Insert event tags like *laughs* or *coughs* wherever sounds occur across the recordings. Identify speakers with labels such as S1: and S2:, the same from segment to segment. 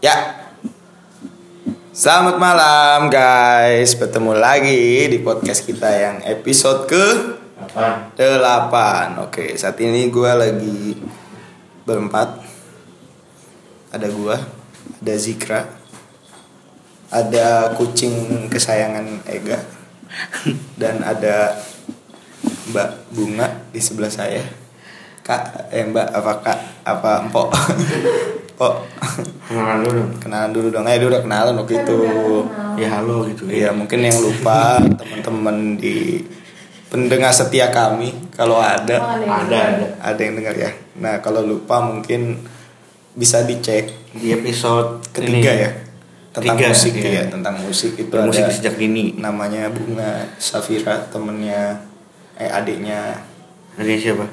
S1: Ya. Selamat malam guys, bertemu lagi di podcast kita yang episode ke
S2: Apa?
S1: 8 Oke, saat ini gue lagi berempat Ada gue, ada Zikra Ada kucing kesayangan Ega Dan ada Mbak Bunga di sebelah saya Kak, eh Mbak, apa Kak, apa Mpok *laughs* Mpok
S2: Kenalan dulu dong.
S1: Kenalan dulu dong, eh dia udah kenalan waktu itu
S2: Ya halo gitu
S1: Oh. Iya mungkin yang lupa teman-teman di pendengar setia kami kalau ada
S2: Iya. Ada ada.
S1: ada yang dengar ya. Nah kalau lupa mungkin bisa dicek
S2: Di episode
S1: ketiga
S2: ini,
S1: ya tentang
S2: Tiga,
S1: musik
S2: iya.
S1: ya tentang musik itu
S2: ya, Musik
S1: ada
S2: sejak dini.
S1: namanya bunga Safira temennya eh adiknya
S2: Ada siapa?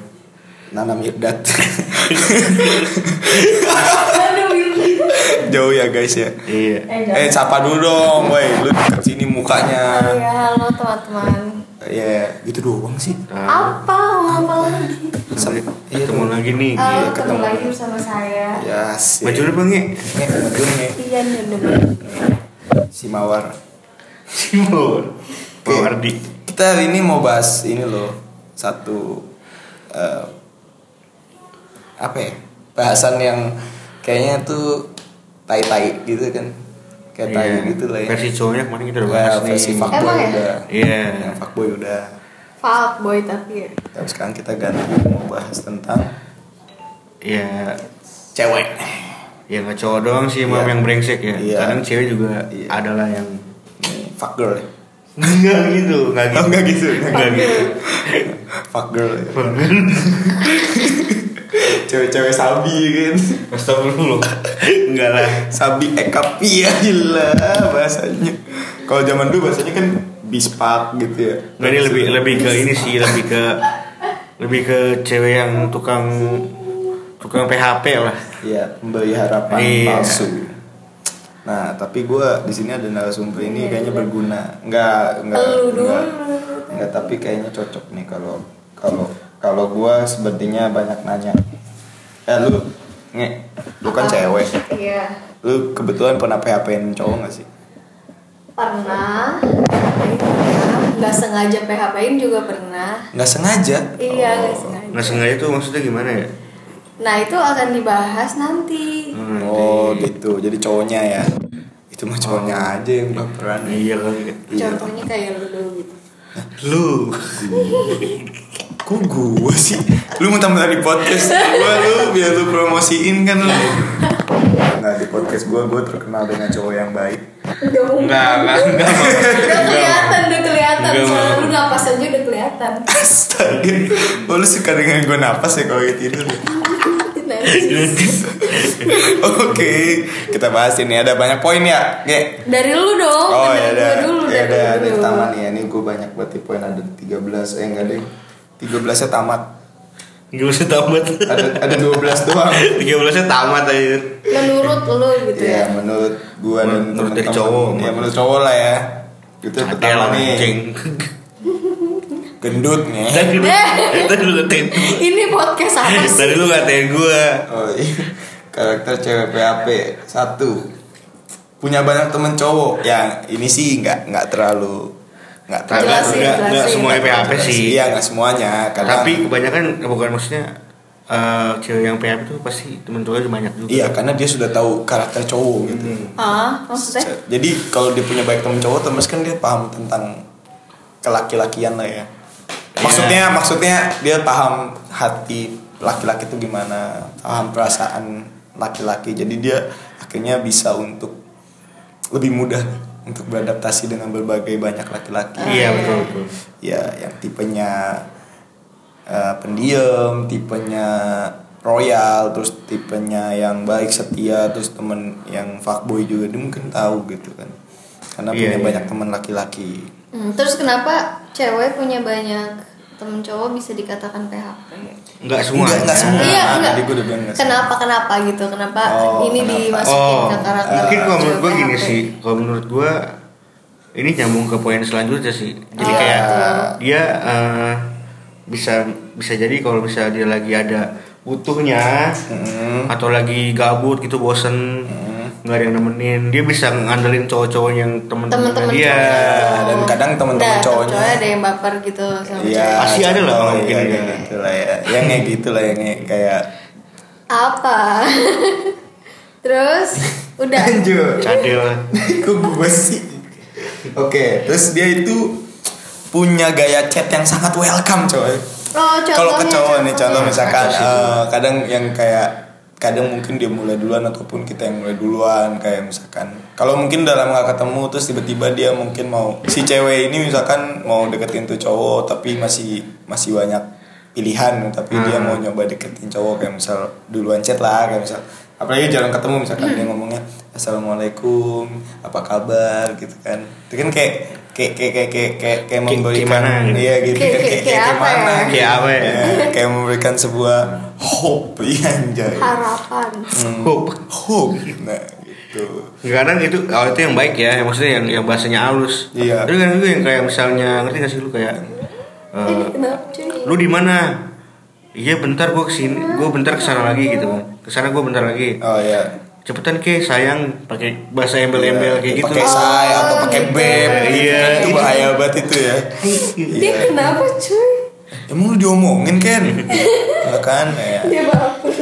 S1: Nana *laughs* Mirdad
S3: Ada Willy.
S1: jauh ya guys ya.
S2: Iya.
S3: Eh, jangan.
S1: Eh sapa dulu dong, woi lu dekat sini
S3: Oh
S1: mukanya.
S3: ya, halo teman-teman.
S1: Ya gitu doang sih.
S2: Nah,
S3: Apa mau apa lagi?
S1: Sam- iya,
S2: ketemu
S1: dong.
S2: lagi nih.
S3: Eh,
S1: Iya,
S3: ketemu
S1: ketemu.
S3: lagi bersama saya.
S1: Ya sih.
S2: Baju lu bang ya? *laughs*
S1: Nih, baju nih.
S3: Iya, Nyono.
S1: si Mawar.
S2: Simon.
S1: Oke.
S2: Pak Ardi.
S1: Kita hari ini mau bahas ini loh satu eh, apa ya bahasan yang kayaknya tuh tai-tai gitu kan kayak tai
S2: Iya.
S1: gitu lah ya.
S2: Versi cowoknya kemarin kita udah
S1: Nah,
S2: bahas nih.
S1: versi fuckboy
S3: Emang ya?
S1: udah.
S2: Iya.
S1: Yang fuckboy udah.
S3: Falk boy tapi ya.
S1: Tapi sekarang kita ganti mau bahas tentang
S2: Iya.
S1: cewek.
S2: Ya nggak cowok doang sih mam
S1: Iya.
S2: yang brengsek ya.
S1: Iya.
S2: Kadang cewek juga
S1: Iya.
S2: adalah yang *laughs*
S1: Nih, Fuck girl. ya.
S2: Enggak gitu, enggak
S1: Oh, nggak gitu.
S2: Enggak gitu.
S1: Fuck girl. ya. *laughs* Cewek-cewek sabi kan.
S2: Astagfirullah. Enggak lah.
S1: Sabi Ekapi ya gila bahasanya. Kalau zaman dulu bahasanya kan bispak gitu ya.
S2: Nggak, Nah, ini lebih lebih ke ini sih, lebih ke lebih ke cewek yang tukang tukang PHP lah.
S1: Iya, pemberi harapan
S2: Iya.
S1: palsu. Nah, tapi gue di sini ada narasumber ini kayaknya berguna. Enggak, enggak,
S3: Elu dulu.
S1: enggak, enggak. Tapi kayaknya cocok nih kalau kalau kalau gue sepertinya banyak nanya. Eh lu, nge, lu kan cewek.
S3: Iya.
S1: Lu kebetulan pernah PHP-in cowok gak sih?
S3: Pernah. PHP-in pernah. Nggak sengaja PHP-in juga pernah.
S1: Nggak sengaja.
S3: Iya, nggak
S1: Oh.
S3: sengaja.
S2: Nggak Nah, sengaja tuh maksudnya gimana ya?
S3: Nah, itu akan dibahas nanti.
S2: Hmm,
S1: Oh gitu, jadi cowoknya ya Itu mah cowoknya aja yang baperan
S2: nanti. Iya kali.
S1: Iya.
S3: Contohnya kayak lu dulu gitu.
S2: Lu.
S1: Kok gue sih? Lu mau tambah di podcast gue lu biar lu promosiin kan lu Nah di podcast gue, gue terkenal dengan cowok yang baik
S3: Udah mungkin.
S2: Enggak, enggak, enggak.
S3: Udah kelihatan, udah kelihatan.
S2: Nggak,
S3: Soalnya
S2: Mam.
S3: lu napas aja udah kelihatan.
S1: Astaga, oh, lu suka dengan gue napas ya kalau kayak tidur ya? Oke, kita bahas ini ada banyak poin ya Ge?
S3: Dari lu dong.
S1: Oh ya
S3: dari gua
S1: ada,
S3: dulu,
S1: ya
S3: dari
S1: ada,
S3: gua
S1: ada
S3: dulu.
S1: taman nih ya Ini gue banyak buat di poin ada 13, eh enggak deh 13 nya tamat
S2: Gak usah tamat.
S1: ada, ada 12 doang
S2: 13-nya tamat aja.
S3: Menurut lu gitu
S1: Iya,
S3: ya.
S1: menurut gua dan
S2: Menurut dari
S1: temen-temen.
S2: cowok.
S1: Iya, menurut cowok lah ya. Itu yang
S2: Ada
S1: pertama
S2: lah
S1: nih. Eh.
S2: anjing. Kan
S1: Gendut nih.
S2: Tadi lu, tadi lu ngatain.
S1: Iya.
S3: Ini podcast apa
S1: *laughs*
S3: sih?
S2: Tadi lu ngatain gua.
S1: Oh, iya. Karakter cewek PHP satu. Punya banyak temen cowok. Ya, ini sih nggak nggak terlalu nggak terlalu
S2: Enggak,
S3: Jelasin,
S2: enggak, enggak
S3: jelasin.
S2: semuanya PHP sih.
S1: Iya, nggak semuanya. Kadang,
S2: Tapi kebanyakan bukan maksudnya eh, cewek yang PHP itu pasti temen cowoknya udah banyak juga.
S1: iya karena dia sudah tahu karakter cowok gitu.
S2: Hmm.
S3: Hah? Ah, Maksudnya?
S1: Jadi kalau dia punya banyak temen cowok, terus kan dia paham tentang kelaki-lakian lah ya. Maksudnya, maksudnya dia paham hati laki-laki itu gimana, paham perasaan laki-laki. Jadi dia akhirnya bisa untuk lebih mudah untuk beradaptasi dengan berbagai banyak laki-laki.
S2: Iya betul betul.
S1: Ya, yang tipenya eh, pendiam, tipenya royal, terus tipenya yang baik setia, terus temen yang fuckboy juga dia mungkin tahu gitu kan. Karena
S2: Iya,
S1: punya
S2: iya.
S1: banyak teman laki-laki.
S3: Hmm, terus kenapa cewek punya banyak temen cowok bisa dikatakan PHP?
S2: Enggak semua.
S1: Enggak, enggak semua.
S3: iya,
S1: nah,
S3: enggak.
S1: tadi gua udah bilang nggak
S3: kenapa kenapa gitu? Kenapa
S1: Oh,
S3: ini
S1: kenapa?
S3: dimasukin
S2: Oh,
S3: ke karakter?
S2: mungkin kalau menurut gue
S3: cewek
S2: gini
S3: PHP?
S2: sih. Kalau menurut gue ini nyambung ke poin selanjutnya sih. Jadi
S3: Oh,
S2: kayak
S3: gitu.
S2: dia eh, bisa bisa jadi kalau misalnya dia lagi ada butuhnya
S1: Mm.
S2: atau lagi gabut gitu bosen nggak ada yang nemenin dia bisa ngandelin cowok-cowok yang temen-temen
S3: temen-temen
S2: dia
S3: cowoknya.
S1: Iya, dan kadang temen-temen
S3: Nah,
S1: cowoknya.
S3: ada yang baper gitu sama
S1: Iya,
S3: cewek.
S2: Pasti ada lah
S1: contoh,
S2: orang
S1: iya,
S2: gini.
S1: kayak gitu lah ya. Yang kayak gitu lah yang kayak- kayak
S3: apa *laughs* terus udah
S1: *laughs* Lanjut.
S2: cadel
S1: Kok gue sih? Oke, terus dia itu punya gaya chat yang sangat welcome coy.
S3: oh
S1: Kalau ke cowok nih contoh misalkan
S2: Kacau sih.
S1: eh, kadang yang kayak kadang mungkin dia mulai duluan ataupun kita yang mulai duluan kayak misalkan kalau mungkin dalam nggak ketemu terus tiba-tiba dia mungkin mau si cewek ini misalkan mau deketin tuh cowok tapi masih masih banyak pilihan tapi dia
S2: Hmm.
S1: mau nyoba deketin cowok kayak misal duluan chat lah kayak misal apalagi jarang ketemu misalkan dia ngomongnya assalamualaikum apa kabar gitu kan itu kan kayak kayak kayak kayak kayak kayak, kayak
S2: Kayak
S1: memberikan
S2: gimana gitu.
S1: iya gitu
S3: Kayak-
S1: kan
S3: kayak- kayak apa
S1: gimana
S3: ya?
S1: gitu.
S2: Kayak apa ya?
S1: Ya, *laughs* kayak memberikan sebuah hope iya anjay
S3: harapan
S1: Hmm,
S2: Hope.
S1: hope nah gitu
S2: kadang itu oh, itu yang baik ya maksudnya yang yang bahasanya halus
S1: Iya.
S2: tapi kadang juga yang kayak misalnya ngerti gak sih lu kayak
S1: Hmm.
S3: ini
S2: eh,
S3: *laughs* kenapa cuy
S2: lu di mana iya bentar gue kesini gue bentar kesana lagi gitu kan kesana gue bentar lagi
S1: oh ya
S2: cepetan ke sayang pakai bahasa embel-embel kayak gitu
S1: Iya, pakai say atau
S3: Oh,
S1: pakai
S3: gitu.
S1: beb
S2: Iya.
S1: itu bahaya banget itu ya
S3: dia kenapa cuy
S1: emang lu diomongin kan Lah kan ya
S3: dia baper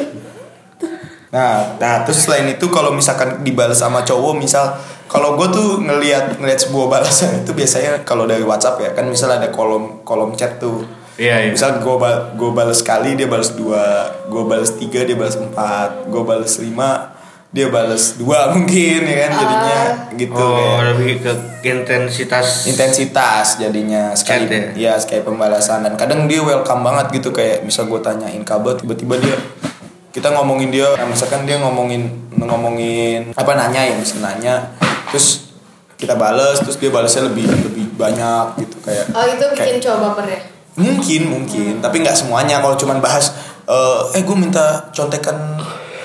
S1: Nah, nah terus selain itu kalau misalkan dibalas sama cowok misal kalau gue tuh ngelihat ngelihat sebuah balasan itu biasanya kalau dari WhatsApp ya kan misal ada kolom kolom chat tuh.
S2: Iya, iya.
S1: Misal gue gue balas sekali dia balas dua, gue balas tiga dia balas empat, gue balas lima dia balas dua *laughs* mungkin ya kan jadinya gitu
S2: oh
S1: kayak
S2: lebih ke intensitas
S1: intensitas jadinya sekali
S2: Chat
S1: ya sekali pembalasan dan kadang dia welcome banget gitu kayak misal gue tanyain kabar tiba-tiba dia kita ngomongin dia nah, misalkan dia ngomongin ngomongin apa nanya ya misalnya nanya terus kita bales terus dia balesnya lebih lebih banyak gitu kayak
S3: oh itu bikin
S1: kayak-
S3: cowok baper ya
S1: mungkin mungkin tapi nggak semuanya kalau cuman bahas eh, eh gue minta contekan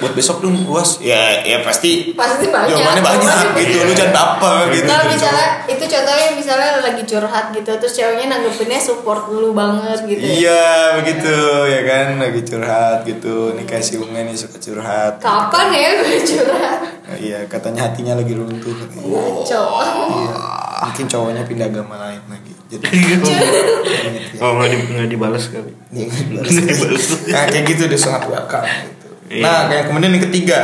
S1: buat besok dong luas ya ya pasti
S3: pasti banyak
S1: jawabannya
S3: *laughs*
S1: banyak
S3: Pasti
S1: gitu lu jangan baper gitu
S3: Kalau misalnya itu contohnya misalnya lagi curhat gitu terus ceweknya nanggepinnya support lu banget gitu. ya.
S1: Iya begitu ya kan lagi curhat gitu nih kayak si Unge nih suka curhat
S3: Kapan ya gue curhat?
S1: Nah, iya katanya hatinya lagi runtuh Oh,
S3: Cowok.
S1: iya mungkin cowoknya pindah agama lain lagi jadi
S3: *laughs*
S1: inget ya.
S2: oh gitu. nggak di, nggak dibalas kali
S1: Iya, kan, balas.
S2: Nggak dibalas.
S1: *laughs* nah kayak gitu dia sangat welcome gitu.
S2: Iya.
S1: nah yang kemudian yang ketiga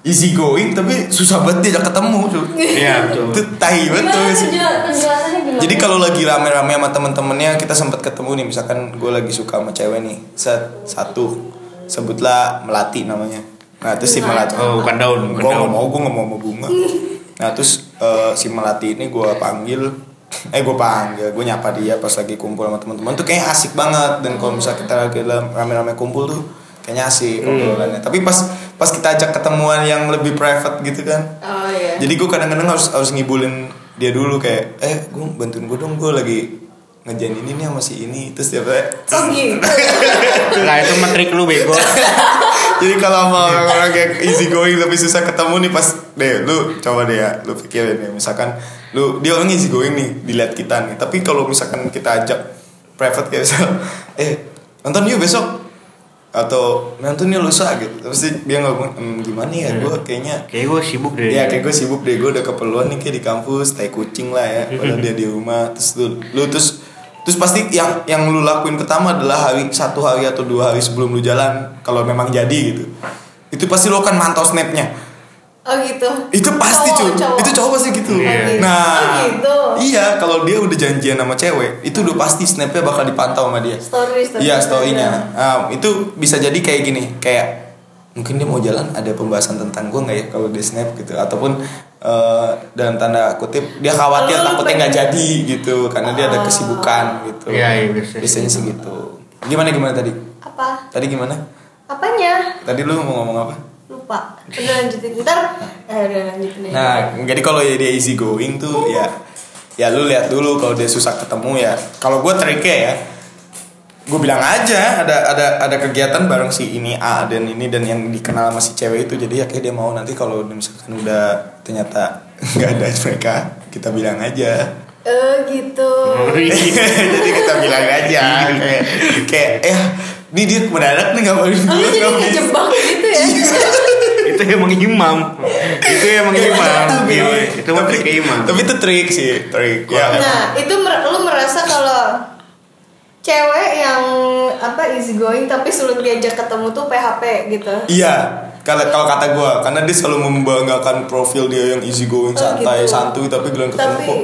S1: easy going tapi susah banget diajak ketemu tuh
S2: iya betul
S1: itu tai banget tuh
S3: Gimana
S1: sih.
S3: penjel- penjelasannya gimana?
S1: Jadi kalau lagi rame-rame sama temen-temennya kita sempat ketemu nih misalkan gue lagi suka sama cewek nih set satu sebutlah melati namanya nah terus si melati
S2: oh bukan daun
S1: gue
S2: bukan
S1: nggak
S2: daun
S1: mau gue nggak mau sama bunga nah terus eh, si melati ini gue panggil eh gue panggil gue nyapa dia pas lagi kumpul sama teman-teman tuh kayaknya asik banget dan kalau misalnya kita lagi dalam rame-rame kumpul tuh kayaknya asik obrolannya tapi pas pas kita ajak ketemuan yang lebih private gitu kan
S3: Oh iya.
S1: jadi gue kadang-kadang harus harus ngibulin dia dulu kayak eh gue bantuin gue dong gue lagi ngejain ini nih sama si ini terus dia kayak
S3: Oh gitu.
S2: nah itu matrik lu bego
S1: jadi kalau sama orang-orang kayak easy going lebih susah ketemu nih pas deh lu coba deh ya lu pikirin ya misalkan lu dia orang easy going nih dilihat kita nih tapi kalau misalkan kita ajak private kayak misal *laughs* eh nonton yuk besok atau nonton yuk lusa gitu terus dia ngomong "Hmm, gimana ya gue kayaknya
S2: kayak gue sibuk deh
S1: Iya kayak gue sibuk deh gue udah keperluan nih kayak di kampus tai kucing lah ya padahal dia di rumah terus lu, lu terus terus pasti yang yang lu lakuin pertama adalah hari satu hari atau dua hari sebelum lu jalan kalau memang jadi gitu itu pasti lu akan mantau snapnya
S3: Oh gitu.
S1: itu pasti cuy
S3: Cowok, cowok.
S1: itu cowok pasti gitu
S2: Iya.
S1: nah
S3: Oh, gitu.
S1: iya kalau dia udah janjian sama cewek itu udah pasti snapnya bakal dipantau sama dia
S3: Story story.
S1: Iya storynya Ah, Itu bisa jadi kayak gini Kayak mungkin dia mau jalan ada pembahasan tentang gue nggak ya kalau di snap gitu ataupun eh, dalam tanda kutip dia khawatir
S3: Lu
S1: takutnya nggak
S3: pengen- Ah.
S1: jadi gitu karena dia ada kesibukan gitu
S2: Iya, iya, biasanya.
S1: biasanya sih gitu gimana gimana tadi
S3: Apa?
S1: tadi gimana
S3: Apanya?
S1: tadi lu mau ngomong apa
S3: Lupa. Udah lanjutin ntar. Eh udah lanjutin aja.
S1: Nah, jadi kalau dia easy going tuh ya ya lu lihat dulu kalau dia susah ketemu ya. Kalau gue triknya ya gue bilang aja ada ada ada kegiatan bareng si ini A dan ini dan yang dikenal sama si cewek itu jadi ya kayak dia mau nanti kalau misalkan udah ternyata *laughs* nggak ada mereka kita bilang aja *laughs*
S3: Eh gitu.
S2: Oh, iya.
S1: jadi kita bilang aja kayak, kayak eh ini dia mendadak nih ngapain
S3: Oh,
S1: gue Iya.
S3: lu jadi ngejebak gitu ya.
S2: itu emang imam itu emang imam Iya, itu mah
S1: gitu. Tapi-
S2: triknya imam
S1: Tapi itu trik sih, trik. Ya,
S3: Nah, itu mer- lu merasa kalau cewek yang apa easy going tapi sulit diajak ketemu tuh PHP gitu.
S1: Iya, kalau kalau kata gue, karena dia selalu membanggakan profil dia yang easy going,
S3: Oh,
S1: santai,
S3: gitu.
S1: santuy, tapi belum Iya, ketemu
S3: Tapi
S1: kok.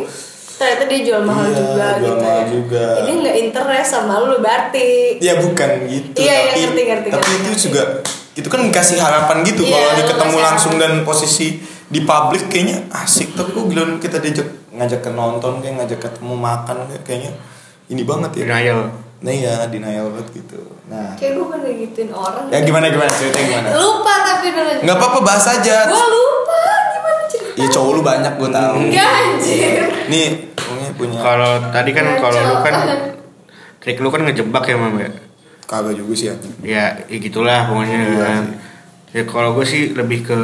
S3: ternyata dia jual mahal
S1: Iya,
S3: juga
S1: jual
S3: gitu.
S1: mahal
S3: ya.
S1: juga.
S3: Jadi nggak interest sama lu berarti.
S1: Ya bukan gitu,
S3: Iya, iya,
S1: tapi
S3: ngerti, ngerti,
S1: tapi
S3: ngerti,
S1: itu
S3: ngerti.
S1: juga itu kan kasih harapan gitu
S3: Iya,
S1: kalau
S3: lu
S1: diketemu
S3: kasih
S1: langsung dan
S3: harapan.
S1: posisi di publik kayaknya asik tapi kok belum kita diajak ngajak ke nonton kayak ngajak ketemu makan kayak- kayaknya ini banget ya
S2: denial
S1: nah iya denial banget gitu nah
S3: Kayak gue pernah gituin orang.
S1: ya gimana gimana ceritanya gimana
S3: Lupa tapi dulu.
S1: nggak apa-apa bahas aja
S3: Gue lupa gimana cerita.
S1: ya cowok lu banyak gue tahu
S3: Enggak anjir.
S1: nih punya punya
S2: kalau tadi kan kalau lu kan
S3: Kacau.
S2: trik lu kan ngejebak ya mam ya
S1: kagak juga sih ya
S2: ya ya gitulah pokoknya
S1: Iya
S2: kan. ya kalau gue sih lebih ke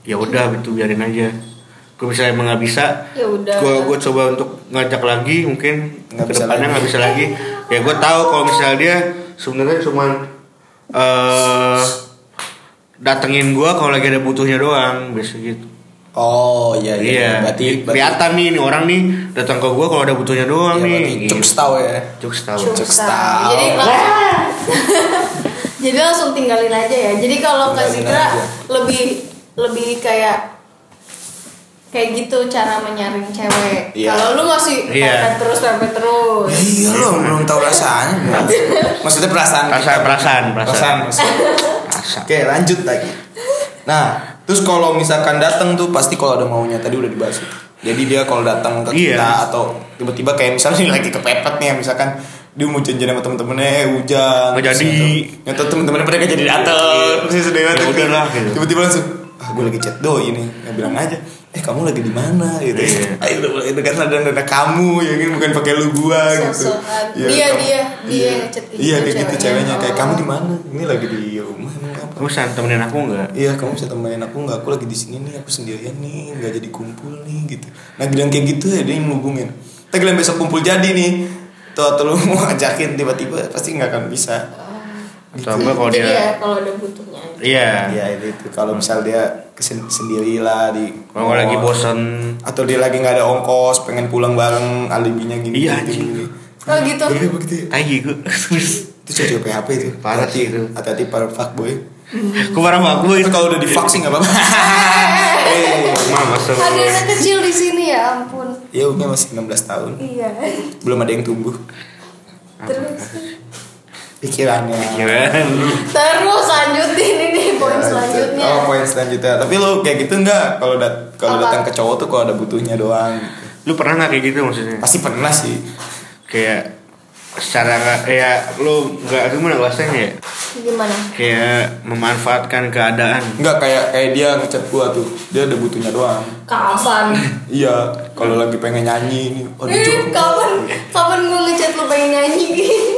S2: ya udah gitu biarin aja gue misalnya emang nggak bisa
S3: Ya udah.
S2: gue gue coba untuk ngajak lagi mungkin
S1: Nggak bisa
S2: kedepannya
S1: lagi.
S2: nggak bisa lagi ya gue tahu kalau misalnya dia sebenarnya cuma eh datengin gue kalau lagi ada butuhnya doang biasa gitu
S1: oh iya iya,
S2: iya
S1: berarti berarti
S2: kelihatan nih ini orang nih datang ke gue kalau ada butuhnya
S1: iya,
S2: doang nih
S1: berarti
S2: Gitu.
S1: cukup tahu ya
S2: Cuks tahu
S3: Cuks
S1: Cuks
S3: tahu.
S1: tahu.
S3: Jadi langsung, jadi langsung *laughs* tinggalin aja ya. Jadi kalau ke
S1: Tinggalin
S3: Zikra
S1: aja.
S3: lebih lebih kayak kayak gitu cara menyaring cewek.
S1: Iya.
S3: Kalau lu masih
S2: Iya.
S3: pepet terus pepet terus.
S1: Iya lo belum tahu rasanya. Bro. *laughs* Maksudnya perasaan.
S2: perasaan perasaan
S1: Perasaan,
S2: perasaan
S1: perasaan.
S2: Perasaan.
S1: Oke lanjut lagi. Nah terus kalau misalkan datang tuh pasti kalau ada maunya tadi udah dibahas. tuh. Jadi dia kalau datang ke
S2: Iya.
S1: kita atau tiba-tiba kayak misalnya *laughs* ini lagi kepepet nih misalkan dia mau janjian sama temen-temennya eh hujan
S2: Nggak jadi. Iya.
S1: nyata temen-temennya mereka jadi dateng terus dia
S2: Ya
S1: dateng
S2: udah lah, gitu.
S1: tiba-tiba langsung ah gue lagi chat doi ini ya, bilang aja eh kamu lagi di mana gitu
S2: Iya.
S1: *laughs* ayo udah mulai dekat ada ada kamu ya kan bukan pakai lu gua gitu
S3: Sosokan. Dia,
S1: kamu-
S3: dia, dia
S1: iya.
S3: yang ngechat gitu
S1: iya kayak gitu
S3: ceweknya.
S1: ceweknya kayak
S3: Oh.
S1: kamu di mana ini lagi di rumah emang apa
S2: kamu san temenin aku nggak
S1: Iya kamu bisa temenin aku nggak? Aku lagi di sini nih, aku sendirian nih, nggak jadi kumpul nih gitu. Nah bilang kayak gitu ya dia yang ngubungin. Tapi kalian besok kumpul jadi nih, tuh atau lu *laughs* mau ajakin tiba-tiba pasti nggak akan bisa. Gitu.
S2: atau enggak kalau
S3: Jadi ya
S2: dia
S3: kalau ada butuhnya. aja.
S2: iya
S1: Iya itu, itu. kalau misal dia kesen sendiri lah di.
S2: kalau nggak lagi bosen
S1: Atau dia lagi nggak ada ongkos, pengen pulang bareng, alibinya gini. gitu,
S2: Iya, anjing.
S1: gini.
S3: Oh gitu.
S1: Iya begitu. ya.
S2: tai gue
S1: Itu cewek PHP itu.
S2: Parah sih itu.
S1: Hati-hati para fuckboy.
S2: gue marah sama *laughs* aku
S1: Tapi
S2: itu
S1: kalau udah divaksin nggak apa-apa. *laughs* Eh,
S2: mah masa lu-
S3: Ada anak kecil di sini ya ampun.
S1: Ya umurnya masih 16 tahun.
S2: *laughs*
S3: Iya.
S1: belum ada yang tumbuh
S3: Terus
S1: pikirannya
S2: Gimana?
S3: terus lanjutin ini poin selanjutnya.
S1: Iya, oh poin selanjutnya tapi lo kayak gitu nggak kalau dat kalau
S3: Apa?
S1: datang ke cowok tuh kalau ada butuhnya doang
S2: lu pernah nggak kayak gitu maksudnya
S1: pasti pernah sih
S2: kayak secara nggak ya lu nggak gimana bahasanya ya
S3: Gimana?
S2: kayak memanfaatkan keadaan
S1: nggak kayak kayak dia ngechat gua tuh dia ada butuhnya doang
S3: Kapan?
S1: iya kalau lagi pengen nyanyi ini oh, dia cowok.
S3: Eh, *laughs* kapan kapan gue ngechat lu pengen nyanyi?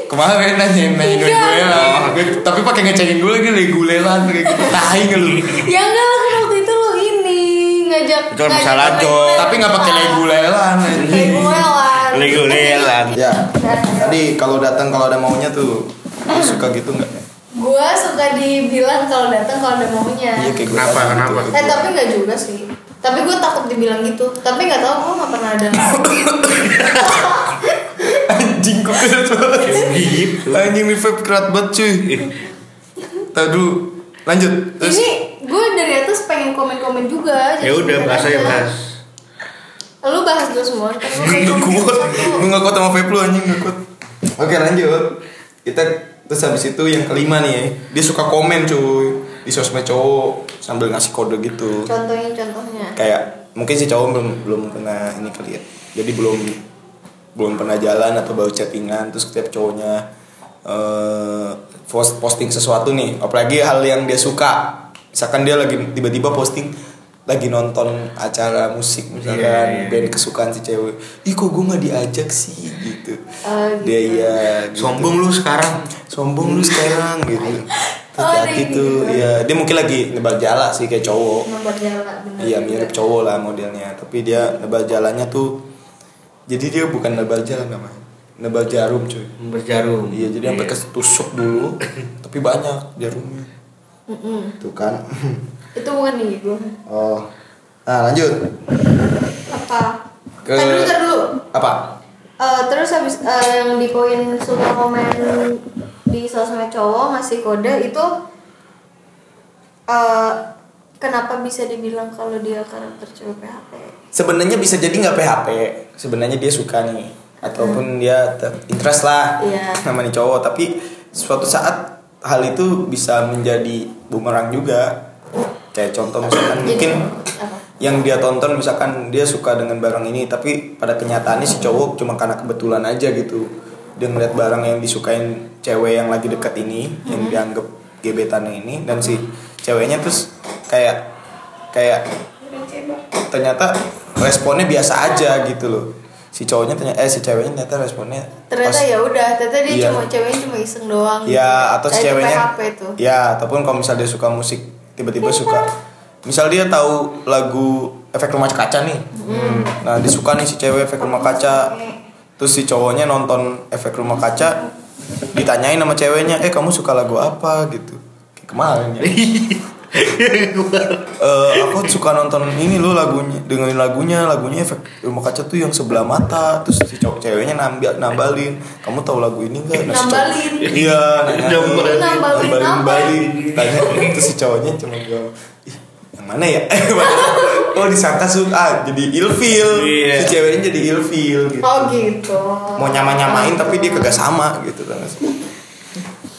S1: kemarin nanyain nanyain
S3: Iya.
S1: gulela Gua- tapi pakai ngecengin gue lagi lagi gulelan kayak gitu tahi nggak lu
S3: Ya enggak lah kan waktu itu lo ini ngajak
S2: Itu kan
S3: ngajak
S2: masalah
S3: main
S2: Jo,
S3: bola.
S1: tapi nggak pakai lagi gulelan
S3: Kayak gue lah.
S2: lego lelan
S1: ya tadi kalau datang kalau ada maunya tuh lu suka gitu nggak
S3: Gue suka dibilang kalau datang kalau ada maunya.
S1: Iya kayak gua
S2: Kenapa,
S1: tadi
S2: kenapa?
S1: gitu.
S3: Eh tapi nggak juga sih. Tapi gue takut dibilang gitu. Tapi nggak tahu gue nggak pernah ada.
S1: Anjing kok keras banget
S2: gitu
S1: Anjing di vape kerat banget cuy Tadu Lanjut Terus
S3: ini gue dari atas pengen komen-komen juga. jadi
S2: ya udah
S3: sebenarnya.
S2: bahasa ya bahas
S3: Lu bahas dulu semua. ntar gua
S1: *laughs*
S3: gitu.
S1: Gue
S3: komen
S1: kuat
S3: satu-satu.
S1: Gue gak kuat sama vape lu anjing gak kuat Oke lanjut Kita Terus habis itu yang kelima nih ya Dia suka komen cuy Di sosmed cowok Sambil ngasih kode gitu
S3: Contohnya contohnya.
S1: Kayak Mungkin si cowok belum belum pernah ini kali ya Jadi belum Belum pernah jalan atau baru chattingan Terus setiap cowoknya eh post- Posting sesuatu nih Apalagi hal yang dia suka Misalkan dia lagi tiba-tiba posting lagi nonton acara musik misalkan
S2: Iya, iya.
S1: band kesukaan si cewek ih kok gue nggak diajak sih gitu
S3: Oh, gitu.
S1: dia iya gitu.
S2: sombong lu sekarang
S1: sombong lu sekarang gitu
S3: *laughs* Oh,
S1: hati-hati
S3: dia
S1: tuh
S3: gitu.
S1: ya dia mungkin lagi nebak jala sih kayak cowok
S3: Nomor jalan benar.
S1: Iya mirip cowok lah modelnya Tapi dia nebal jalannya tuh Jadi dia bukan nebal jalan namanya Nebal jarum cuy
S2: berjarum
S1: Iya jadi *laughs* sampai ketusuk dulu Tapi banyak jarumnya
S3: Mm-mm.
S1: Tuh kan *laughs*
S3: Itu bukan nih gue.
S1: Oh. Nah, lanjut.
S3: Apa?
S1: Ke-
S3: Tar dulu, tar dulu.
S1: Apa?
S3: Eh, terus habis eh, yang di poin suka komen di sosmed cowok ngasih kode itu eh kenapa bisa dibilang kalau dia karakter cewek PHP?
S1: Sebenarnya bisa jadi nggak PHP. Sebenarnya dia suka nih ataupun dia ter- interest lah
S3: Hmm. Iya.
S1: sama nih cowok, tapi suatu saat hal itu bisa menjadi bumerang juga. Kayak contoh misalkan
S3: Jadi,
S1: mungkin
S3: apa?
S1: yang dia tonton misalkan dia suka dengan barang ini tapi pada kenyataannya si cowok cuma karena kebetulan aja gitu dia ngeliat barang yang disukain cewek yang lagi deket ini yang dianggap gebetannya ini dan si ceweknya terus kayak kayak ternyata responnya biasa aja gitu loh si cowoknya ternyata eh si ceweknya ternyata responnya
S3: Ternyata
S1: pas-
S3: ya udah, ternyata dia
S1: Iya.
S3: cuma ceweknya cuma iseng doang.
S1: Ya atau si
S3: Nah, itu
S1: ceweknya
S3: PHP tuh.
S1: Ya ataupun kalau misal dia suka musik Tiba-tiba suka Misal dia tahu lagu Efek Rumah Kaca nih
S3: Hmm.
S1: Nah dia suka nih si cewek Efek Rumah Kaca Terus si cowoknya nonton Efek Rumah Kaca Ditanyain sama ceweknya Eh kamu suka lagu apa gitu Kayak kemarin ya Eh, aku suka nonton ini loh lagunya dengerin lagunya lagunya efek rumah kaca tuh yang sebelah mata terus si cowok ceweknya nambil nambalin kamu tahu lagu ini enggak
S3: Nambalin.
S1: iya nanya tuh.
S2: Nambalin.
S3: Nambalin apa?
S1: nambalin tanya terus si cowoknya cuma bilang "Ih, yang mana ya *laughs* oh disangka suka ah, jadi ilfil
S2: Iya.
S1: si ceweknya jadi ilfil gitu
S3: Oh gitu. Nah,
S1: mau nyama nyamain tapi dia kagak sama gitu kan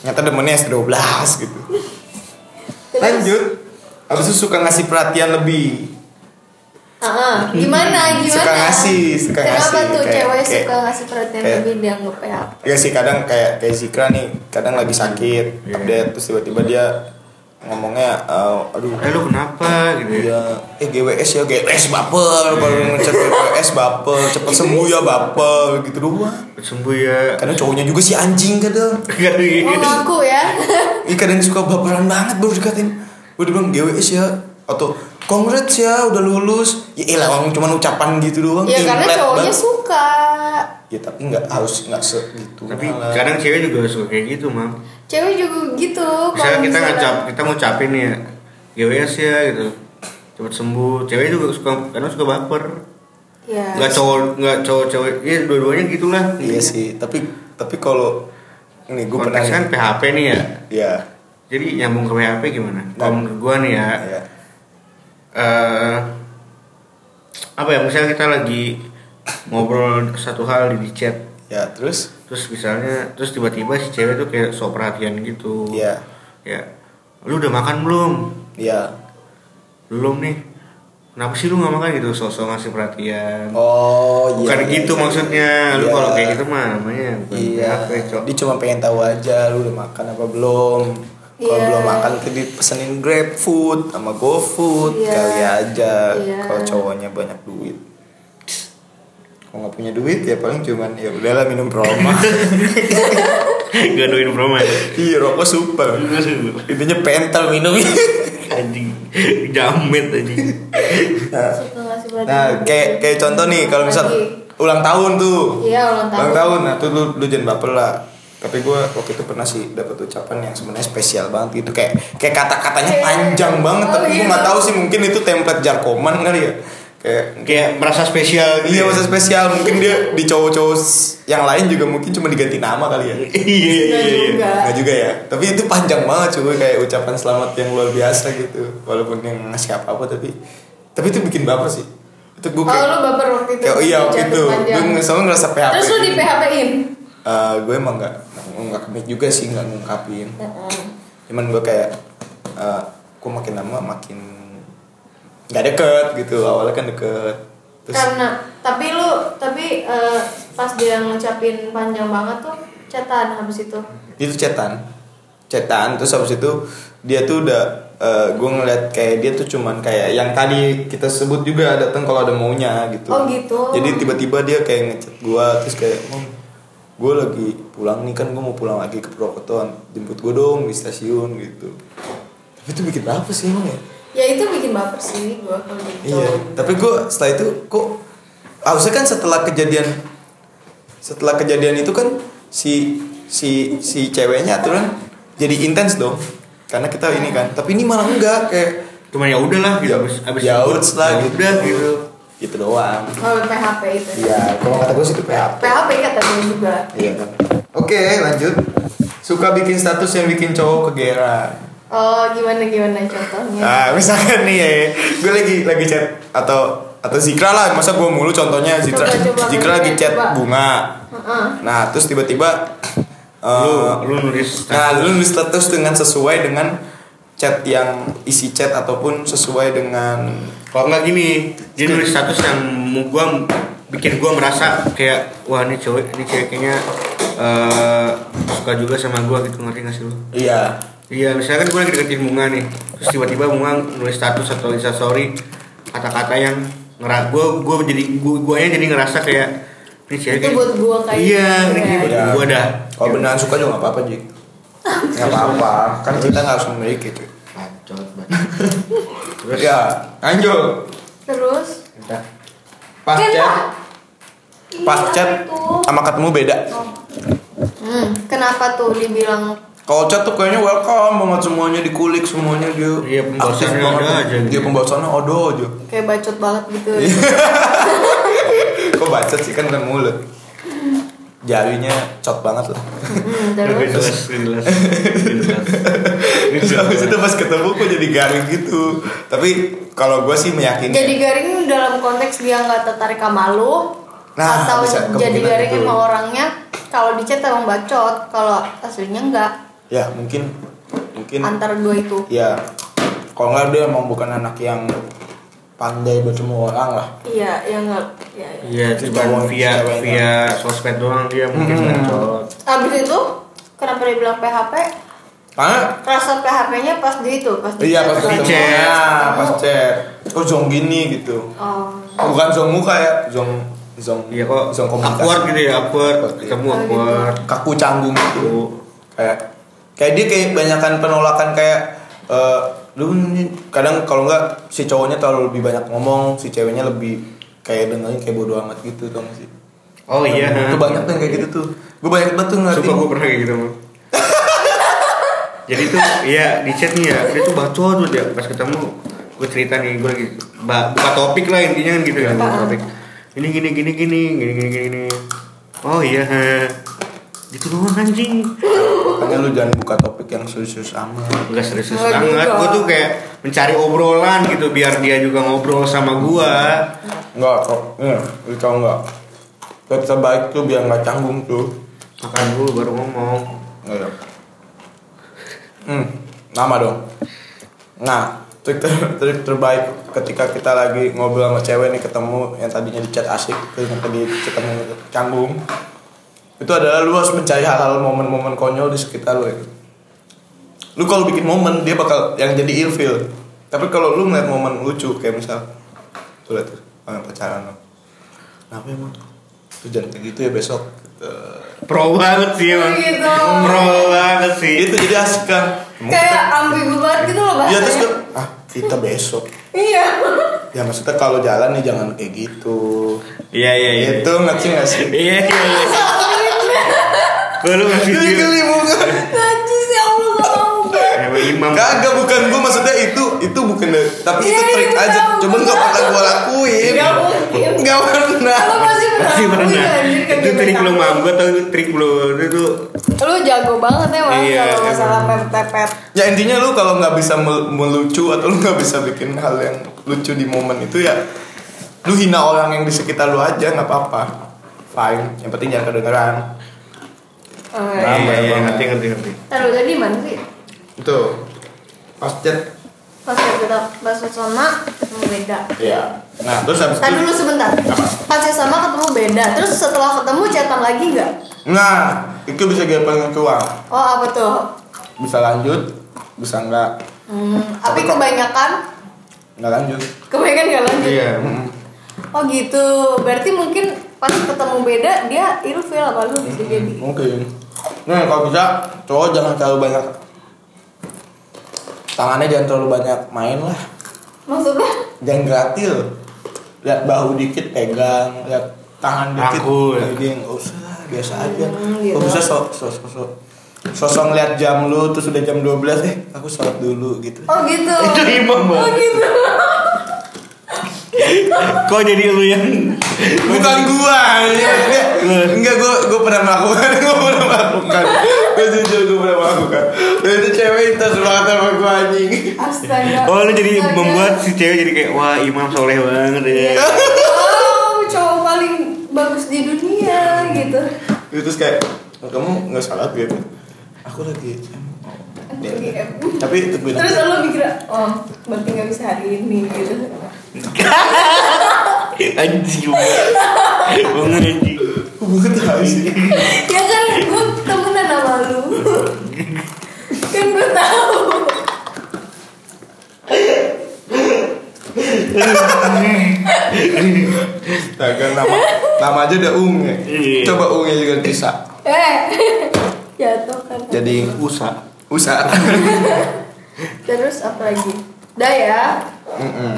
S1: nyata demennya S12 gitu
S3: Terus,
S1: lanjut abis itu suka ngasih perhatian lebih
S3: ah, ah, gimana gimana?
S1: Suka ngasih, suka
S3: Kenapa
S1: ngasih,
S3: tuh
S1: kayak-
S3: cewek
S1: kayak-
S3: suka ngasih perhatian
S1: kayak-
S3: lebih dianggap PHP?
S1: Iya sih kadang kayak kayak Zikra nih kadang lagi sakit
S2: Iya.
S1: update terus tiba-tiba dia ngomongnya eh, aduh
S2: eh lu kenapa gitu ya
S1: ya eh GWS ya GWS baper kalau ngecek GWS baper cepet sembuh ya baper gitu doang
S2: sembuh ya
S1: kadang cowoknya juga si anjing kadang
S3: Oh
S1: Iya.
S3: ngaku ya.
S1: Ih kadang suka baperan banget baru dikatain Gue dibilang GWS ya Atau congrats ya udah lulus Ya elah orang cuma ucapan gitu doang
S3: ya
S1: Ih,
S3: karena
S1: flat
S3: cowoknya
S1: banget.
S3: suka.
S1: Ya tapi nggak harus nggak segitu
S2: tapi
S1: malah.
S2: kadang cewek juga suka kayak gitu mam
S3: Cewek juga gitu.
S2: misalnya
S3: kalau
S2: kita
S3: misalnya-
S2: ngecap kita ngucapin nih ya GWS ya gitu cepet sembuh cewek juga suka karena suka baper
S3: Ya.
S2: nggak cowok nggak cowok cewek ya dua-duanya gitulah
S1: Iya sih tapi tapi kalau Nih gue pernah
S2: konteks kan PHP nih ya
S1: Ya
S2: jadi nyambung ke PHP gimana
S1: Nah.
S2: kalau menurut gua nih ya
S1: ya.
S2: eh apa ya misalnya kita lagi ngobrol satu hal di chat
S1: ya terus
S2: terus misalnya terus tiba-tiba si cewek tuh kayak sok perhatian gitu
S1: Iya.
S2: ya lu udah makan belum
S1: Ya
S2: belum nih kenapa sih lu nggak makan gitu sosok ngasih perhatian
S1: Oh iya
S2: bukan
S1: iya,
S2: gitu
S1: iya.
S2: maksudnya lu
S1: Iya.
S2: kalau kayak gitu mah namanya bukan
S1: Iya
S2: PHP, Cok. *laughs*
S1: Dia cuma pengen tahu aja lu udah makan apa belum kalau
S3: Iya.
S1: belum makan tadi pesenin grab food sama GoFood
S3: Iya.
S1: kali aja
S3: Iya.
S1: kalau cowoknya banyak duit. Kalau nggak punya duit ya paling cuman ya udahlah minum Roma.
S2: gaduhin promo ya.
S1: Iya rokok super. Intinya pentel minum. *laughs*
S2: anjing jamet anjing
S3: suka ngasih perhatian.
S1: nah kayak kayak contoh nih kalau misal
S3: Lagi.
S1: ulang tahun tuh.
S3: Iya ulang tahun.
S1: Ulang tahun, nah tuh lu, lu jangan baper lah tapi gue waktu itu pernah sih dapat ucapan yang sebenarnya spesial banget gitu kayak kayak kata-katanya
S3: Kayak-
S1: panjang banget
S3: Oh,
S1: tapi gue
S3: iya.
S1: nggak tahu sih mungkin itu template jarkoman kali ya kayak
S2: kayak merasa spesial
S1: iya
S2: gitu
S1: masa spesial mungkin dia di cowok-cowok s- yang lain juga mungkin cuma diganti nama kali ya
S2: iya iya
S3: Nggak
S2: iya
S3: juga.
S1: nggak juga ya tapi itu panjang banget coba kayak ucapan selamat yang luar biasa gitu walaupun yang ngasih apa apa tapi tapi itu bikin baper sih itu gue
S3: Oh lu
S1: kayak,
S3: baper waktu itu.
S1: kayak iya
S3: jatuh
S1: gitu
S3: panjang.
S1: gue soalnya ngerasa PHP
S3: Terus lu di
S1: gitu.
S3: PHP-in.
S1: Eh, gue emang nggak nggak komit juga sih nggak ngungkapin
S3: Heeh.
S1: cuman gue kayak eh gue makin lama makin nggak deket gitu awalnya kan deket terus
S3: Karena tapi lu tapi eh, pas dia ngucapin panjang banget tuh catatan habis itu.
S1: itu cetan cetan terus habis itu dia tuh udah eh, gue ngeliat kayak dia tuh cuman kayak yang tadi kita sebut juga datang kalau ada maunya gitu
S3: Oh, gitu.
S1: jadi tiba-tiba dia kayak ngechat gue terus kayak mom gue lagi pulang nih kan gue mau pulang lagi ke Purwokerto jemput gue dong di stasiun gitu tapi itu bikin apa sih emang ya
S3: Ya itu bikin baper sih gua kalau gitu.
S1: Iya, tapi gue setelah itu kok harusnya kan setelah kejadian setelah kejadian itu kan si si kan, si ceweknya aturan jadi intens dong karena kita ini kan tapi ini malah enggak kayak
S2: Cuma ya udahlah gitu
S1: Ya-
S2: abis abis
S1: ya udah lah,
S2: ya
S1: gitu.
S2: udah gitu.
S1: gitu doang
S3: Oh, PHP itu.
S1: iya kalau kata gue sih itu PHP
S3: PHP kata gue juga.
S1: iya kan oke lanjut suka bikin status yang bikin cowok kegeran
S3: Oh, gimana gimana contohnya?
S1: Nah, misalkan nih ya, gue lagi lagi chat atau atau Zikra lah, masa gue mulu contohnya Zikra,
S3: Coba, coba,
S1: Zikra
S3: coba.
S1: lagi chat bunga.
S3: Heeh.
S1: Nah, terus *coughs* tiba-tiba eh,
S2: Lu lu nulis
S1: nah lu nulis status dengan sesuai dengan chat yang isi chat ataupun sesuai dengan
S2: kalau nggak gini dia nulis status yang mu- gua bikin gua merasa kayak wah ini cewek ini cewek kayaknya eh, suka juga sama gua gitu ngerti nggak sih lu?
S1: iya
S2: Iya, misalkan gue lagi deketin bunga nih, terus tiba-tiba bunga nulis status atau instastory kata-kata yang ngerak gue gue jadi gue guanya jadi ngerasa kayak ini cewek
S3: Itu buat gua kayak
S2: iya
S3: gitu
S2: ini
S3: ya.
S2: kayak buat
S1: Iya.
S2: gue dah
S1: kalau beneran suka juga nggak apa-apa Jik nggak apa-apa kan kita nggak harus memiliki itu
S2: bacot
S1: terus ya lanjut
S3: Terus?
S1: pas
S3: Kan,
S1: chat
S3: Pak?
S1: pas
S3: Iya,
S1: chat
S3: itu.
S1: sama ketemu beda
S3: Hmm, kenapa tuh dibilang
S1: Kalau chat tuh kayaknya welcome banget semuanya dikulik semuanya dia.
S2: Iya,
S1: aktif
S2: pembahasannya ada
S1: banget. Iya,
S2: aja gitu.
S1: Dia pembahasannya ada aja.
S3: kayak bacot banget gitu?
S1: Iya. Kok bacot sih kan bukan mulut. Jarinya cot banget lah.
S3: Hmm,
S2: Gak
S3: terus?
S2: jelas gak jelas gak jelas. Gak
S1: Terus
S2: jelas.
S1: Habis itu pas ketemu kok jadi garing gitu. Tapi kalau gue sih meyakini.
S3: Jadi garing dalam konteks dia nggak tertarik sama lu
S1: Nah,
S3: atau
S1: bisa,
S3: jadi
S1: kemungkinan
S3: garing
S1: itu.
S3: sama orangnya kalau di chat emang bacot kalau aslinya enggak
S1: ya mungkin mungkin
S3: antara dua itu
S1: ya kalau nggak dia emang bukan anak yang pandai bertemu orang lah.
S3: iya yang nggak ya, ya.
S2: iya
S1: Itu
S2: cuma
S1: cowok,
S2: via
S1: cewek
S2: via sosmed doang dia mungkin
S1: Hmm.
S2: bacot
S3: abis itu kenapa dia bilang PHP
S1: Karena
S3: rasa PHP-nya pas di itu pas di
S1: iya pas
S2: Pas
S1: ketemu,
S2: chat.
S1: ya, pas chat. Kok zong gini gitu.
S3: oh
S1: bukan zong muka ya zong zong
S2: iya kok
S1: zong komunikasi
S2: awkward gitu ya awkward
S1: Awkward, iya.
S2: ketemu awkward
S1: kaku canggung gitu
S2: Tuh.
S1: kayak kayak dia kayak banyakan penolakan kayak eh, lu ini kadang kalau nggak si cowoknya terlalu lebih banyak ngomong si ceweknya lebih kayak dengerin kayak bodo amat gitu dong sih
S2: oh iya
S1: itu banyak tuh yang kayak gitu tuh gue banyak banget tuh ngerti
S2: Sumpah gue pernah kayak gitu
S1: *laughs*
S2: Bang. Jadi tuh iya di chat nih ya Dia tuh bacot tuh dia pas ketemu Gue cerita nih gue lagi ba- buka topik lah intinya kan gitu ya buka topik Ini gini gini gini gini gini gini gini. Oh iya ha. Gitu doang anjing
S1: makanya lu jangan buka topik yang serius-serius amat
S2: Enggak serius
S3: Enggak
S2: banget
S3: juga.
S2: Gue tuh kayak mencari obrolan gitu Biar dia juga ngobrol sama gue
S1: enggak kok Nih, lu tau nggak Tips terbaik tuh biar nggak canggung tuh
S2: Makan dulu baru ngomong
S1: Iya. Hmm, nama dong. Nah, trik, ter- trik terbaik ketika kita lagi ngobrol sama cewek nih ketemu yang tadinya di chat asik terus yang tadi ketemu canggung itu adalah lu harus mencari hal-hal momen-momen konyol di sekitar lu ya. lu kalau bikin momen dia bakal yang jadi ilfil tapi kalau lu ngeliat momen lucu kayak misal tuh liat tuh orang pacaran lo kenapa emang tuh jangan kayak gitu ya besok Gitu.
S2: Pro banget sih emang
S3: Oh, gitu.
S2: Pro banget sih
S1: Gitu. itu jadi asik kan
S3: kayak ambigu banget gitu loh
S1: Iya terus
S3: bahasanya
S1: gue ah kita besok
S3: iya
S1: *laughs* ya maksudnya kalau jalan nih jangan kayak gitu
S2: Iya iya iya
S1: itu ngerti nggak sih
S2: Iya iya iya Gue lu ngasih
S1: geli
S2: dia
S1: geli bukan
S3: najis ya Allah gak mau gue
S2: Emang imam
S1: kagak bukan gue maksudnya itu itu bukan deh. tapi itu
S3: Iya,
S1: trik
S3: iya,
S1: aja
S3: tahu.
S1: cuman gak pernah gue lakuin
S3: Nggak mungkin.
S1: nggak pernah
S3: Lo pasti
S2: Pasti
S3: pernah
S2: pernah
S3: anjir, kayak
S2: Itu
S3: gitu.
S2: trik lu mam Gue tau itu trik lu Itu tuh
S3: lu jago banget ya malah
S2: Iya,
S3: kalau
S2: emang.
S3: masalah pepet
S1: ya intinya lu kalau nggak bisa mel- melucu atau lu nggak bisa bikin hal yang lucu di momen itu ya lu hina orang yang di sekitar lu aja nggak apa-apa fine yang penting jangan kedengeran
S3: oh,
S2: Iya
S3: iya.
S1: Paham,
S2: iya iya
S1: paham.
S2: ngerti ngerti ngerti
S3: Taruh tadi mana sih?
S1: itu pas chat
S3: Pas ya, kita pas sama ketemu beda.
S1: ya nah terus habis itu
S3: Tadi dulu sebentar. Pas ya sama ketemu beda. Terus setelah ketemu chatan lagi nggak?
S1: Nah, itu bisa dia pengen keluar.
S3: Oh apa tuh?
S1: Bisa lanjut, bisa nggak
S3: Hmm, tapi kebanyakan
S1: nggak lanjut.
S3: kebanyakan nggak lanjut.
S2: Iya
S3: Oh gitu. Berarti mungkin pas ketemu beda dia ilfil apa lu bisa jadi.
S1: Mungkin. Nih kalau bisa cowok jangan terlalu banyak tangannya jangan terlalu banyak main lah.
S3: Maksudnya?
S1: Jangan gratil. Lihat bahu dikit pegang, lihat tangan dikit.
S2: Rangkul.
S1: pegang. Nggak usah lah, biasa aja.
S3: Hmm, gitu.
S1: Kalau bisa sok sok sok sok. sosok ngeliat jam lu terus udah jam 12 eh aku sholat dulu gitu
S3: Oh gitu.
S2: Itu imam, Bang.
S3: Oh gitu.
S2: Kok jadi lu yang
S1: bukan gua ya. enggak gua gua pernah melakukan *laughs* gua pernah melakukan gua jujur gua pernah melakukan dan itu cewek intens banget sama gua anjing
S3: Astaga.
S2: Oh lu jadi
S3: Astaga.
S2: membuat si cewek jadi kayak Wah imam soleh banget ya
S3: Wow, Oh, cowok paling bagus di dunia gitu.
S1: terus kayak "Oh, kamu nggak sholat gitu aku lagi Oh,
S3: Aku
S1: ya.
S3: lagi em.
S1: tapi tungguin
S3: Terus lo mikir, oh berarti nggak bisa hari ini gitu.
S2: Anjing Bangun anjing
S1: hubungan tahu sih
S3: Ya kan gue temenan sama lu. kan gue tahu.
S1: Dagang nama nama aja udah ung ya.
S2: Iya.
S1: Coba ungnya juga bisa.
S3: Eh, jatuh kan.
S1: Jadi
S2: Usah
S1: usaha.
S3: Terus apa lagi? Dah ya.
S1: Mm-mm.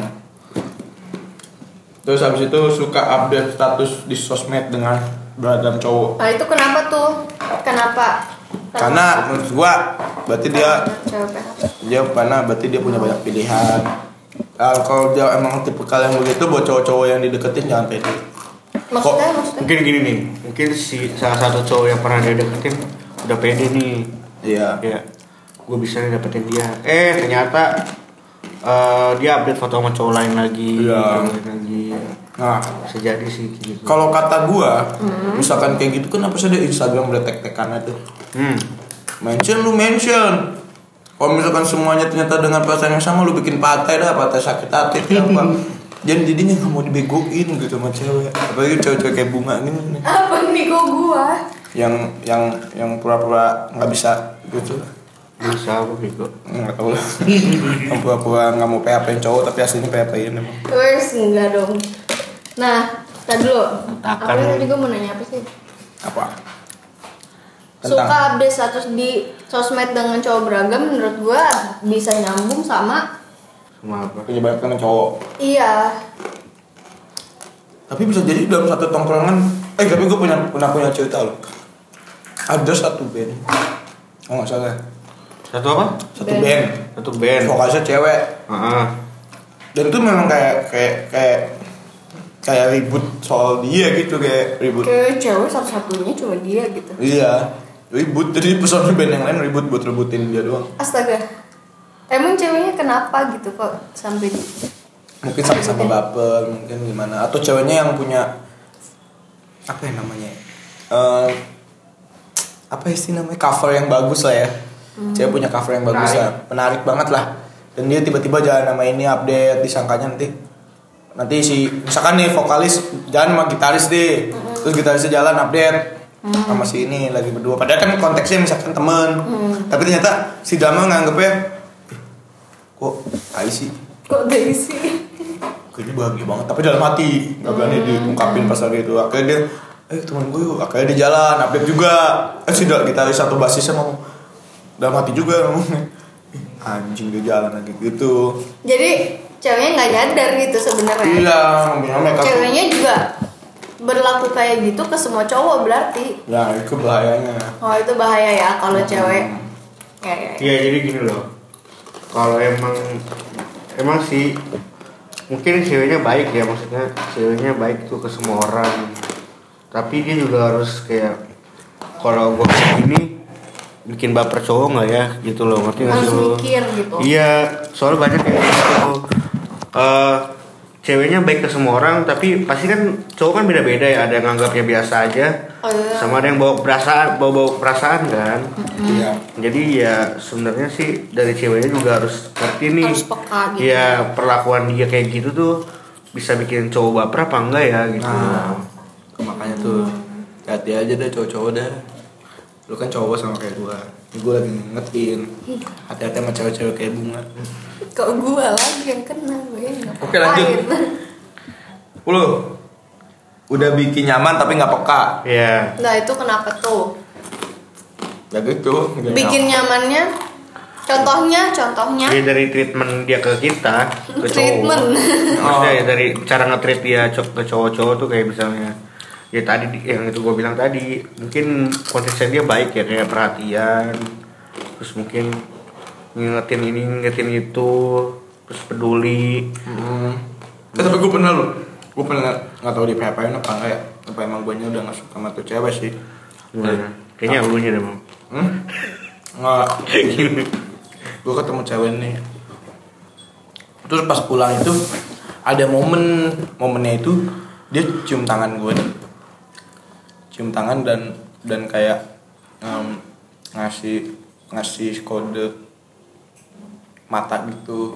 S1: Terus habis itu suka update status di sosmed dengan beragam cowok.
S3: Nah itu kenapa tuh? Kenapa?
S1: Karena menurut gua berarti dia
S3: Cewek PHP.
S1: dia karena berarti dia punya banyak pilihan. Ah, kalau dia emang tipe kalian begitu buat cowok-cowok yang dideketin jangan gitu. pede.
S3: Maksudnya,
S1: Kok-
S3: maksudnya.
S2: Mungkin gini nih Mungkin si salah satu cowok yang pernah dia deketin Udah pede nih
S1: Iya.
S2: Ya Gue bisa nih dapetin dia Eh ternyata eh, Dia update foto sama cowok lain lagi
S1: Iya.
S2: cowok lain lagi
S1: Nah,
S2: Bisa jadi sih kayak gitu
S1: kalau kata gua, misalkan kayak gitu kan apa sih ada Instagram udah tek-tekan tuh.
S2: Hmm
S1: Mention lu mention. Kalau misalkan semuanya ternyata dengan perasaan yang sama lu bikin patah dah, patah sakit hati apa. Jadi jadinya nggak mau dibegoin gitu sama cewek. Apalagi cewek-cewek kayak bunga gini nih.
S3: Apa nih kok gua?
S1: Yang yang yang pura-pura nggak bisa gitu.
S2: Bisa aku bego
S1: Nggak tahu *laughs* lah. yang pura-pura nggak mau PHP cowok tapi aslinya PHP in emang.
S3: Wes enggak dong. Nah, tadi dulu.
S2: Akan.
S3: Apa tadi gua mau nanya apa sih?
S1: Apa?
S3: Suka
S1: Tentang
S3: update status di sosmed dengan cowok beragam menurut gua bisa nyambung sama
S2: Sama apa
S1: punya banyak teman cowok.
S3: iya.
S1: Tapi bisa jadi dalam satu tongkrongan. Eh tapi gue punya punya punya cerita loh. Ada satu band. Oh nggak salah.
S2: Satu apa?
S1: Satu
S3: Band.
S1: band.
S2: Satu band
S1: vokalisnya cewek
S2: Heeh.
S1: dan itu memang kayak kayak kayak kayak ribut soal dia gitu kayak ribut
S3: Kayak cewek satu-satunya cuma dia gitu.
S1: iya ribut jadi pesona band yang lain ribut buat rebutin dia doang
S3: Astaga. Emang ceweknya kenapa gitu kok sampai di-
S1: mungkin sama-sama baper mungkin gimana atau ceweknya yang punya apa ya namanya Eh apa sih namanya cover yang bagus lah ya cewek punya cover yang bagus lah menarik banget lah dan dia tiba-tiba jalan sama ini update disangkanya nanti nanti si misalkan nih vokalis jalan sama gitaris deh terus gitarisnya jalan update sama si ini lagi berdua padahal kan konteksnya misalkan temen tapi ternyata si drama nganggepnya "Ih, kok tai sih
S3: kok Daisy?
S1: kayaknya bahagia banget tapi dalam hati nggak berani diungkapin pas hari itu akhirnya dia eh teman gue yuk akhirnya dia jalan update juga eh sudah kita satu basisnya mau dalam hati juga ngomongnya "Ih, anjing dia jalan lagi gitu
S3: *laughs* Jadi ceweknya nggak nyadar gitu sebenarnya.
S1: hilang kan? bilang mereka
S3: Ceweknya juga berlaku kayak gitu ke semua cowok berarti.
S1: ya itu bahayanya
S3: Oh itu bahaya ya kalau cewek. Ya, ya, ya.
S2: Iya jadi gini loh. Kalau emang emang sih mungkin ceweknya baik ya maksudnya ceweknya baik tuh ke semua orang. Tapi dia juga harus kayak kalau gua ini bikin baper cowok nggak ya gitu loh ngerti nggak sih
S3: Harus
S2: lo?
S3: mikir gitu.
S2: Iya soalnya banyak yang kayak gitu. Eh, ceweknya baik ke semua orang tapi pasti kan cowok kan beda-beda ya ada yang nganggapnya biasa aja
S3: Oh, iya.
S2: sama ada yang bawa perasaan bawa bawa perasaan kan
S1: iya
S2: jadi ya sebenarnya sih dari ceweknya juga harus ngerti nih
S3: Harus peka gitu.
S2: ya perlakuan dia kayak gitu tuh bisa bikin cowok baper apa enggak ya gitu
S1: nah makanya tuh hati aja deh cowok-cowok deh lu kan cowok sama kayak gua ini gua lagi ngingetin hati-hati sama cewek-cewek kayak bunga
S3: Kok gua lagi yang kena gue yang ngapain. *laughs*
S1: Oke, lanjut. Lu udah bikin nyaman tapi nggak peka.
S2: ya
S3: Nah itu kenapa tuh?
S1: Ya gitu.
S3: Bikin nyamannya. Contohnya, contohnya.
S2: jadi dari treatment dia ke kita ke cowok
S3: *laughs* Treatment.
S2: maksudnya ya dari cara nge-treat dia co- ke cowok-cowok tuh kayak misalnya ya tadi di- yang itu gue bilang tadi mungkin konteksnya dia baik ya kayak perhatian terus mungkin ngingetin ini ngingetin itu terus peduli
S1: Eh, tapi gue pernah loh gue pernah nggak tahu di php apa enggak ya apa emang gue udah nggak suka sama tuh cewek sih
S2: Gimana? Nah, kayaknya elunya deh bang
S1: hmm? nggak gue ketemu cewek nih terus pas pulang itu ada momen momennya itu dia cium tangan gue nih cium tangan dan dan kayak em, ngasih ngasih kode mata gitu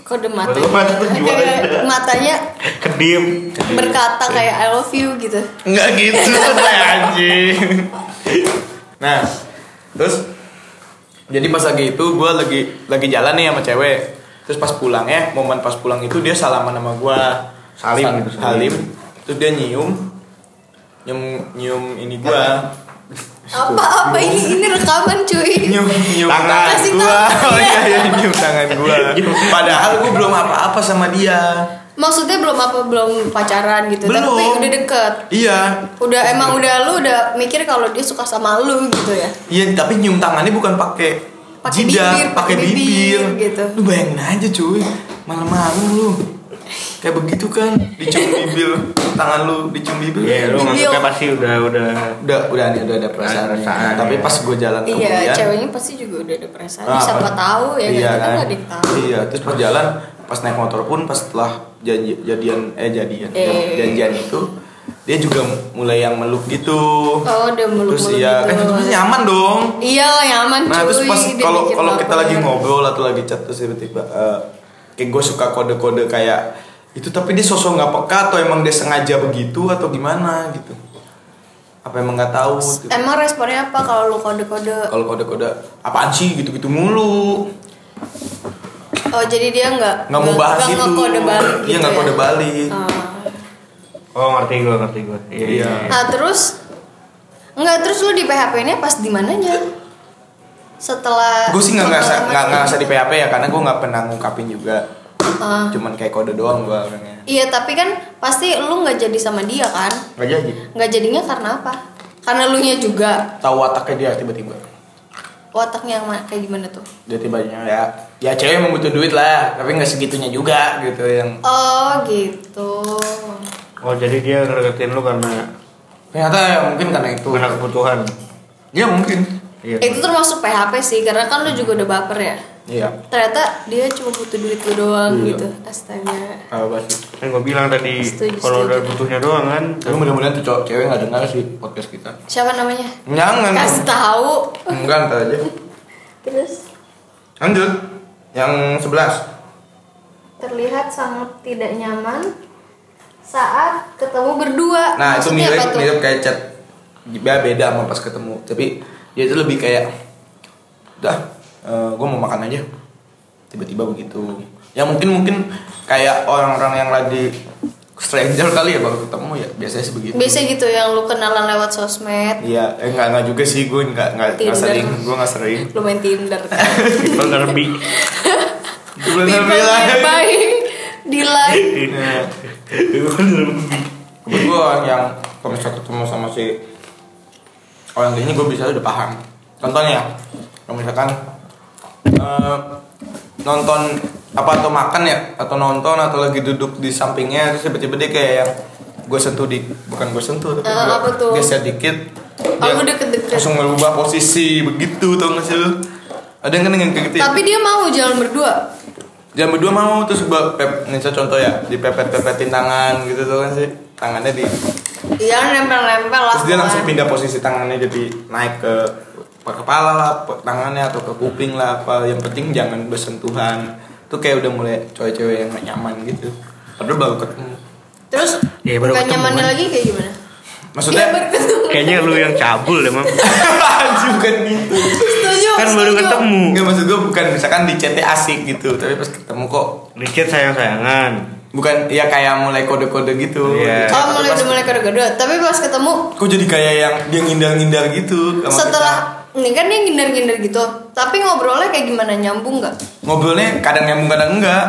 S3: kode mata
S2: Kode mata tuh gimana?
S3: matanya
S2: kediem
S3: berkata kayak I love you gitu
S1: Enggak gitu deh anjing. Nah, terus jadi pas lagi itu gue lagi lagi jalan nih sama cewek. Terus pas pulang ya, momen pas pulang itu dia salaman sama gue.
S2: Salim gitu,
S1: salim.
S2: salim.
S1: Terus dia nyium nyium nyium ini gue.
S3: apa apa ini ini rekaman cuy
S1: Nyium nyium
S2: Tangan.
S1: tangan
S3: Kasih
S1: gue.
S3: tangan.
S1: *laughs* Oh iya, iya nyium tangan gue. Padahal gue belum apa-apa sama dia.
S3: maksudnya belum apa belum pacaran gitu
S1: Belum.
S3: tapi udah deket
S1: Iya,
S3: udah emang udah lu udah mikir kalau dia suka sama lu gitu ya
S1: Iya, tapi nyium tangannya bukan pakai
S3: Pakai bibir,
S1: jidat, pakai
S3: pakai
S1: bibir,
S3: bibir, gitu.
S1: Lu bayangin aja cuy, malam-malam lu kayak begitu kan, dicium bibir, tangan lu dicium bibir.
S2: ya lu
S3: Dibiung.
S2: maksudnya pasti udah udah
S1: Udah, udah nih, udah ada perasaan.
S2: Ada perasaan,
S1: tapi
S2: ya.
S1: pas gue jalan
S3: iya
S1: kemudian,
S3: ceweknya pasti juga udah ada perasaan
S1: ah,
S3: siapa
S1: pas-
S3: tahu ya
S1: iya,
S3: kan kita
S1: kan?
S3: nggak ada yang tahu
S1: Iya, terus pas jalan, pas naik motor pun, pas setelah janji, jadian, eh jadian,
S3: Eh.
S1: janjian itu, dia juga mulai yang meluk gitu.
S3: oh udah meluk
S1: terus
S3: meluk
S1: iya, kan
S3: gitu
S1: itu nyaman dong.
S3: iya nyaman
S1: Nah
S3: cuy
S1: terus pas
S3: dia
S1: kalau
S3: bikin
S1: kalau kita
S3: lapar.
S1: lagi ngobrol atau lagi chat terus tiba-tiba eh, kayak gue suka kode-kode kayak itu tapi dia sosok nggak peka atau emang dia sengaja begitu atau gimana gitu apa emang nggak tahu gitu. Oh.
S3: emang responnya apa kalau lu kode kode
S1: kalau kode-kode apaan sih gitu-gitu mulu
S3: oh jadi dia nggak
S1: nggak mau bahas itu
S3: kode balik
S1: iya
S3: gitu
S1: nggak
S3: ya?
S1: kode balik
S3: Ah.
S2: oh ngerti gue ngerti gue iya
S1: Iya.
S2: iya
S3: Nah terus Enggak terus lu di PHP-nya pas di mananya? Setelah
S1: gue sih nggak ngerasa
S3: setelah-
S1: nggak ngerasa di PHP ya karena gue nggak pernah ngungkapin juga
S3: Ah.
S1: cuman kayak kode doang gue orangnya
S3: Iya tapi kan pasti lu nggak jadi sama dia kan?
S2: nggak jadi
S3: Nggak jadinya karena apa? Karena lu nya juga
S1: tahu wataknya dia tiba-tiba
S3: wataknya yang ma- kayak gimana tuh?
S1: dia tibanya ya ya cewek emang butuh duit lah tapi nggak segitunya juga gitu yang
S3: Oh gitu.
S2: oh jadi dia ngereketin lu karena
S1: ternyata ya mungkin karena itu
S2: karena kebutuhan
S1: ya mungkin
S2: iya
S3: Itu termasuk PHP sih karena kan lu juga udah baper ya.
S1: iya
S3: Ternyata dia cuma butuh duit lu doang
S1: Iya.
S3: gitu. Astaga.
S1: kalau bahas itu
S2: kan gue bilang tadi
S3: Setuju,
S2: kalau
S3: setuju.
S2: udah butuhnya doang kan
S1: tapi mudah-mudahan tuh cowok cewek nggak dengar sih podcast kita
S3: Siapa namanya?
S1: jangan
S3: Kasih tahu.
S1: enggak ntar aja
S3: Terus
S1: lanjut yang 11
S3: terlihat sangat tidak nyaman saat ketemu berdua.
S1: nah itu
S3: Maksudnya apa
S1: mirip
S3: tuh?
S1: mirip kayak chat ya beda sama pas ketemu tapi dia itu lebih kayak dah gue mau makan aja tiba-tiba begitu ya mungkin mungkin kayak orang-orang yang lagi stranger kali ya baru ketemu ya biasanya sih begitu
S3: Biasa gitu yang lu kenalan lewat sosmed,
S1: Iya, eh, enggak enggak juga sih gue enggak enggak enggak
S3: Tinder.
S1: sering, gue enggak sering.
S3: lu main
S1: *laughs*
S3: Tinder.
S2: people derby
S1: Gue
S3: People nearby, di line.
S2: people derby
S1: gue orang yang kalau misalnya ketemu sama si orang ini gue bisa udah paham. Contohnya, kalau misalkan eh, nonton apa atau makan ya atau nonton atau lagi duduk di sampingnya terus tiba-tiba dia kayak yang gue sentuh di bukan gue sentuh tapi
S3: Eh,
S1: gue
S3: apa tuh?
S1: geser dikit dia
S3: lu deket-deket.
S1: langsung merubah posisi begitu tau gak sih lu ada yang kan yang kayak gitu ya?
S3: Tapi dia mau jalan berdua.
S1: Jam berdua mau terus gua pep nih saya contoh ya dipepet-pepetin tangan gitu tuh kan sih tangannya di
S3: Iya nempel-nempel lah.
S1: terus dia langsung pindah
S3: pokoknya.
S1: posisi tangannya jadi naik ke ke kepala lah pe- tangannya atau ke kuping lah apa yang penting jangan bersentuhan tuh kayak udah mulai cewek-cewek yang gak nyaman gitu padahal baru ketemu
S3: Terus
S2: Iya, baru
S3: gak
S2: ketemu
S3: nyamannya
S2: kan.
S3: lagi kayak gimana?
S1: maksudnya
S3: Iya, baru ketemu.
S2: kayaknya lu yang cabul deh mam
S1: *laughs* bukan gitu
S3: *laughs* Setuju.
S2: kan baru
S3: setuju.
S2: ketemu
S1: nggak maksud gue bukan misalkan di chatnya asik gitu tapi pas ketemu kok
S2: dikit sayang sayangan
S1: bukan ya kayak mulai kode-kode gitu
S2: Iya.
S3: Oh
S1: Tapi
S3: mulai
S1: pas-
S3: udah mulai kode-kode. Tapi pas ketemu
S1: kok jadi kayak yang dia ngindar-ngindar gitu sama
S3: setelah
S1: kita.
S3: ini kan dia ngindar-ngindar gitu. Tapi ngobrolnya kayak gimana nyambung nggak?
S1: ngobrolnya kadang nyambung kadang enggak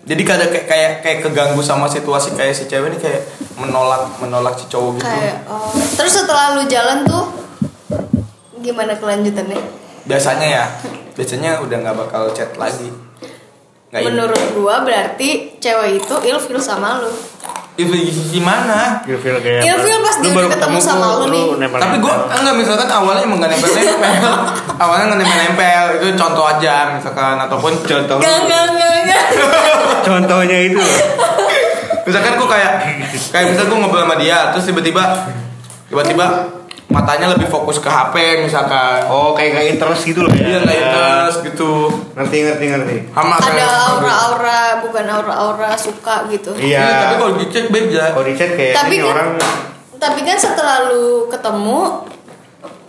S1: jadi kayak kayak kayak, kayak keganggu sama situasi kayak si cewek ini kayak menolak menolak si cowok gitu
S3: Kayak oh. Terus setelah lu jalan tuh gimana kelanjutannya?
S1: biasanya ya biasanya udah nggak bakal chat lagi nggak ini.
S3: Menurut gua berarti cewek itu ilfil sama lu.
S1: Itu gimana
S2: Ilfil kayak
S3: Ilfil pas dia udah ketemu sama lu nih.
S1: tapi gue enggak misalkan awalnya emang nggak
S3: *laughs*
S1: nempel-nempel awalnya nggak nempel-nempel itu contoh aja misalkan ataupun contoh
S3: Gak gak gak gak.
S2: contohnya itu loh.
S1: misalkan gue kayak kayak misal gue ngobrol sama dia terus tiba-tiba tiba-tiba matanya lebih fokus ke HP misalkan
S2: Oh kayak kayak interest gitu loh.
S1: dia Iya, nggak interest gitu
S2: Ngerti ngerti ngerti.
S1: sama
S3: Ada
S1: kayak-
S3: aura-aura bukan aura-aura suka gitu.
S2: Iya.
S1: Iya, tapi kalau dicek beda
S2: Kalau di chat kayak
S3: Tapi
S2: ini
S3: kan-
S2: orang
S3: Tapi kan setelah lu ketemu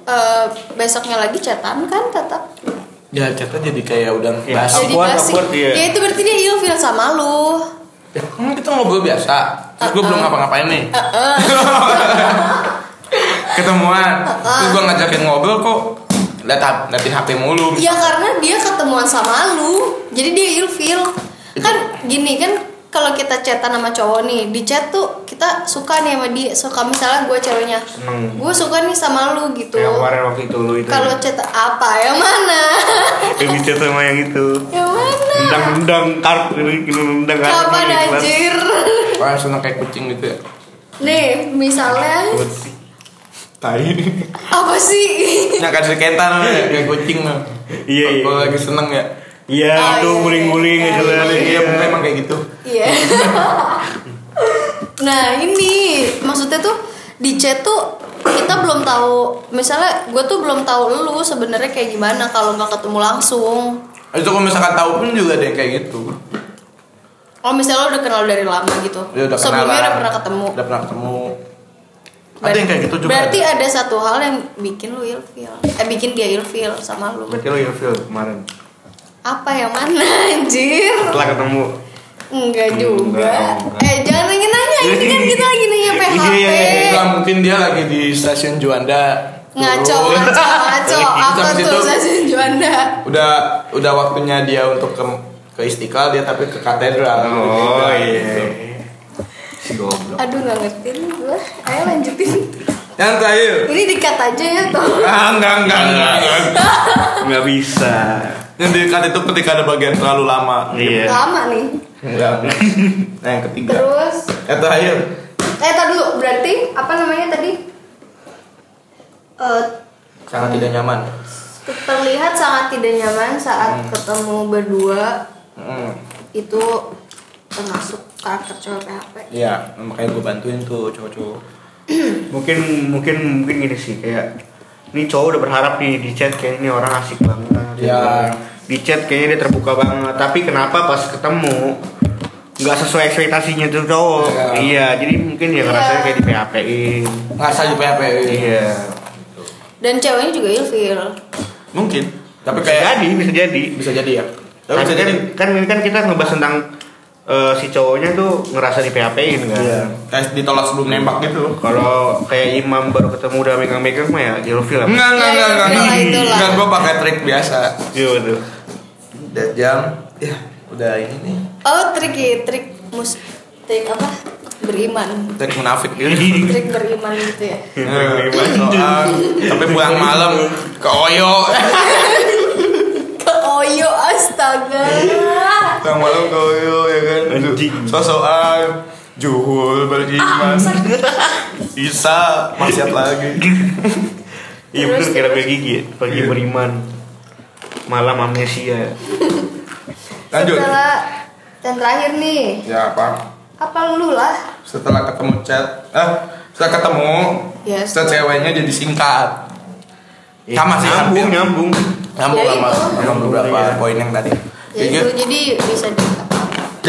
S3: eh, besoknya lagi chatan kan tetap
S1: ya chatnya jadi kayak udah
S2: Iya.
S1: basi
S3: jadi
S2: Awkward,
S3: basi.
S2: awkward dia.
S3: Ya itu berarti dia ilfil sama lu.
S1: ya, kan kita ngobrol biasa terus gue
S3: Uh-uh.
S1: belum ngapa-ngapain nih *laughs* ketemuan
S3: Uh-uh.
S1: terus gue ngajakin ngobrol kok lihat hap- liatin HP mulu
S3: Ya karena dia ketemuan sama lu, jadi dia ilfil. Kan gini kan kalau kita chatan sama cowok nih, di chat tuh kita suka nih sama dia, suka misalnya gue ceweknya,
S2: Seneng.
S3: gue suka nih sama lu gitu.
S2: yang kemarin waktu itu lu itu.
S3: Kalau chat apa yang mana?
S2: *laughs*
S3: *laughs*
S2: yang di chat sama yang itu.
S3: yang mana?
S2: Nendang nendang kartu gitu nendang kartu.
S3: Kapan
S2: di kelas.
S3: anjir?
S1: orang seneng kayak kucing gitu ya
S3: Nih, misalnya
S1: tai
S3: apa sih?
S1: nyangka si kentan ya, kayak kucing lah
S2: Iya, iya.
S1: Kalau lagi seneng ya
S2: Iya itu
S3: Oh, iya, iya,
S2: guling-guling
S3: iya,
S2: gitu kan.
S1: iya
S2: Iya.
S1: mungkin emang kayak gitu
S3: Iya. *laughs* nah ini maksudnya tuh di chat tuh kita belum tahu misalnya gue tuh belum tahu lu sebenarnya kayak gimana kalau nggak ketemu langsung
S1: itu kalau misalkan tahu pun juga ada yang kayak gitu
S3: oh misalnya lu udah kenal dari lama gitu
S1: Dia Iya, udah
S3: sebelumnya
S1: kenalan,
S3: udah pernah ketemu
S1: udah pernah ketemu ada yang kayak gitu juga
S3: berarti
S1: ada.
S3: ada. satu hal yang bikin lu ilfil eh bikin dia ilfil sama lu
S2: Berarti lo ilfil kemarin.
S3: apa yang mana *laughs* anjir
S2: Setelah ketemu.
S3: enggak juga
S2: Enggak, enggak.
S3: eh jangan nanya nanya ini kan kita lagi nanya PHP
S2: Iya, iya, iya,
S1: Nah, mungkin dia lagi di stasiun Juanda
S3: ngaco
S1: turun. *laughs*
S3: ngaco ngaco apa
S1: Habis
S3: tuh
S1: itu-
S3: stasiun Juanda
S1: udah udah waktunya dia untuk ke ke istiqlal dia tapi ke katedral
S2: Oh iya.
S1: Gitu.
S2: Si goblok.
S3: Aduh nggak ngerti nih gue. Ayo lanjutin.
S1: yang terakhir
S3: Ini dikat aja ya tolong.
S1: ah, enggak enggak enggak, enggak.
S2: Nggak bisa.
S1: yang diikat itu ketika ada bagian terlalu lama
S3: *laughs*
S2: Iya.
S3: Lama nih.
S1: enggak enggak. nah yang ketiga
S3: Terus.
S1: yang terakhir
S3: Eh tadi dulu berarti apa namanya tadi? Eh,
S1: sangat tidak nyaman
S3: terlihat sangat tidak nyaman saat ketemu berdua
S1: Mm,
S3: itu termasuk karakter cowok PHP.
S1: Iya, makanya gue bantuin tuh cowok-cowok
S2: Mungkin mungkin mungkin gini sih kayak ini cowok udah berharap nih di chat kayak ini orang asik banget.
S1: Iya.
S2: Di chat kayaknya dia terbuka banget, tapi kenapa pas ketemu nggak sesuai ekspektasinya tuh
S1: Iya.
S2: cowok. Iya, jadi mungkin ya
S3: Iya.
S2: ngerasanya kayak di PHP-in.
S1: ngerasa di PHP
S2: Iya.
S3: Dan ceweknya juga ilfil.
S1: mungkin tapi
S2: Bisa
S1: kayak
S2: jadi, bisa jadi.
S1: bisa jadi ya tapi
S2: Tapi
S1: bisa
S2: kan,
S1: jadi
S2: kan ini kan kita ngebahas tentang eh, si cowoknya tuh ngerasa di PHP-in kan.
S1: Iya. kayak ditolak sebelum nembak gitu
S2: Kalau kayak imam baru ketemu udah megang-megang mah ya ilfil lah.
S1: Enggak, enggak, enggak, enggak.
S3: Itulah, itulah.
S1: Enggak, gue pakai trik biasa.
S2: Iya betul.
S1: Udah jam, ya udah ini nih.
S3: Oh trik ya, trik mus trik apa? Beriman.
S1: Trik munafik gitu. *laughs*
S3: Trik beriman gitu ya.
S1: Nah, soal, Tapi pulang malam ke Oyo.
S3: Oyo astaga.
S1: *laughs* Pulang malam ke Oyo ya kan.
S2: Anjing.
S1: Sosokan Juhul beriman. Isa maksiat *laughs* lagi.
S2: Iya
S3: Terus,
S2: betul kira kayak gigi ya. pagi
S1: Iya.
S2: beriman malam amnesia.
S1: Lanjut.
S3: Setelah dan terakhir nih,
S1: Ya apa?
S3: apa lu lah?
S1: Setelah ketemu chat, eh setelah ketemu,
S3: Yes.
S1: chat ceweknya jadi singkat. Iya. Sama sih,
S2: nyambung
S1: hampir.
S2: nyambung.
S1: Nyambung
S3: Ya
S1: sama
S3: itu.
S1: sama beberapa
S2: Iya.
S1: poin yang tadi.
S3: Ya itu jadi bisa di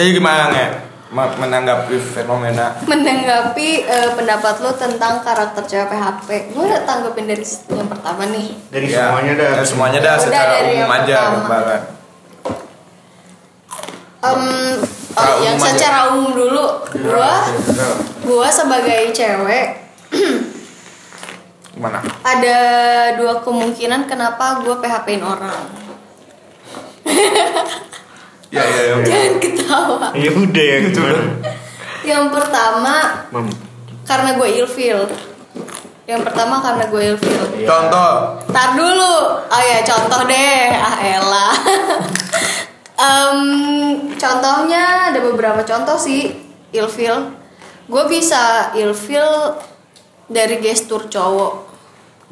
S1: Jadi gimana nih menanggapi fenomena
S3: menanggapi eh, pendapat lu tentang karakter cewek PHP. Gue udah tanggepin dari yang pertama nih.
S2: Dari
S1: Ya,
S2: semuanya dah.
S1: dari semuanya dah
S3: Udah
S1: secara
S3: dari yang
S1: umum aja
S3: pertama.
S1: gambaran.
S3: Em,
S1: Secara
S3: oh, yang
S1: umum aja. Nah,
S3: secara umum dulu, gua gua sebagai cewek
S1: gimana?
S3: ada dua kemungkinan kenapa gue PHP-in orang.
S1: ya ya ya
S2: Iya.
S3: Jangan ketawa.
S2: ya udah ya gitu
S3: Yang pertama
S2: mam
S3: karena gue ilfil. Yang pertama karena gue ilfil.
S1: Iya. contoh
S3: Tar dulu. Oh ya contoh deh. Ah elah. Em, contohnya ada beberapa contoh sih ilfil. Gue bisa ilfil dari gestur cowok.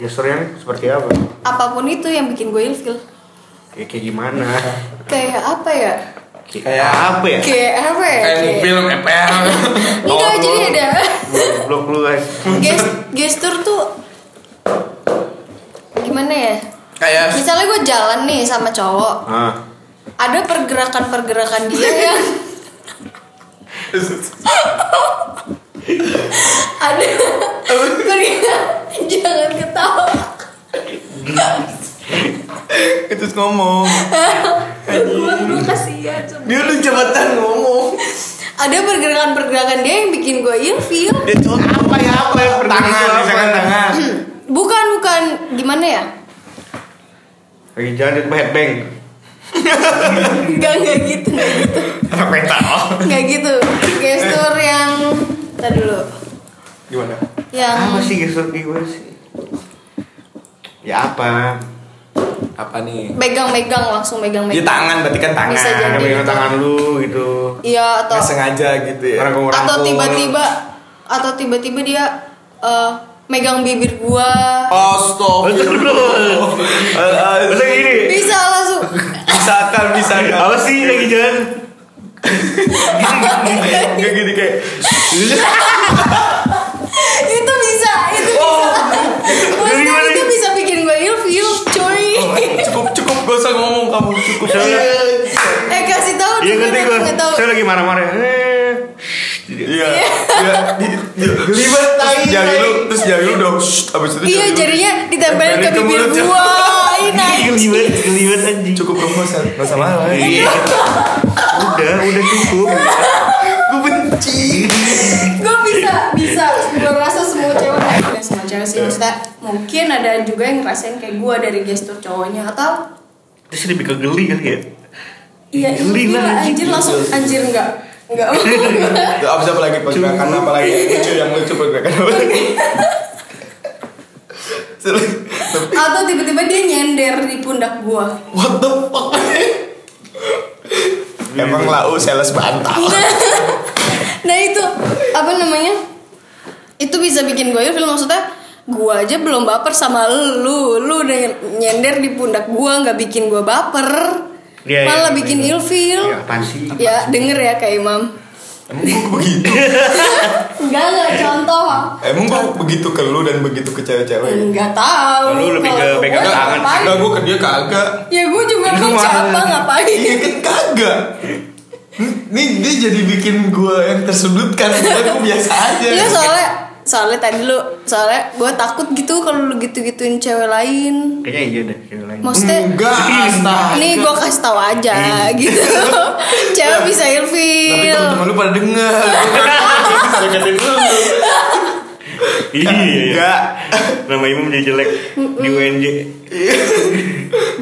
S2: gesturnya Ya, seperti apa
S3: Apapun itu yang bikin gue ilfil.
S2: kayak kayak gimana
S1: Iya.
S3: Kayak apa ya?
S2: kayak apa ya
S3: Kayak apa ya?
S1: kayak
S3: Kayak-
S1: film
S3: *laughs*
S1: EPL
S3: Enggak,
S2: Oh,
S3: jadi
S2: lu- *laughs*
S3: ada
S2: lu- blok lu guys
S3: Ges- gestur tuh gimana ya?
S1: kayak
S3: Misalnya gue jalan nih sama cowok,
S2: ah
S3: ada pergerakan-pergerakan dia ya. yang ada pergerakan jangan ketawa.
S1: itu ngomong
S3: Gue gue kasihan sama-
S1: dia udah jabatan ngomong
S3: Ada pergerakan-pergerakan dia yang bikin iya, gue ilfil.
S1: dia contoh
S2: apa ya apa ya
S1: tangan misalkan tangan
S3: Bukan bukan gimana ya?
S2: lagi jalan di headbang
S3: Enggak enggak gitu enggak gitu.
S2: apa yang tahu
S3: Enggak gitu. Gestur yang Tadi dulu.
S1: gimana
S3: Yang
S2: apa sih gestur gue sih ya apa
S1: apa nih
S3: megang-megang langsung
S1: dia
S3: megang-megang.
S1: tangan berarti kan tangan
S3: Bisa jadi.
S2: tangan megang tangan lu gitu
S3: Iya atau
S1: nggak sengaja gitu ya
S2: orang orang
S3: atau tiba-tiba atau tiba-tiba dia eh, megang bibir gua.
S2: Masa
S1: Astagfirullah
S2: gini
S3: Bisa
S2: *laughs*
S3: langsung.
S1: Misalkan, misalkan
S2: apa sih lagi jalan
S1: Gak gini kayak
S3: itu bisa, itu *laughs* bisa. Maksudnya
S2: Oh. Gimana Oh,
S3: itu
S2: nih?
S3: bisa bikin gua ilfil, coy.
S1: Cukup, cukup, gak usah ngomong kamu Cukup Iya.
S2: Soalnya-
S3: *laughs* eh kasih tahu
S2: iya
S3: dulu,
S2: ngerti
S3: aku
S2: gue
S3: nggak tahu.
S2: saya lagi marah-marah Eh,
S1: Iya Iya Gelibet Terus jari lu Terus jari lu dong Shh, Abis itu
S3: Iya
S1: jari lu.
S3: jadinya ditempelin ke
S1: Tempelin ke
S3: bibir
S1: mulut,
S2: ya.
S1: coy.
S2: *laughs*
S3: gua. Iya, Ini *laughs*
S2: Geliwet, geliwet anjing.
S1: Cukup rumusan Gak usah marah
S2: Iya. Udah, udah cukup.
S1: Gue benci
S3: gue bisa bisa gue rasa semua cewek kayak gini, semua cewek
S2: Iya.
S3: sih maksudnya mungkin ada juga yang ngerasain kayak gue dari gestur cowoknya atau
S2: Terus lebih ke geli kali ya.
S3: iya
S2: Geli
S3: ini
S2: lah,
S3: lah anjir langsung anjir enggak
S2: *laughs*
S3: enggak
S1: Tuh, Abis apa lagi pergerakan apa lagi Lucu yang lucu pergerakan apa
S3: *laughs*
S1: lagi
S3: atau tiba-tiba dia nyender di pundak gue
S1: What the fuck *laughs* Emang lau sales bantal
S3: *laughs* nah itu apa namanya itu bisa bikin gue ilfil maksudnya gue aja belum baper sama lu lu udah nyender di pundak gue nggak bikin gue baper
S2: Iya, iya,
S3: malah
S2: iya,
S3: bikin
S2: iya.
S3: ilfil
S2: Ya, apaan sih?
S3: ya denger ya kak Imam
S1: Emang gue begitu
S3: Enggak, enggak contoh.
S1: Emang gue begitu ke lu dan begitu ke cewek-cewek
S3: Enggak tahu.
S2: Lu lebih ke
S3: Kalau gua
S2: pegang tangan.
S3: ngapain?
S1: Enggak gue ke dia kagak
S3: Ya gue juga
S2: Lu
S3: kan
S2: mah-
S3: siapa ngapain?
S1: Iya kan kagak. Nih dia jadi bikin gue yang tersudutkan. Gue biasa aja.
S3: Iya soalnya soalnya tadi lu soalnya gue takut gitu kalau lu gitu-gituin cewek lain.
S2: Kayaknya iya deh, cewek lain.
S3: Maksudnya
S1: Enggak, astaga.
S3: Nih gue kasih tahu aja
S1: *laughs*
S3: gitu. cewek
S1: Iya.
S3: bisa
S1: Tapi
S3: ilfil.
S1: teman-teman lu pada denger. Bisa deketin lu.
S2: *laughs* Iya, iya.
S1: Enggak.
S2: Nama Imam jadi jelek di UNJ.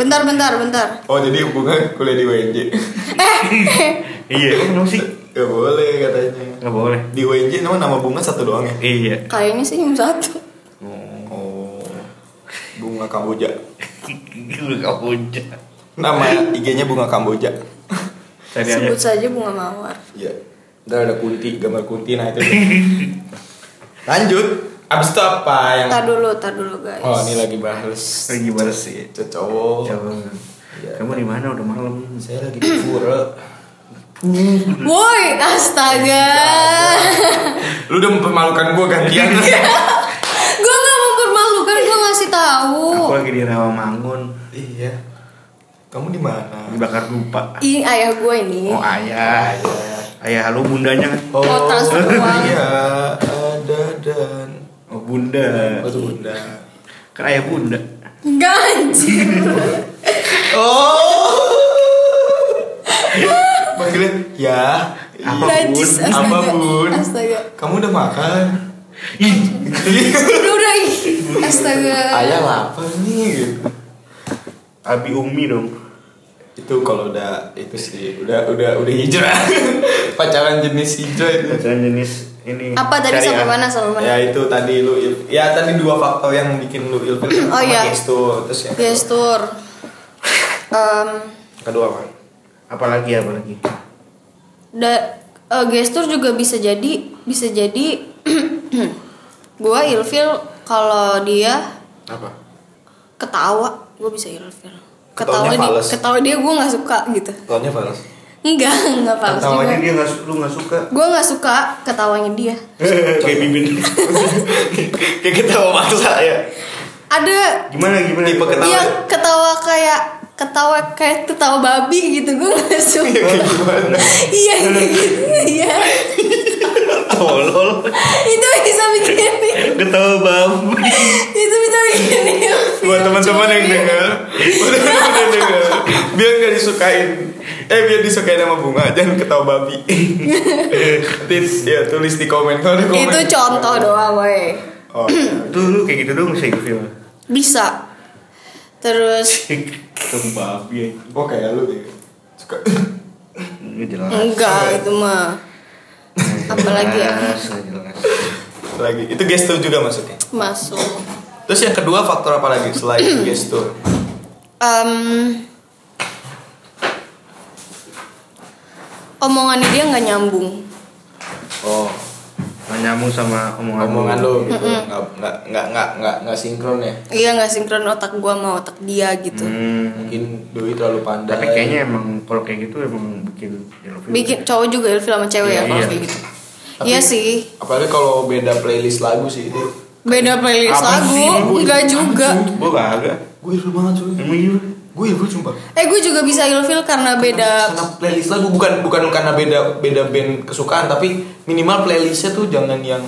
S3: Bentar, bentar, bentar.
S1: Oh jadi hubungan kuliah di WNJ.
S2: Iya, emang kenapa sih?
S1: Gak boleh katanya.
S2: Enggak boleh.
S1: Di WNJ nama nama bunga satu doang ya.
S2: Iya.
S3: Kayaknya sih cuma satu.
S1: Oh. Bunga Kamboja.
S2: Gila kamu aja.
S1: Nama IG-nya bunga Kamboja.
S2: Tadi aja.
S3: Sebut saja bunga mawar.
S1: Iya. Ntar ada kunti, gambar kunti nah itu. *laughs* Lanjut. Abis itu apa yang
S3: Tar dulu, tar dulu guys.
S1: Oh ini lagi bahas
S2: Lagi bahas.
S1: sih itu cowok.
S2: Coba. Kamu di mana udah malam?
S1: Saya lagi di pura.
S3: Woi, astaga.
S1: Lu udah mempermalukan gue *laughs* gantian. Iya.
S3: gue gak mempermalukan, gue ngasih tahu.
S2: Aku lagi di Rawamangun,
S1: iya. Kamu di mana?
S2: di bakar dupa.
S3: Ini ayah gue ini.
S2: Oh, ayah.
S1: Ayah.
S2: Ayah lu bundanya kan?
S3: Mau transfer uang.
S1: *laughs* Iya, ada dan
S2: Oh, bunda.
S1: Oh, bunda.
S2: Kan ayah bunda.
S3: Enggak anjir.
S1: Oh. Panggilnya ya.
S2: Apa,
S3: Najis,
S2: Bun?
S3: astaga.
S1: Apa, Bun?
S3: Astaga.
S1: Kamu udah makan?
S2: Ih,
S3: Udah, udah. ih. Astaga.
S1: Ayah lapar nih. gitu.
S2: Abi Umi dong.
S1: itu kalau udah itu sih udah udah udah hijrah *laughs* pacaran jenis hijrah itu
S2: Pacaran jenis ini.
S3: Apa tadi
S2: syariah.
S3: sampai mana sampai mana?
S1: ya itu tadi lu il- ya tadi dua faktor yang bikin lu ilfil Pertama
S3: Oh, iya.
S1: gestur terus ya. yang kedua,
S3: Gestur. Em,
S1: kedua apa
S2: Apalagi apalagi.
S3: da, eh, gestur juga bisa jadi bisa jadi *clears throat* gua ilfil kalau dia
S1: apa
S3: ketawa gue bisa ilfil ketawa
S1: Ketawanya
S3: dia
S1: fals.
S3: ketawa dia gue nggak suka gitu
S1: Taunya fals
S3: enggak *laughs* enggak fals
S2: Ketawanya
S3: juga
S2: dia nggak su- lu nggak suka.
S3: gue nggak suka ketawanya dia
S2: *laughs* Kayak mimin.
S1: *laughs* kayak ketawa maksa ya
S3: ada
S2: Gimana gimana?
S1: Tipe ketawa. ya?
S3: yang Iya, ketawa kayak ketawa kayak ketawa babi gitu gue nggak suka iya iya gitu iya
S2: Tolol.
S3: itu bisa bikin
S2: Ketawa babi.
S3: itu bisa bikin ilfil.
S1: buat teman-teman yang
S3: Iya, Cuma dia-
S1: dengar buat teman-teman yang dengar biar nggak disukain eh biar disukain sama bunga jangan ketawa
S3: *laughs*
S1: babi tips ya tulis di komen kalau ada komen
S3: itu contoh doang woi
S1: oh, iya.
S2: Tuh lu kayak gitu dong sih film.
S3: bisa terus
S2: Ketawa babi.
S1: oh kayak lu deh suka *laughs*
S2: Ini jelas.
S3: enggak itu mah Apalagi ya?
S2: Jelas, nggak jelas.
S1: lagi itu gestur juga maksudnya
S3: masuk
S1: terus yang kedua faktor apa lagi
S3: *clears throat*
S1: selain gestur
S3: Em, omongannya dia nggak nyambung
S1: oh
S2: Nggak nyambung sama omongan,
S1: omongan lu gitu nggak nggak nggak nggak nggak nggak sinkron ya
S3: iya nggak sinkron otak gua sama otak dia gitu
S2: Hmm.
S1: mungkin Doi terlalu pandai
S2: Tapi kayaknya emang kalau kayak gitu emang bikin ilfil.
S3: bikin cowok juga ilfil sama cewek
S2: Iya,
S3: ya kalau
S2: iya.
S3: kayak gitu
S1: Tapi-
S3: iya sih
S1: apalagi kalau beda playlist lagu sih itu
S3: beda playlist
S2: Apa
S3: lagu
S2: sih, Bu?
S3: nggak juga
S2: Gua kagak.
S1: gue ilfil banget cuy
S2: Emang iya.
S1: gue ilfil sumpah
S3: eh gue juga bisa ilfil karena beda
S1: karena playlist lagu bukan bukan karena beda beda band kesukaan tapi minimal playlistnya tuh jangan yang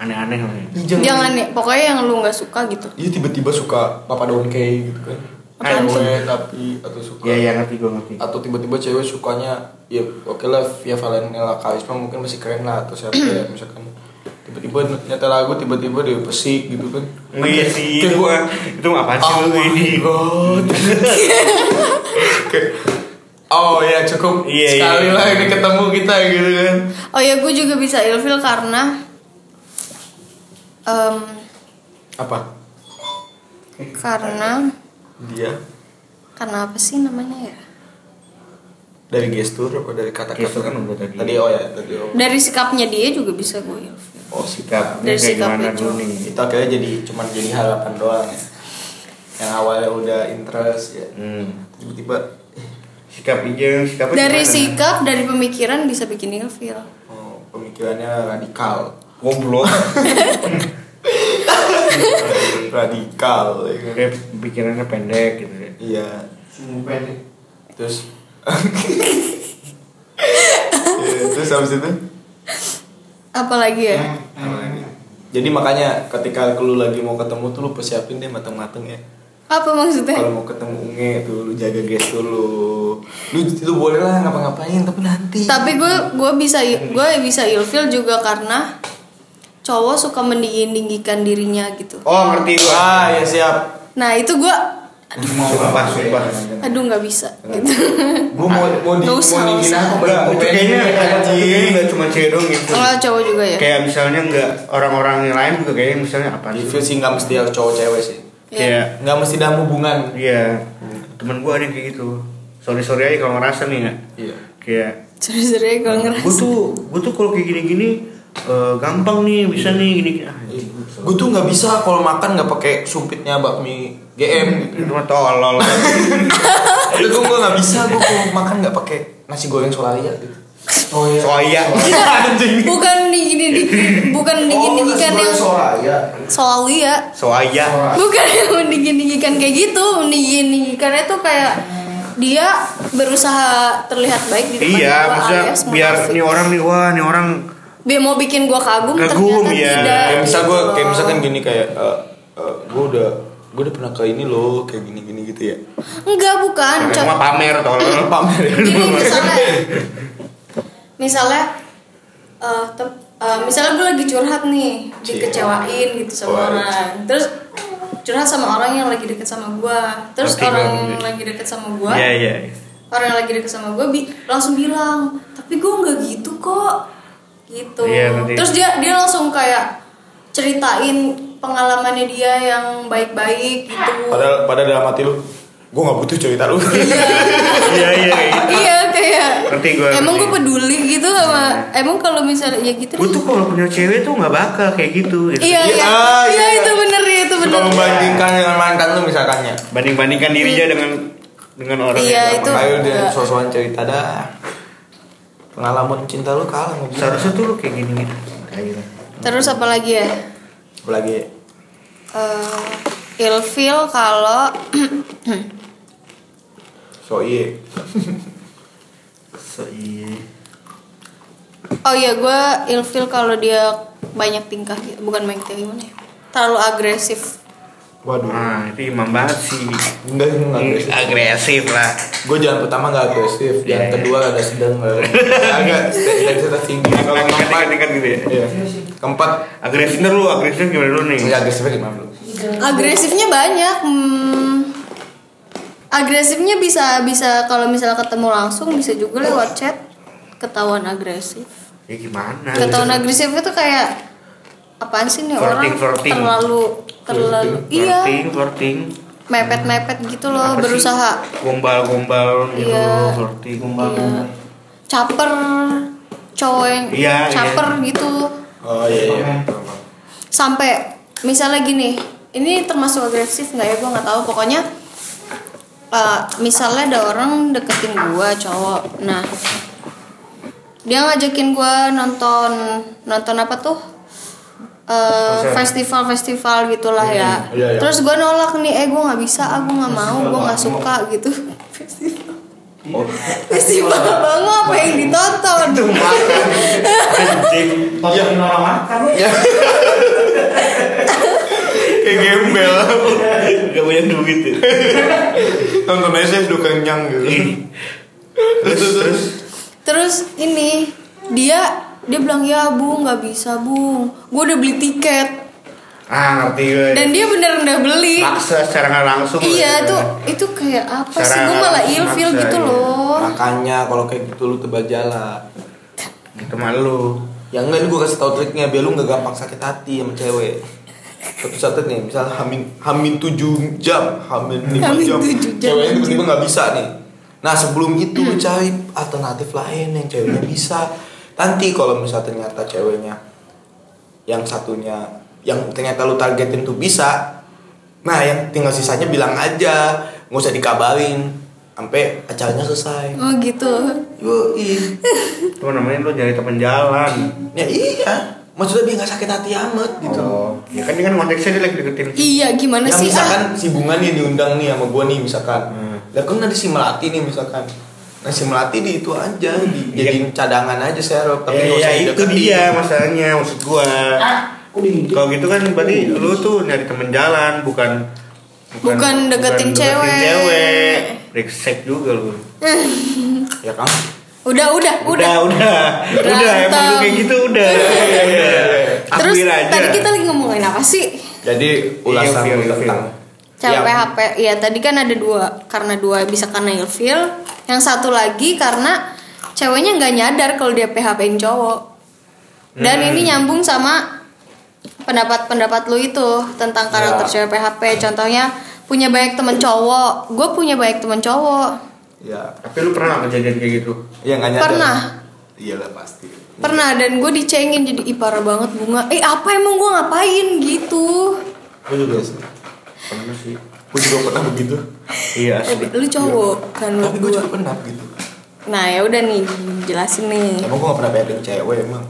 S2: Aneh-aneh lah ya.
S3: jangan ya pokoknya yang lu nggak suka gitu
S1: iya tiba-tiba suka Papa Don't Care gitu kan
S2: Apaan
S1: Atau
S2: sih?
S1: cewek tapi atau suka
S2: Ya ya ngerti gua ngerti.
S1: atau tiba-tiba cewek sukanya ya oke lah Via Valentina Karisma mungkin masih keren lah atau siapa ya misalkan tiba-tiba nyata lagu tiba-tiba dia pesik gitu kan
S2: Iya
S1: Kayak
S2: sih. Itu
S1: gua-
S2: itu apa sih
S1: Oh
S2: lu ini?
S1: my god. Kayak, oh ya cukup
S2: Iya,
S1: sekali
S2: iya.
S1: lah ini ketemu kita gitu kan.
S3: oh ya gue juga bisa ilfil karena em,
S1: Apa?
S3: karena
S1: Dia
S3: karena apa sih namanya ya
S1: dari gestur apa dari kata-kata
S2: Gestur kan udah tadi.
S1: Tadi oh ya tadi oh.
S3: dari sikapnya dia juga bisa gue ilfil
S1: Oh sikap.
S2: Sikap
S3: Dari
S2: kayak
S3: sikap
S2: gimana
S3: itu.
S2: dulu nih?
S1: Itu akhirnya jadi cuman jadi harapan doang ya. Yang awalnya udah interest ya.
S2: Hmm.
S1: Tiba-tiba eh,
S2: Sikap ijeng, sikap
S3: dari sikap dari pemikiran bisa bikin ilfil
S1: oh, pemikirannya radikal.
S2: goblok.
S1: *laughs* radikal ya kan.
S2: Udah pikirannya pendek gitu ya.
S1: Iya.
S2: Sumbu pendek.
S1: Terus *laughs* Iya, Terus habis itu
S3: apalagi ya
S2: Hmm.
S1: Jadi makanya ketika lu lagi mau ketemu tuh lu persiapin deh mateng-mateng ya
S3: apa maksudnya
S1: Kalau mau ketemu unge tuh lu jaga gestur lu Lu, lu boleh lah ngapa-ngapain tapi nanti
S3: tapi gue gue bisa gue bisa ilfil juga karena cowok suka meninggikan dirinya gitu
S2: Oh, ngerti gua.
S1: Wah ya siap
S3: nah itu gue
S2: Mau sumpah, sumpah.
S3: aduh nggak bisa gitu
S1: Gue mau, mau, di,
S3: Nggak
S1: mau
S3: usah,
S1: ninggin
S3: nggak
S1: aku
S3: usah.
S1: Bang.
S2: Itu kayaknya itu kayaknya
S1: anjing
S2: nggak cuma cewek doang gitu.
S3: kalau cowok juga ya
S2: Kayak misalnya nggak orang-orang yang lain juga kayaknya misalnya apa sih?
S1: Review sih nggak mesti harus cowok cewek sih
S3: Iya.
S2: Kayak
S1: Nggak mesti dalam hubungan
S2: Iya, temen gue ada yang kayak gitu. Sorry sorry aja kalau ngerasa nih ya.
S1: Iya
S2: Kayak
S3: serius-serius kalau
S2: gue
S3: ngerasa
S2: tuh gue tuh kalau kayak gini-gini eh, gampang nih bisa nih gini. gini. Ah, anjing,
S1: Gue tuh nggak bisa kalau makan nggak pakai sumpitnya bakmi GM
S2: itu mah tolol.
S1: Tapi gue gue nggak bisa gue kalau makan nggak pakai nasi goreng solaria gitu. Oh iya.
S2: Soya. *laughs*
S1: Anjing.
S3: bukan digini bukan
S2: Oh,
S3: meninggikan yang
S1: solaria.
S3: soalnya ya
S2: Soya.
S3: bukan *laughs* yang meninggikan kayak gitu meninggikannya tuh kayak dia berusaha terlihat baik di depan
S2: Iya,
S3: gua,
S2: maksudnya
S3: alias
S2: biar
S3: munafik.
S2: nih orang nih wah nih orang
S3: dia mau bikin gua kagum,
S2: Kagum,
S3: ternyata
S2: ya.
S3: tidak
S1: Kayak misal gue
S3: gitu
S1: kayak
S3: loh.
S1: misalkan gini kayak gue udah gue udah pernah ke ini loh kayak gini gini gitu ya.
S3: enggak bukan
S2: cuma
S3: Cok.
S2: pamer tolol.
S1: Pamer.
S3: Iya,
S2: *laughs*
S3: gini misalnya misalnya eh, tem- eh, misalnya gue lagi curhat nih
S1: Cie.
S3: dikecewain
S2: Iya.
S3: gitu sama
S1: Wah.
S3: orang terus curhat sama orang yang lagi deket sama gua terus
S2: Ngerti
S3: orang
S2: gua.
S3: yang lagi deket sama gua
S2: *laughs* Iya iya. iya.
S3: orang yang lagi deket sama gue bi langsung bilang tapi gue nggak gitu kok gitu
S2: Iya, nanti-
S3: terus dia dia langsung kayak ceritain pengalamannya dia yang baik-baik gitu
S1: Padahal padahal dalam hati lu gue nggak butuh cerita lu.
S2: iya iya kayak gitu.
S3: iya kayak
S2: Ngerti gua,
S3: emang gue
S2: ngerti.
S3: peduli gitu sama emang kalau misalnya ya gitu
S2: Gue
S3: deh.
S2: tuh kalau punya cewek tuh nggak bakal kayak gitu. gitu.
S3: iya iya
S1: Ah,
S3: iya
S1: iya.
S3: itu bener iya, itu
S1: *laughs*
S3: bener
S1: Suka membandingkan dengan mantan lu misalkannya.
S2: Banding bandingkan dirinya dengan dengan orang
S3: Iya,
S2: yang
S3: itu-
S2: sama.
S1: Ayo dia
S3: enggak.
S1: sosokan cerita dah. Pengalaman cinta lu kalah sama gue.
S2: Seharusnya tuh lu kayak gini gitu. Kayak gitu.
S3: terus apa lagi ya
S1: Apalagi
S3: Eh, ilfil kalau *clears throat*
S1: so iya.
S2: So, iya.
S3: oh iya gue ilfil kalau dia banyak tingkah gitu. bukan banyak tingkah gimana ya terlalu agresif
S1: Waduh.
S2: Nah, itu imam banget sih.
S1: Enggak sih enggak agresif.
S2: Agresif lah.
S1: Gue jalan pertama enggak agresif,
S2: Iya,
S1: jalan
S2: iya.
S1: kedua agak *laughs* sedang enggak. Agak tidak bisa tertinggi. Iya, Kalau
S2: Kalau
S1: keempat,
S2: kan kan gitu ya.
S1: iya. Keempat,
S2: Agresif lu, agresif gimana lu nih?
S1: enggak agresifnya gimana lu?
S3: agresifnya banyak hmm. agresifnya bisa bisa kalau misalnya ketemu langsung bisa juga lewat chat ketahuan agresif
S2: Ya gimana?
S3: ketahuan agresif itu kayak apaan sih nih orang
S2: Flirting, flirting.
S3: terlalu terlalu iya
S2: Flirting, flirting.
S3: mepet mepet gitu loh
S2: Apa sih?
S3: berusaha
S2: Gombal-gombal gitu,
S3: Iya.
S2: flirting.
S3: Iya. caper cowok yang
S2: Iya,
S3: caper gitu
S1: Oh iya iya.
S3: sampai misalnya gini ini termasuk agresif nggak ya gue nggak tahu pokoknya eh, misalnya ada orang deketin gue cowok nah dia ngajakin gue nonton nonton apa tuh Eh, festival-festival gitulah ya.
S1: iya, iya.
S3: Terus gue nolak nih, eh gue nggak bisa, aku nggak mau, gue nggak suka gitu. *laughs* Festival,
S1: Oh.
S3: festival banget apa yang ditonton?
S2: Anjing.
S4: Tontonin orang makan.
S1: Kayak gembel.
S2: Gak punya duit *laughs* ya.
S1: Nonton aja udah kenyang gitu.
S2: Terus, terus.
S3: Terus ini dia dia bilang ya bung nggak bisa bung, gue udah beli tiket
S2: Ah, ngerti gue.
S3: dan dia bener udah beli.
S2: Maksa secara nggak langsung.
S3: Iya
S2: gitu.
S3: tuh itu kayak apa sih?
S2: Secara
S3: Gue malah
S2: langsung
S3: ilfil
S2: maksa,
S3: gitu
S2: iya.
S3: loh.
S1: Makanya kalau kayak gitu lu tebal jala.
S2: Itu malu.
S1: Ya enggak gue kasih tau triknya biar lu nggak gampang sakit hati sama cewek. Satu catet nih, misal hamin hamin 7 jam, hamin 5
S3: Hamin
S1: jam.
S3: tujuh jam. Hmm.
S1: Ceweknya tiba-tiba nggak bisa nih. Nah, sebelum itu lu cari alternatif lain yang ceweknya bisa. Nanti kalau misal ternyata ceweknya yang satunya yang ternyata lu targetin tuh bisa. Nah, yang tinggal sisanya bilang aja, nggak usah dikabarin sampai acaranya selesai.
S3: Oh gitu.
S1: Yoi.
S2: Lu namanya lu nyari teman jalan.
S1: Ya iya, maksudnya biar nggak sakit hati amat gitu.
S2: Oh, ya kan ini kan konteksnya dia lagi deketin.
S3: Iya gimana
S1: Ya
S3: sih?
S1: misalkan
S3: Ah,
S1: si Bunga nih diundang nih sama gua nih misalkan.
S2: Hmm.
S1: Lah kan ada si Melati nih misalkan. Nah si Melati di itu aja di,
S2: Iya.
S1: jadiin cadangan aja serok tapi
S2: Ya,
S1: nggak
S2: ya
S1: usah
S2: itu
S1: dideketin.
S2: dia masalahnya maksud gua.
S4: Ah, udah gitu.
S2: Kalau gitu kan berarti lu tuh nyari temen jalan bukan
S3: Bukan deketin cewek.
S2: cewek. Brengsek juga lu.
S1: Ya kan?
S3: udah udah udah.
S2: Udah, udah. Udah, emang lu
S3: Berantem. Iya.
S2: kayak gitu udah. Udah, udah.
S3: Terus
S2: Akuin aja.
S3: tadi kita lagi ngomongin apa sih?
S1: Jadi ulasan
S2: feel,
S1: lu
S2: feel.
S1: tentang
S3: Cara
S1: Ya,
S3: PHP ya tadi kan ada dua karena dua bisa karena ilfil yang satu lagi karena ceweknya nggak nyadar kalau dia PHP-in cowok dan
S1: Hmm.
S3: ini nyambung sama pendapat-pendapat lu itu tentang karakter
S1: Ya.
S3: cewek PHP contohnya punya banyak temen cowok gue punya banyak temen cowok
S1: Ya,
S2: Tapi lu pernah nggak kejadian kayak gitu?
S1: ya nggak nyadar.
S3: Pernah.
S1: Iyalah pasti.
S3: pernah dan gue dicengin jadi "Ih, parah banget bunga eh apa emang gue ngapain gitu
S1: Gue juga Iya sih.
S2: Pernah sih.
S1: Gue juga pernah begitu.
S2: Iya,
S3: Eh,
S2: asli.
S3: lu cowok kan lu
S1: Tapi gue
S3: gua.
S1: juga pernah begitu.
S3: nah ya udah nih jelasin nih
S1: Emang gue gak pernah bayangin cewek emang.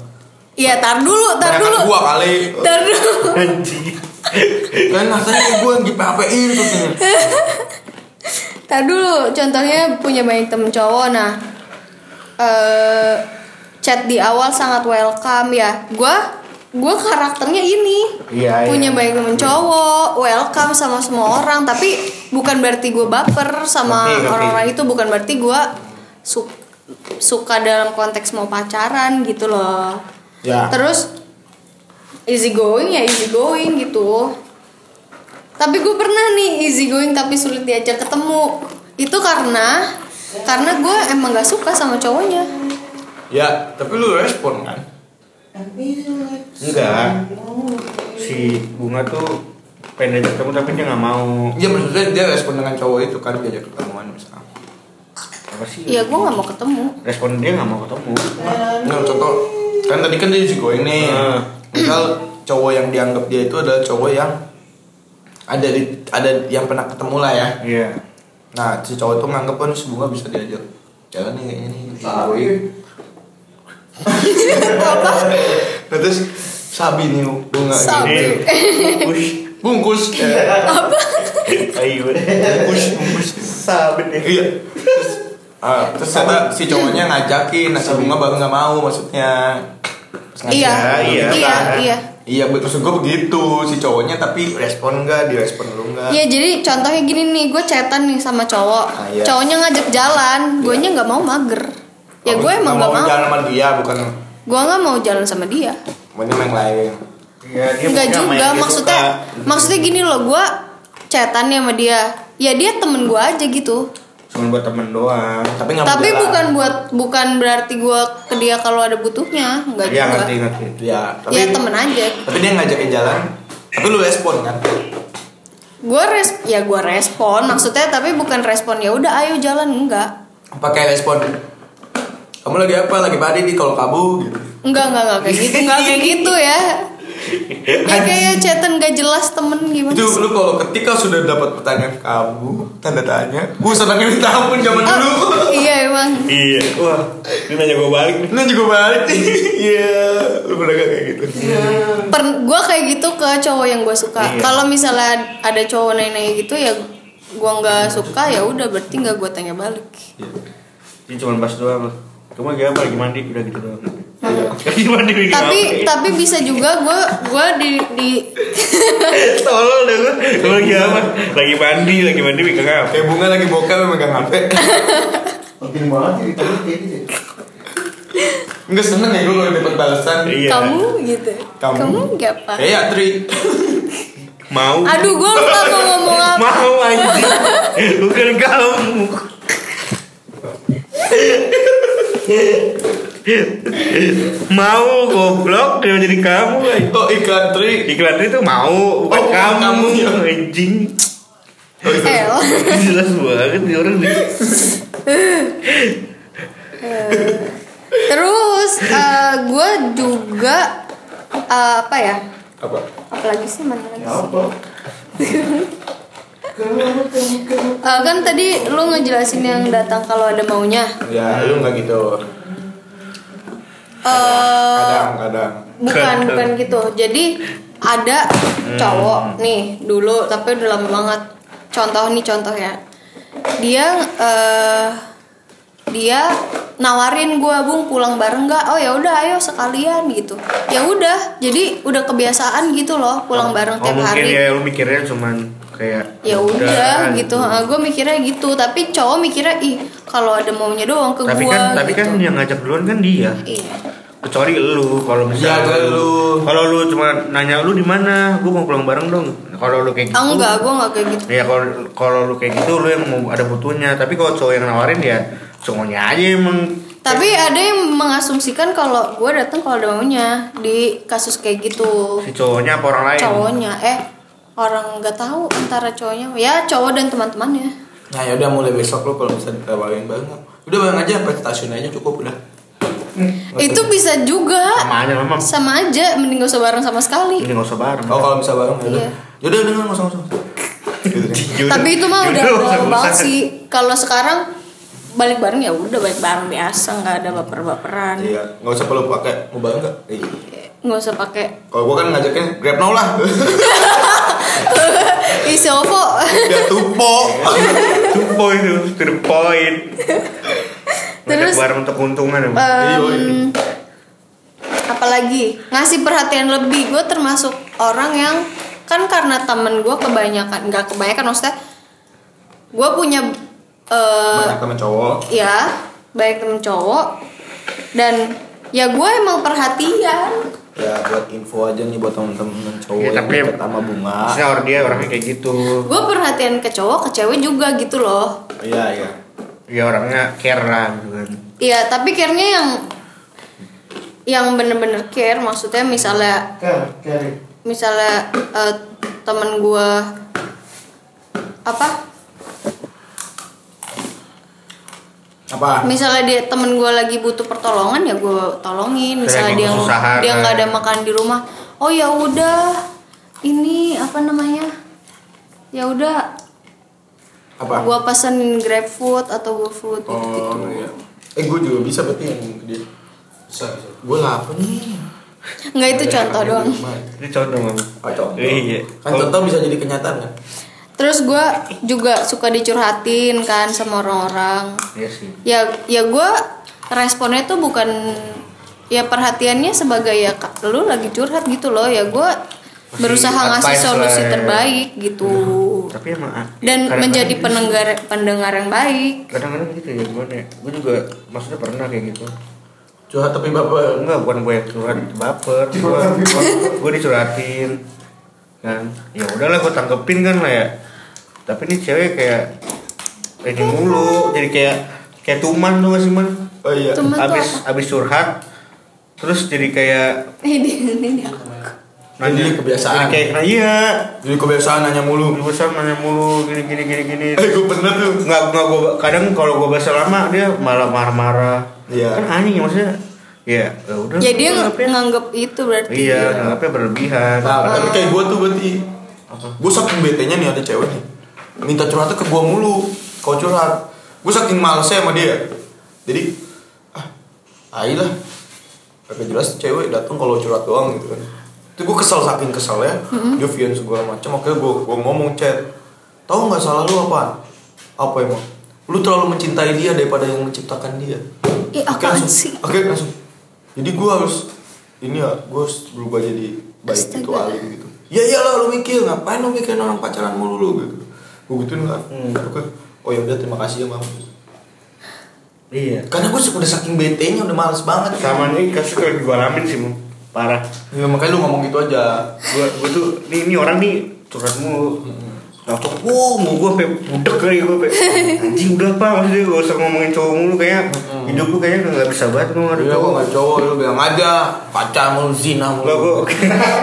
S3: Iya, tar dulu, tar
S1: Banyak
S3: dulu.
S1: gua kali.
S3: Tar dulu.
S2: Anjing.
S1: Kan rasanya gue yang di PHP-in terus.
S3: Tar dulu. Contohnya punya banyak temen cowok. Nah, eh chat di awal sangat welcome ya. Gua gua karakternya ini.
S2: Iya, iya.
S3: punya banyak temen cowok, welcome sama semua orang, tapi bukan berarti gua baper sama
S2: Ngerti, ngerti.
S3: orang-orang itu, bukan berarti gua su- suka dalam konteks mau pacaran gitu loh.
S1: Ya.
S3: Terus easy going ya easy going gitu tapi gue pernah nih easy going tapi sulit diajak ketemu itu karena karena gue emang gak suka sama cowoknya
S1: Ya, tapi lu respon kan?
S2: Enggak. si bunga tuh pengen ajak ketemu tapi dia nggak mau
S1: Iya maksudnya dia respon dengan cowok itu kan diajak ketemuan misalnya.
S2: apa sih
S3: ya gue nggak mau ketemu
S2: respon dia nggak mau ketemu
S1: Nah, contoh kan tadi kan dia si going nih.
S2: Hmm.
S1: Misal cowok yang dianggap dia itu adalah cowok yang ada di ada yang pernah ketemu lah ya.
S2: iya
S1: Nah, si cowok itu nganggep kan si bunga bisa diajak jalan nih kayaknya nih. si Boy. Nah, terus Sabi nih bunga
S3: Sabi.
S1: gitu.
S2: ini push
S1: Bungkus. Eh,
S2: ayo
S1: bungkus, bungkus.
S2: sabit deh
S1: Iya. Terus, ah, terus ada si cowoknya ngajakin, nah si bunga baru nggak mau maksudnya. Terus
S3: iya
S1: ngajak.
S2: iya,
S3: iya
S2: kan?
S3: iya
S1: Iya, betul gue begitu si cowoknya tapi respon enggak, direspon lu enggak.
S3: Iya jadi contohnya gini nih gue chatan nih sama cowok
S1: Ah, iya.
S3: cowoknya ngajak jalan gue nya nggak mau mager ya gue emang nggak
S1: Oh, mau
S3: mau
S1: jalan sama dia bukan
S3: gue nggak mau jalan sama dia
S1: maunya sama yang lain.
S2: Iya, dia
S3: nggak
S2: punya main
S3: juga
S2: dia
S3: maksudnya
S2: suka.
S3: maksudnya gini loh gue chatan nih sama dia ya dia temen gue aja gitu
S2: cuma buat temen doang
S1: Tapi enggak
S3: tapi bukan buat bukan berarti gue ke dia kalau ada butuhnya nggak
S2: iya
S3: juga
S2: ngerti ngerti
S1: ya, tapi
S3: ya temen aja
S1: tapi dia ngajakin jalan. Tapi lu respon kan?
S3: gue res ya gue respon maksudnya tapi bukan respon ya udah ayo jalan enggak
S1: Pakai respon. Kamu lagi apa? Lagi padi nih kalau Gitu. kabur.
S3: enggak enggak enggak kayak gitu enggak kayak gitu ya ya kayak chatan gak jelas temen gimana
S1: itu
S3: sih?
S1: lu kalau ketika sudah dapat pertanyaan kamu tanda tanya gue senangnya minta ampun zaman
S3: Ah,
S1: dulu
S3: iya emang
S2: iya wah dia nanya gue balik
S1: lu juga balik *laughs* nih iya lu pernah gak kayak gitu
S3: Iya. gue kayak gitu ke cowok yang gue suka
S2: Iya.
S3: kalau misalnya ada cowok nanya gitu ya gue nggak suka ya udah berarti nggak gue tanya balik
S2: dia cuma bahas doang kamu lagi apa lagi mandi udah gitu doang lagi mandi lagi
S3: tapi tapi bisa juga gue gue di di
S2: tolol deh gue Kamu lagi apa lagi mandi lagi mandi megang apa
S1: kayak bunga lagi bokap megang
S4: *laughs*
S1: hp
S4: Penting banget ceritanya kayak gitu.
S1: nggak seneng ya gue kalau dapat balasan
S2: Iya.
S3: kamu gitu
S1: Kamu.
S3: nggak apa
S1: Eh ya Tri
S2: mau
S3: aduh gue lupa mau ngomong apa
S2: mau anjing bukan kamu mau goblok dia jadi kamu anjing.
S1: Oh iklan Tri
S2: iklan itu mau bukan
S1: Oh, bukan
S2: kamu,
S1: kamu, ya.
S2: anjing
S3: el
S2: jelas banget nih orang nih
S3: terus gue juga eh, apa ya
S1: Apa?
S3: apalagi sih mana lagi
S4: Ya
S3: sih?
S4: apa?
S3: Eh, kan tadi lu ngejelasin yang datang kalau ada maunya
S1: Ya lu gak gitu
S3: Eh,
S1: Kadang-kadang
S3: bukan bukan gitu jadi ada
S2: Hmm.
S3: cowok nih dulu tapi udah lama banget contoh nih contoh ya dia eh dia nawarin gue bung pulang bareng nggak oh ya udah ayo sekalian gitu ya udah jadi udah kebiasaan gitu loh pulang bareng
S2: oh
S3: tiap
S2: mungkin
S3: hari
S2: ya lu mikirnya cuman kayak
S3: ya udah
S2: kan.
S3: gitu gue mikirnya gitu tapi cowok mikirnya ih kalau ada maunya doang ke
S2: tapi
S3: gue
S2: kan tapi
S3: gitu.
S2: kan yang ngajak duluan kan dia
S3: Iya.
S2: kecuali lu kalau
S1: Ya,
S2: misalnya
S1: kalau lu-
S2: kalau Iya, lu cuma nanya lu di mana gue mau pulang bareng dong kalau lu kayak gitu
S3: Ah, enggak gue nggak kayak gitu
S2: ya kalau kalau lu kayak gitu lu yang mau ada butuhnya tapi kalau cowok yang nawarin ya cowoknya aja emang
S3: Tapi ada yang mengasumsikan kalau gue datang kalau ada maunya di kasus kayak gitu
S2: si cowoknya apa orang lain
S3: cowoknya eh orang nggak tahu antara cowoknya ya cowok dan teman-temannya
S1: Nah yaudah mulai besok lu kalau bisa ditawarin bareng Udah bareng aja sampai stasiun aja cukup udah
S3: itu bisa juga
S2: sama aja memang
S3: sama aja mending gak usah bareng sama sekali
S2: ini nggak usah bareng
S1: Oh kalau bisa bareng yaudah
S3: Iya.
S1: Yaudah udah gak usah-usah Iya,
S2: Yaudah.
S3: tapi itu mah udah
S2: Yaudah,
S3: udah
S2: usah-
S3: banget
S2: usah.
S3: sih kalau sekarang balik bareng ya udah balik bareng biasa nggak ada baper-baperan
S1: Iya, nggak usah perlu pakai mau bareng nggak? Iya.
S3: nggak usah pakai
S1: Kalau gua kan ngajaknya grab now lah, *laughs*
S3: isi ovo
S1: biar tupo.
S2: *laughs* Iya. to the point tuh, to the point
S3: Terus- Eh.
S2: terus bareng untuk keuntungan ya
S3: Em, apalagi ngasih perhatian lebih gue termasuk orang yang kan karena temen gue kebanyakan nggak kebanyakan maksudnya gue punya eh
S1: Banyak temen cowok.
S3: ya banyak temen cowok dan ya gue emang perhatian
S1: Ya buat info aja nih buat temen-temen cowok
S2: Ya, tapi-
S1: yang pertama bunga.
S2: Maksudnya orang dia orangnya kayak gitu
S3: gue perhatian ke cowok ke cewek juga gitu loh
S1: Iya iya.
S2: ya orangnya care lah gitu kan
S3: Iya, tapi care-nya yang yang bener-bener care maksudnya misalnya
S4: Ker, Kerry.
S3: misalnya eh, temen gue apa
S1: apa
S3: misalnya dia temen gue lagi butuh pertolongan ya gue tolongin misalnya
S2: Kayak
S3: dia
S2: kesusahan,
S3: dia nggak
S2: kan.
S3: ada makan di rumah oh ya udah ini apa namanya ya udah
S1: apa
S3: gue pesen grab food atau GoFood food gitu,
S1: oh iya eh gue juga bisa berarti yang ke dia
S4: Bisa, bisa.
S1: gue lapar nih
S3: nggak Nah,
S1: Iya,
S3: itu contoh doang
S2: itu contoh mam
S1: oh, contoh.
S2: Iya.
S1: kan contoh bisa jadi kenyataan kan
S3: terus gue juga suka dicurhatin kan sama orang-orang
S2: iya sih
S3: ya ya gue responnya tuh bukan ya perhatiannya sebagai ya Kak, lu lagi curhat gitu loh ya gue berusaha ngasih
S2: advice
S3: solusi
S2: lah ya.
S3: terbaik gitu
S2: tapi emang ah,
S3: dan
S2: kadang-kadang
S3: menjadi
S2: gitu sih.
S3: pendengar pendengar yang baik *laughs*
S2: kadang-kadang gitu ya gimana ya gue juga maksudnya pernah kayak gitu
S1: curhat tapi bapak
S2: enggak bukan gue yang curhat baper gue gue dicurhatin kan ya udahlah gue tanggepin kan lah ya tapi ini cewek kayak ini mulu jadi kayak kayak tuman tuh masih man
S1: oh iya
S3: Tuman tuh
S2: abis abis curhat terus jadi kayak
S3: ini ini dia.
S1: Jadi kebiasaan.
S2: jadi kayak iya
S1: jadi kebiasaan nanya mulu
S2: gue sama nanya mulu gini gini gini gini
S1: eh gue bener tuh
S2: nggak nggak gue kadang kalau gue bahasa lama dia malah marah-marah
S1: Iya.
S2: kan anjing ya maksudnya ya ya udah
S3: ya dia
S2: nganggapnya-
S3: nganggep itu berarti
S2: iya nganggapnya berlebihan
S1: Nah, tapi kayak gue tuh berarti Gue saking betenya nih ada cewek nih Minta curhatnya ke gue mulu Kau curhat Gue saking malesnya sama dia Jadi Ah ai lah Kagak jelas cewek datang kalau curhat doang gitu kan Itu gue kesel saking keselnya Dia fiance segala macam Makanya gue gua ngomong chat Tahu nggak salah lu apaan? Apa emang? Lu terlalu mencintai dia daripada yang menciptakan dia
S3: ih
S1: Oke
S3: apaan
S1: langsung.
S3: sih
S1: Oke langsung. Jadi gue harus ini ya, gue harus berubah jadi baik
S3: Astaga.
S1: gitu alim gitu. Ya iyalah lu mikir ngapain lu mikirin orang pacaran mulu lu gitu. Gue gituin kan. Oke. Oh ya udah terima kasih ya mam.
S2: iya
S1: Karena gue udah saking bete nya udah males banget.
S2: sama nih kasus itu lagi gue alamin sih Mu. parah
S1: Ya makanya lu ngomong gitu aja.
S2: gue gue tuh nih ini orang nih curhat mulu Langsung, wow, mau gue sampai budek kali gue sampai anjing udah pak maksudnya gak usah ngomongin cowok mulu kayaknya hidup lu kayaknya udah nggak bisa banget ngomong ada
S1: Iya gue
S2: cowok
S1: nggak cowok lu bilang aja pacar mulu zina mulu.
S2: Nggak, gue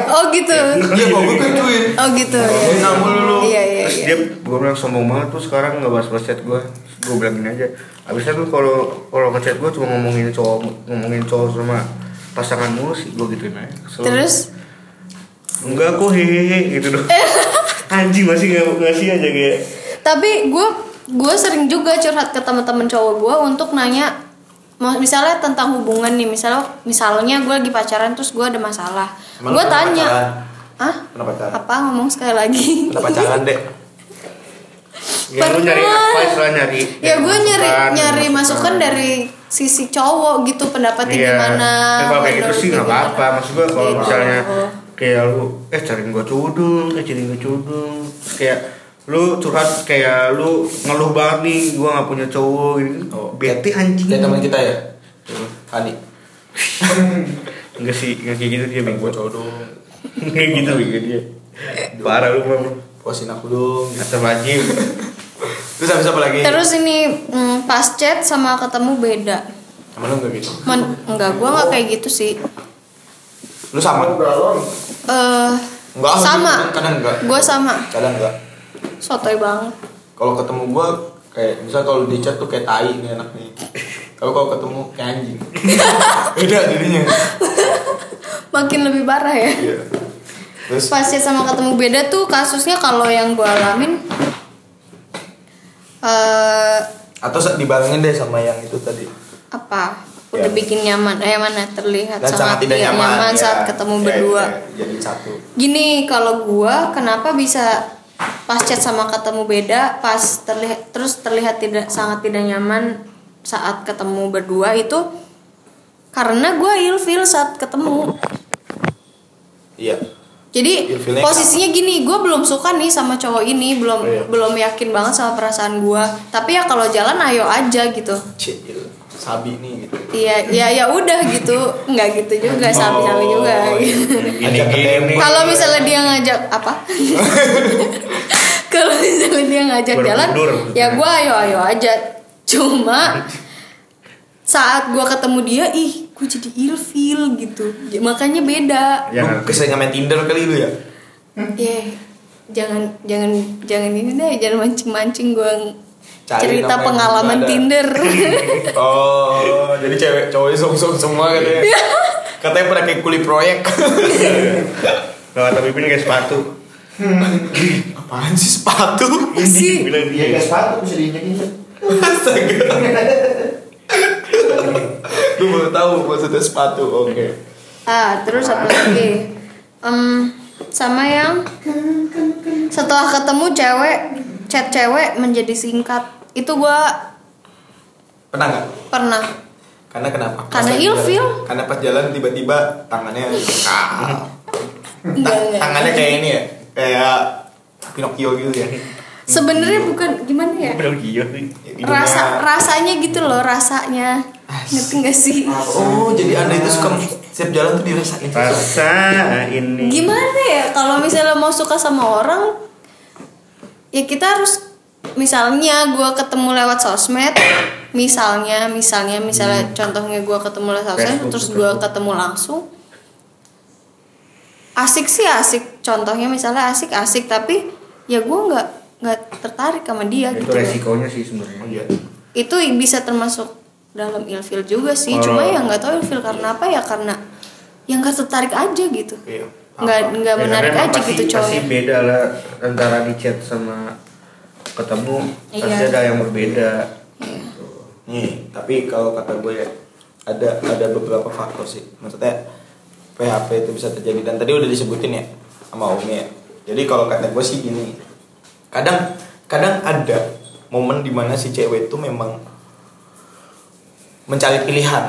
S3: oh gitu
S1: Iya kok gue kecuin.
S3: oh
S2: *laughs*
S3: gitu
S1: Zina mulu lu.
S3: iya iya
S2: terus
S3: iya
S2: dia gue bilang sombong banget tuh sekarang nggak bahas bahas chat gue gue bilangin aja abisnya tuh kalau kalau ke chat gue cuma ngomongin cowok ngomongin cowok sama pasangan mulu sih gue gituin aja Kesel.
S3: terus
S2: enggak kok hehehe gitu
S3: *laughs*
S2: doh anjing masih nggak ngasih aja kayak
S3: tapi gue gue sering juga curhat ke teman-teman cowok gue untuk nanya mau- misalnya tentang hubungan nih misalnya misalnya gue lagi pacaran terus gue ada masalah
S1: Emang
S3: gue
S1: lu pernah
S3: tanya
S1: pacaran?
S3: ah
S1: Pernah pacaran?
S3: apa Hmm. ngomong sekali lagi
S1: Pernah pacaran dek.
S2: ya lu nyari
S3: Pernah.
S2: advice lah nyari
S3: *laughs* ya gue nyari
S2: masukan,
S3: nyari masukan dari sisi cowok gitu pendapatnya
S2: Iya.
S3: gimana
S2: Ya, kalau kayak gitu
S3: menurut
S2: sih
S3: dia
S2: nggak
S3: gimana.
S2: apa-apa. Maksud gue kalau
S3: Gitu.
S2: misalnya kayak lu eh cariin gue cudul, eh cariin gue cudul, Terus kayak lu curhat kayak lu ngeluh banget nih gue nggak punya cowok gitu bete anjing
S1: Dia Oh,
S2: *laughs*
S1: teman kita ya. Hani.
S2: enggak sih enggak kayak gitu dia bego
S1: Gue cowok dong.
S2: kayak gitu bego dia
S1: Eh,
S2: parah lu mah
S1: Puasin aku dong.
S2: asal wajib
S1: Terus habis apa lagi?
S3: terus ini mm, pas chat sama ketemu beda
S1: Sama lu nggak gitu?
S3: Men- enggak gue nggak kayak gitu sih
S1: Lu sama?
S4: Galon.
S3: eh
S1: Enggak, kadang-
S3: sama
S1: kadang enggak.
S3: gue sama
S1: Kadang enggak.
S3: sotoy banget
S1: Kalau ketemu gua kayak misal kalau di chat tuh kayak tai nih enak nih. Tapi kalau ketemu kayak anjing. *laughs* Beda jadinya.
S3: makin lebih parah ya
S1: Iya. Terus
S3: pasnya sama ketemu beda tuh kasusnya kalau yang gue alamin eh
S1: atau sa- dibarengin deh sama yang itu tadi.
S3: apa udah
S1: Ya.
S3: bikin nyaman eh mana terlihat
S1: Dan sangat tidak
S3: tidak
S1: nyaman, ya.
S3: saat ketemu
S1: Ya,
S3: berdua
S1: ya, jadi satu.
S3: gini kalau gue kenapa bisa pas chat sama ketemu beda pas terlihat terus terlihat tidak sangat tidak nyaman saat ketemu berdua itu karena gue ilfil saat ketemu
S1: Iya.
S3: Jadi
S1: Ilfilnya
S3: posisinya gini, gue belum suka nih sama cowok ini, belum
S1: Oh, iya.
S3: belum yakin banget sama perasaan gue. Tapi ya kalau jalan ayo aja gitu.
S1: Cil. Sabi nih gitu.
S3: Iya, ya ya udah gitu, nggak gitu juga, sabi-sabi juga.
S1: Oh, iya.
S2: gini
S1: Ajak ke
S2: gini
S1: demo.
S3: *laughs* kalau misalnya dia ngajak apa? *laughs* kalau misalnya dia ngajak
S2: Gua udah
S3: jalan,
S2: mundur.
S3: ya gue ayo ayo aja. cuma saat gua ketemu dia ih gue jadi ilfil gitu J- makanya beda
S2: Ya,
S1: lu keseringan main Tinder kali lu ya?
S3: Yeh, Iya, jangan jangan jangan ini deh jangan mancing mancing gua
S1: Cari
S3: cerita
S1: nama yang
S3: pengalaman
S1: belum ada. *laughs*
S3: Tinder
S1: Oh, jadi cewek cowoknya song-song semua katanya.
S3: Iya.
S1: katanya pernah kayak kulit
S3: *laughs*
S1: proyek.
S2: Lewat tapi pipin kayak sepatu.
S1: Apaan sih sepatu?
S3: Apa sih?
S2: Bilang
S4: Iya
S2: dia
S4: kayak sepatu bisa diinjek-injek.
S1: Astaga. Lu baru tahu maksudnya sepatu. Oke.
S3: Ah, terus apa lagi? Em, sama yang setelah ketemu cewek, chat cewek menjadi singkat. Itu gua
S1: Pernah nggak?
S3: pernah.
S1: Karena kenapa?
S3: Karena
S1: Pas lagi
S3: ilfil.
S1: jalan- Karena pas jalan tiba-tiba tangannya Ah.
S3: Enggak,
S1: Ta-
S3: enggak.
S1: tangannya kayak ini ya. Kayak Pinocchio gitu
S3: Iya.
S1: ya.
S3: Sebenarnya bukan gimana ya?
S2: bilang "Iya, gila nih.
S1: Hidungnya-
S3: Rasa rasanya gitu loh, rasanya. Ngerti gak sih?
S1: Oh, jadi Anda itu suka
S3: Iya.
S1: setiap jalan tuh dirasain.
S2: Rasa ini.
S3: Gimana ya kalau misalnya mau suka sama orang ya kita harus misalnya gua ketemu lewat sosmed misalnya misalnya misalnya contohnya gua ketemu lewat sosmed
S2: Hmm. Facebook,
S3: terus
S2: Facebook.
S3: gua ketemu langsung asik sih asik contohnya misalnya asik asik tapi ya gua nggak nggak tertarik sama dia
S2: Itu
S3: gitu loh.
S2: resikonya sih sebenarnya.
S1: Iya.
S3: itu bisa termasuk dalam ilfil juga sih
S2: Kalau-
S3: cuma ya nggak tahu ilfil karena apa ya karena yang nggak tertarik aja gitu
S1: Iya.
S3: nggak nggak
S2: Ya,
S3: menarik
S2: karena emang
S3: aja
S2: pasti-
S3: gitu
S2: Pasti
S3: cowoknya
S2: beda lah antara di chat sama ketemu
S3: Iya.
S2: pasti ada yang berbeda.
S1: Nih, tapi kalau kata gue ya, ada ada beberapa faktor sih. Maksudnya PHP itu bisa terjadi dan tadi udah disebutin ya sama Umi ya. Jadi kalau kata gue sih gini, kadang kadang ada momen dimana si cewek itu memang mencari pilihan.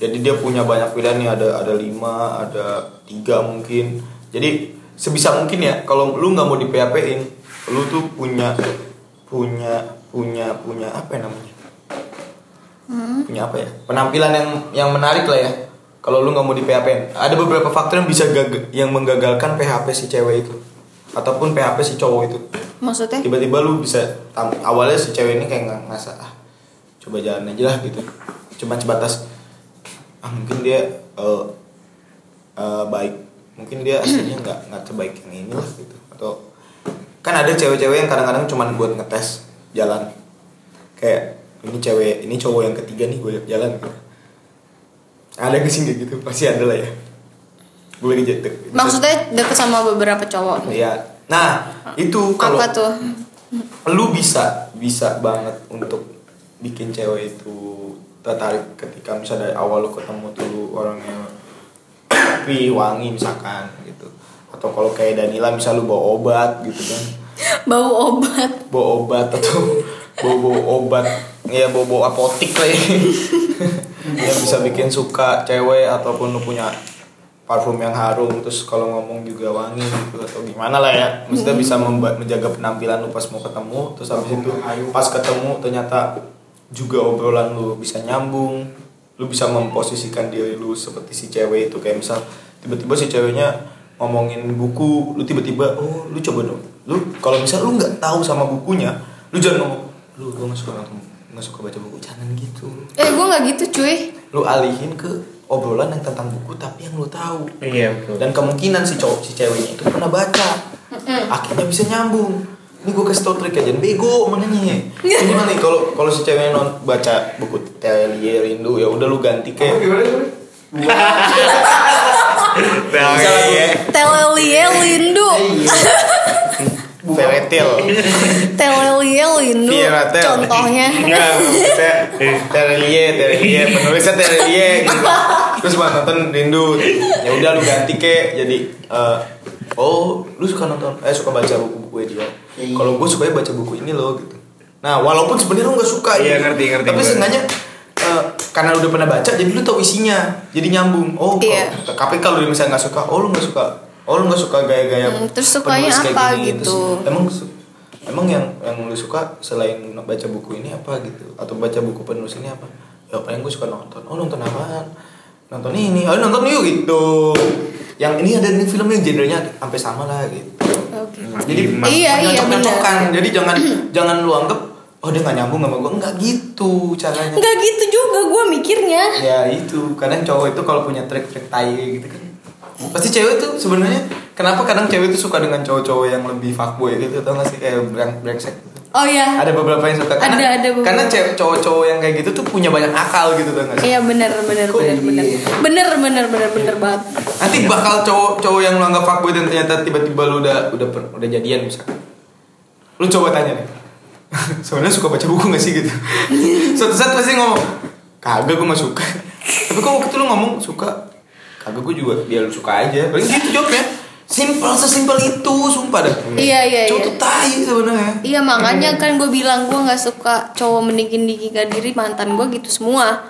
S1: Jadi dia punya banyak pilihan nih ada ada lima, ada tiga mungkin. Jadi sebisa mungkin ya kalau lu nggak mau di PHP-in, lu tuh punya punya punya punya apa ya namanya? punya apa ya penampilan yang yang menarik lah ya kalau lu nggak mau di PHP ada beberapa faktor yang bisa gag- yang menggagalkan PHP si cewek itu ataupun PHP si cowok itu
S3: maksudnya
S1: tiba-tiba lu bisa tam- awalnya si cewek ini kayak nggak ngerasa ah coba jalan aja lah gitu cuma sebatas ah mungkin dia eh, eh, baik mungkin dia aslinya nggak nggak sebaik yang ini lah gitu atau kan ada cewek-cewek yang kadang-kadang cuma buat ngetes jalan kayak ini cewek ini cowok yang ketiga nih gue ajak jalan gitu. ada gak sih kayak gitu pasti ada lah ya gue lagi jatuh
S3: maksudnya deket sama beberapa cowok
S1: Iya. nah itu kalau
S3: apa tuh
S1: lu bisa bisa banget untuk bikin cewek itu tertarik ketika misalnya dari awal lu ketemu tuh lu orangnya tapi wangi misalkan gitu atau kalau kayak Danila misal lu bawa obat gitu kan
S3: bau obat
S1: bawa obat atau *laughs* bawa bawa obat ya bawa bawa apotik lah ya yang bisa bikin suka cewek ataupun lu punya parfum yang harum terus kalau ngomong juga wangi gitu atau gimana lah ya maksudnya bisa memba- menjaga penampilan lu pas mau ketemu terus habis itu pas ketemu ternyata juga obrolan lu bisa nyambung lu bisa memposisikan diri lu seperti si cewek itu kayak misal tiba-tiba si ceweknya ngomongin buku lu tiba-tiba oh lu coba dong lu kalau misal lu nggak tahu sama bukunya lu jangan ngomong lu gue nggak suka nggak suka baca buku jangan gitu
S3: eh gue nggak gitu cuy
S1: lu alihin ke obrolan yang tentang buku tapi yang lu tahu
S2: Iya betul.
S1: dan kemungkinan si cowok si ceweknya itu pernah baca akhirnya bisa nyambung ini gue kasih tau trik aja bego makanya ini mah nih kalau kalau si ceweknya non baca buku Telie Rindu ya udah lu ganti
S2: Iya.
S4: Apa
S1: kayak
S2: Nah,
S4: Oh, gimana gimana?
S1: Bisa lagu-
S2: iya.
S3: telelie lindu
S1: fairy tale Iya,
S3: telelie lindu
S1: Fairy tale.
S3: contohnya
S1: Enggak, maksudnya
S2: Eh,
S1: Terelie, Terelie, penulisnya Terelie gitu. Terus bang nonton rindu. Ya udah lu ganti ke jadi eh, oh lu suka nonton eh suka baca buku-buku dia. Kalau gue sukanya baca buku ini loh gitu. Nah walaupun sebenarnya lu nggak suka
S2: Iya,
S1: gitu.
S2: ngerti, ngerti
S1: Tapi
S2: gue.
S1: seenggaknya eh, karena lu udah pernah baca jadi lu tau isinya jadi nyambung oh
S3: Iya.
S1: kalau- tapi kalau lu misalnya nggak suka oh lu nggak suka oh lu nggak suka gaya-gaya
S3: Hmm, terus
S1: penulis
S3: sukanya
S1: kayak
S3: apa
S1: gini.
S3: gitu.
S1: Terus, emang su- emang yang yang lu suka selain baca buku ini apa gitu atau baca buku penulis ini apa ya paling gue suka nonton oh nonton apaan nonton ini oh nonton yuk gitu yang ini ada nih filmnya genrenya sampai sama lah gitu
S3: Oke.
S1: jadi
S2: Emang-
S3: Iya, iya,
S1: nyocokan
S3: benar.
S1: jadi jangan jangan lu anggap oh dia nggak nyambung sama gue nggak gitu caranya
S3: Nggak gitu juga gue mikirnya
S1: ya itu kadang cowok itu kalau punya trik-trik tai gitu kan pasti cewek tuh sebenarnya kenapa kadang cewek tuh suka dengan cowok-cowok yang lebih fuckboy gitu tau gak sih kayak breng- brengsek gitu.
S3: Oh iya
S1: ada beberapa yang suka
S3: Ada,
S1: karena,
S3: ada beberapa.
S1: karena cewek cowok-cowok yang kayak gitu tuh punya banyak akal gitu tau gak sih
S3: Iya bener bener
S1: Kok
S3: bener
S1: ini?
S3: bener Bener bener bener bener banget
S1: nanti bakal cowok-cowok yang lu anggap fuckboy dan ternyata tiba-tiba lu udah udah per- udah jadian misalkan lu coba tanya deh *laughs* sebenarnya suka baca buku gak sih gitu suatu saat pasti ngomong kagak gue gak suka tapi kok waktu itu lu ngomong suka kagak gue juga dia lu suka aja paling gitu jawabnya simple sesimpel itu sumpah dah
S3: Iya, iya,
S1: cowok
S3: iya.
S1: tuh tai sebenarnya
S3: Iya makanya kan gue bilang gue nggak suka cowok meninggikan diri mantan gue gitu semua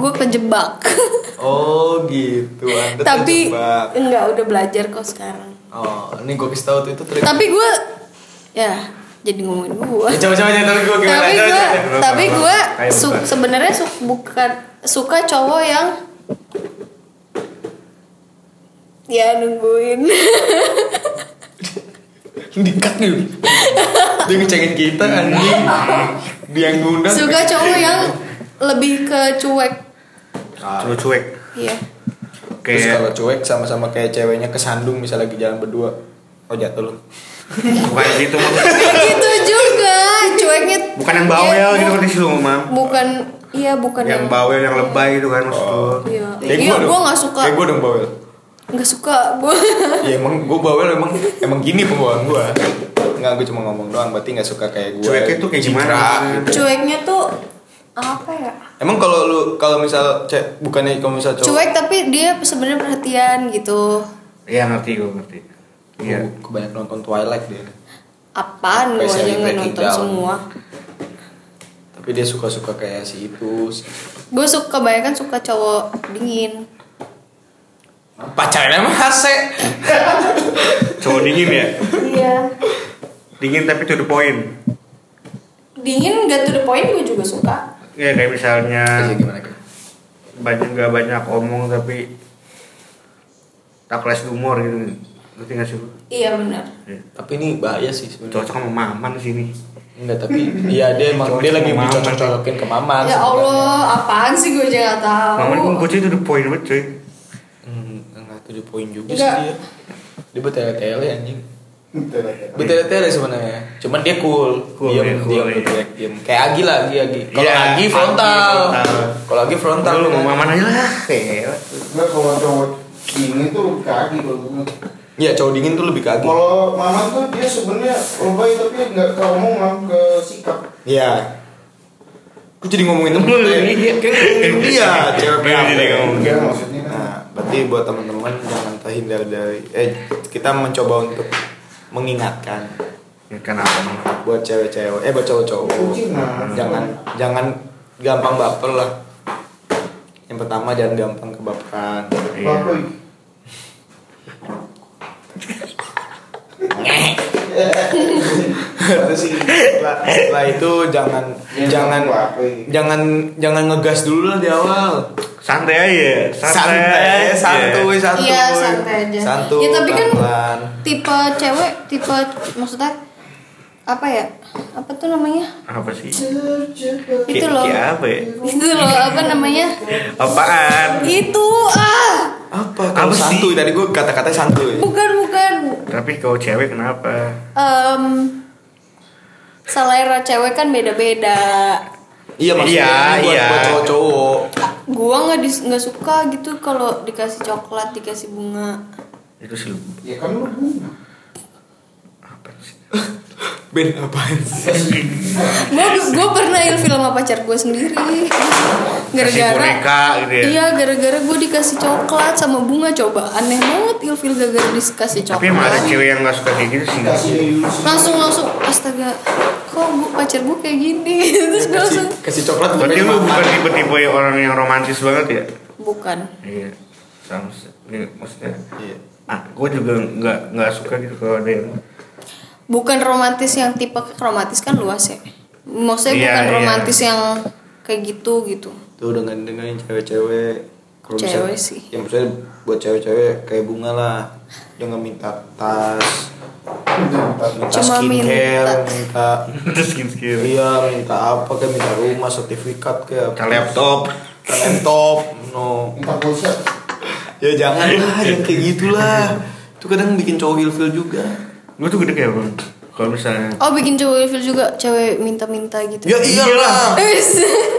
S3: Gue kejebak *laughs*
S1: oh gitu Anda
S3: Tapi
S1: terjebak.
S3: enggak udah belajar kok sekarang
S1: oh ini gue kasih tau tuh itu trik
S3: Tapi gue ya jadi ngomongin gue
S1: Ya, coba-coba aja tapi gue gimana
S3: tapi
S1: Coba,
S3: gue
S1: coba, coba.
S3: tapi gue
S2: Ayo,
S3: su-
S2: bukan.
S3: sebenarnya su- bukan suka cowok yang ya nungguin
S1: Dikat nih Dia ngecengin kita anjing Dia yang ngundang
S3: suka cowok yang lebih ke cuek
S2: Cuma cuek.
S3: iya
S1: Terus kalau
S2: Kayak
S1: cuek sama-sama kayak ceweknya kesandung Misalnya lagi jalan berdua Oh jatuh lu
S2: bukan gitu maksudnya.
S3: Nggak gitu juga cueknya
S2: Bukan yang bawel
S3: Iya,
S2: gitu
S3: bu-
S2: kan di situ mam.
S3: bukan iya bukan
S2: Yang bawel yang lebay gitu kan maksud lu.
S3: iya iya gue nggak suka
S1: Ya gue dong bawel
S3: nggak suka gue
S1: Ya emang gue bawel emang Emang gini pembawaan gue Enggak gue cuma ngomong doang Berarti gak suka kayak gue
S2: Cueknya tuh kayak gimana?
S3: cueknya tuh apa ya
S1: Emang kalau lu Kalau misal cek Bukannya kalau misal cowok
S3: cuek tapi dia sebenarnya perhatian gitu
S2: Iya ngerti gue ngerti. Iya.
S1: Gua- gua banyak nonton Twilight dia
S3: apaan gue
S1: Spesial
S3: aja nggak
S1: Breaking
S3: nonton
S1: Down.
S3: semua
S1: Tapi dia suka-suka kayak si itu si-
S3: gue suka kebanyakan suka cowok dingin
S1: Pacarnya mah hase
S2: Cowok dingin ya.
S3: iya
S2: Dingin tapi to the point.
S3: dingin gak to the point gue juga suka
S2: Ya kayak misalnya
S1: Iya, gimana Kak?
S2: banyak gak banyak omong tapi tak kelas humor gitu. Ngerti gak sih? lu?
S3: iya benar
S2: Iya.
S1: Tapi ini bahaya sih sebenarnya.
S2: Cocok sama maman sini.
S1: Enggak, tapi iya dia emang dia lagi
S2: Cocok sama
S1: dicocok-cocokin ke mama.
S3: ya allah apaan sih gue aja nggak tahu
S2: Maman gue gue to the point banget cuy.
S1: Hmm, enggak tujuh poin juga
S3: Enggak.
S1: sih dia. Dia bertele-tele anjing.
S4: Betul.
S1: Bertele-tele sebenarnya. Cuman dia cool.
S2: Cool,
S1: diam,
S2: dia cool,
S1: diam,
S2: iya.
S1: berteriak, diam. Kayak Agi lah, Agi, Agi. Kalau
S2: Iya,
S1: Agi
S2: Agi
S1: frontal.
S2: frontal.
S1: Kalau Agi frontal.
S2: Lu mau
S1: kan?
S2: maman aja lah. Kayak
S4: Nah, kalau cowok ini tuh kaki kalau gue.
S1: Iya, cowok dingin tuh lebih ke Agi.
S4: Kalau mama tuh dia sebenarnya lebay tapi nggak ke omongan ke sikap.
S1: Iya. Gue jadi ngomongin temen
S2: Lu
S1: gue.
S2: ini-
S1: Iya, Kayak ngomongin dia, cewek
S2: Lu jadi
S1: PHP.
S2: ngomong.
S4: Enggak maksudnya kan.
S1: Nah, berarti buat teman-teman jangan terhindar dari eh kita mencoba untuk mengingatkan
S2: Ya kenapa Mam?
S1: buat cewek-cewek eh buat cowok-cowok
S4: Kucing, nah.
S1: jangan jangan gampang baper lah. Yang pertama jangan gampang kebaperan.
S2: Iya.
S4: Bapak.
S1: Itu sih. Setelah, setelah itu jangan
S4: Ya,
S1: jangan
S4: apa ini?
S1: jangan jangan ngegas dulu lah di awal.
S2: Santai aja.
S1: Santai, santuy,
S2: Iya.
S1: santuy.
S3: Iya, santai aja.
S1: Santuy.
S3: Ya, tapi kan-
S1: pelan-pelan.
S3: tipe cewek tipe maksudnya apa ya apa tuh namanya
S2: Apa sih?
S3: itu
S2: Ki-
S3: loh
S2: ki apa ya?
S3: itu loh apa namanya
S2: Apaan?
S3: itu ah
S1: apa? Kalau
S2: Apa sih?
S1: santuy tadi gue kata-kata santuy.
S3: bukan bukan
S2: Tapi kalau cewek kenapa?
S3: Em selera cewek kan beda-beda
S1: Iya maksudnya
S2: Iya,
S1: ini buat,
S2: iya.
S1: buat cowok-cowok.
S3: gua nggak dis- nggak suka gitu kalau dikasih coklat dikasih bunga
S2: Itu sih lu.
S4: Ya kan lu bunga.
S2: apa sih?
S1: Ben apaan sih?
S3: gua gua pernah ilfil sama pacar gua sendiri
S2: Kasih
S3: gara-gara
S2: boneka gitu ya.
S3: iya gara-gara gua dikasih coklat sama bunga coba aneh banget ilfil gara-gara dikasih
S2: Tapi emang ada
S3: coklat
S2: cewek yang gak suka kayak gitu sih.
S4: Kasih ilusi.
S3: langsung langsung astaga kok gua, pacar gua kayak gini *laughs* terus
S1: Kasih,
S3: gua langsung
S1: kasih coklat bukan
S2: Berarti lu
S1: dimakan.
S2: bukan tipe-tipe orang yang romantis banget ya?
S3: bukan
S2: Iya. Sama sih. Ini maksudnya.
S1: Iya.
S2: Ah, gue juga nggak nggak suka gitu kalau ada yang *laughs*
S3: bukan romantis yang tipe romantis kan luas ya maksudnya
S2: Iya,
S3: bukan
S2: iya.
S3: romantis yang kayak gitu gitu
S1: Tuh dengan dengerin cewek-cewek kalau
S3: Cewek
S1: bisa-
S3: sih.
S1: Yang maksudnya buat cewek-cewek kayak bunga lah jangan minta tas minta
S3: Cuma
S1: skincare
S3: minta-
S1: minta
S2: terus gitu, skin skin
S1: iya minta apa kayak minta rumah sertifikat kayak
S2: ke laptop
S1: minta laptop no
S4: minta pulsa
S1: ya jangan lah yang kayak gitulah itu kadang bikin cowok ilfil juga
S2: lu tuh gede kayak bang kalau misalnya
S3: Oh bikin cewek ilfil juga cewek minta-minta gitu.
S1: ya iyalah
S3: Wis.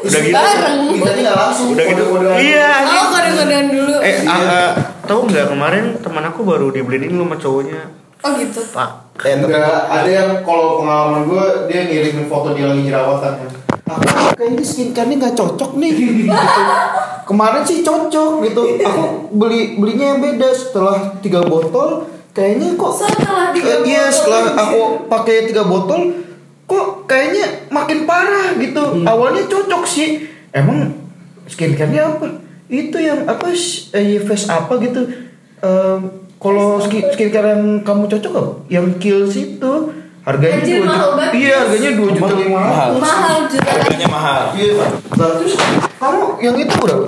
S2: Udah gitu.
S3: Bareng.
S4: mintanya nggak langsung
S2: udah gitu
S4: kode-kodean.
S2: iya
S3: Oh kode-kodean dulu.
S2: eh ah, ah, tahu nggak kemarin teman aku baru dibeliin lu sama cowoknya
S3: Oh gitu.
S2: pak
S1: Eh, tapi-
S4: Enggak, ada yang kalau pengalaman gue dia ngirimin foto dia lagi jerawatan ya. Ah, kayaknya skincare-nya nggak cocok nih. gitu. Kemarin sih cocok gitu. Aku beli belinya yang beda setelah tiga botol. Kayaknya kok
S3: Setelah tiga
S4: Eh, Iya,
S3: botol.
S4: setelah aku pakai tiga botol kok kayaknya makin parah gitu. Awalnya cocok sih. Emang skincare-nya apa? Itu yang apa sih, eh, face apa gitu. Em, kalau skin skincare yang kamu cocok apa? Yang Kills itu harganya
S3: Anjir,
S4: dua
S3: mahal
S4: juta.
S3: banget.
S4: Iya, harganya dua juta lima
S1: Mahal.
S3: Mahal juga.
S1: harganya mahal
S4: Iya, Nah, terus kamu yang itu berapa?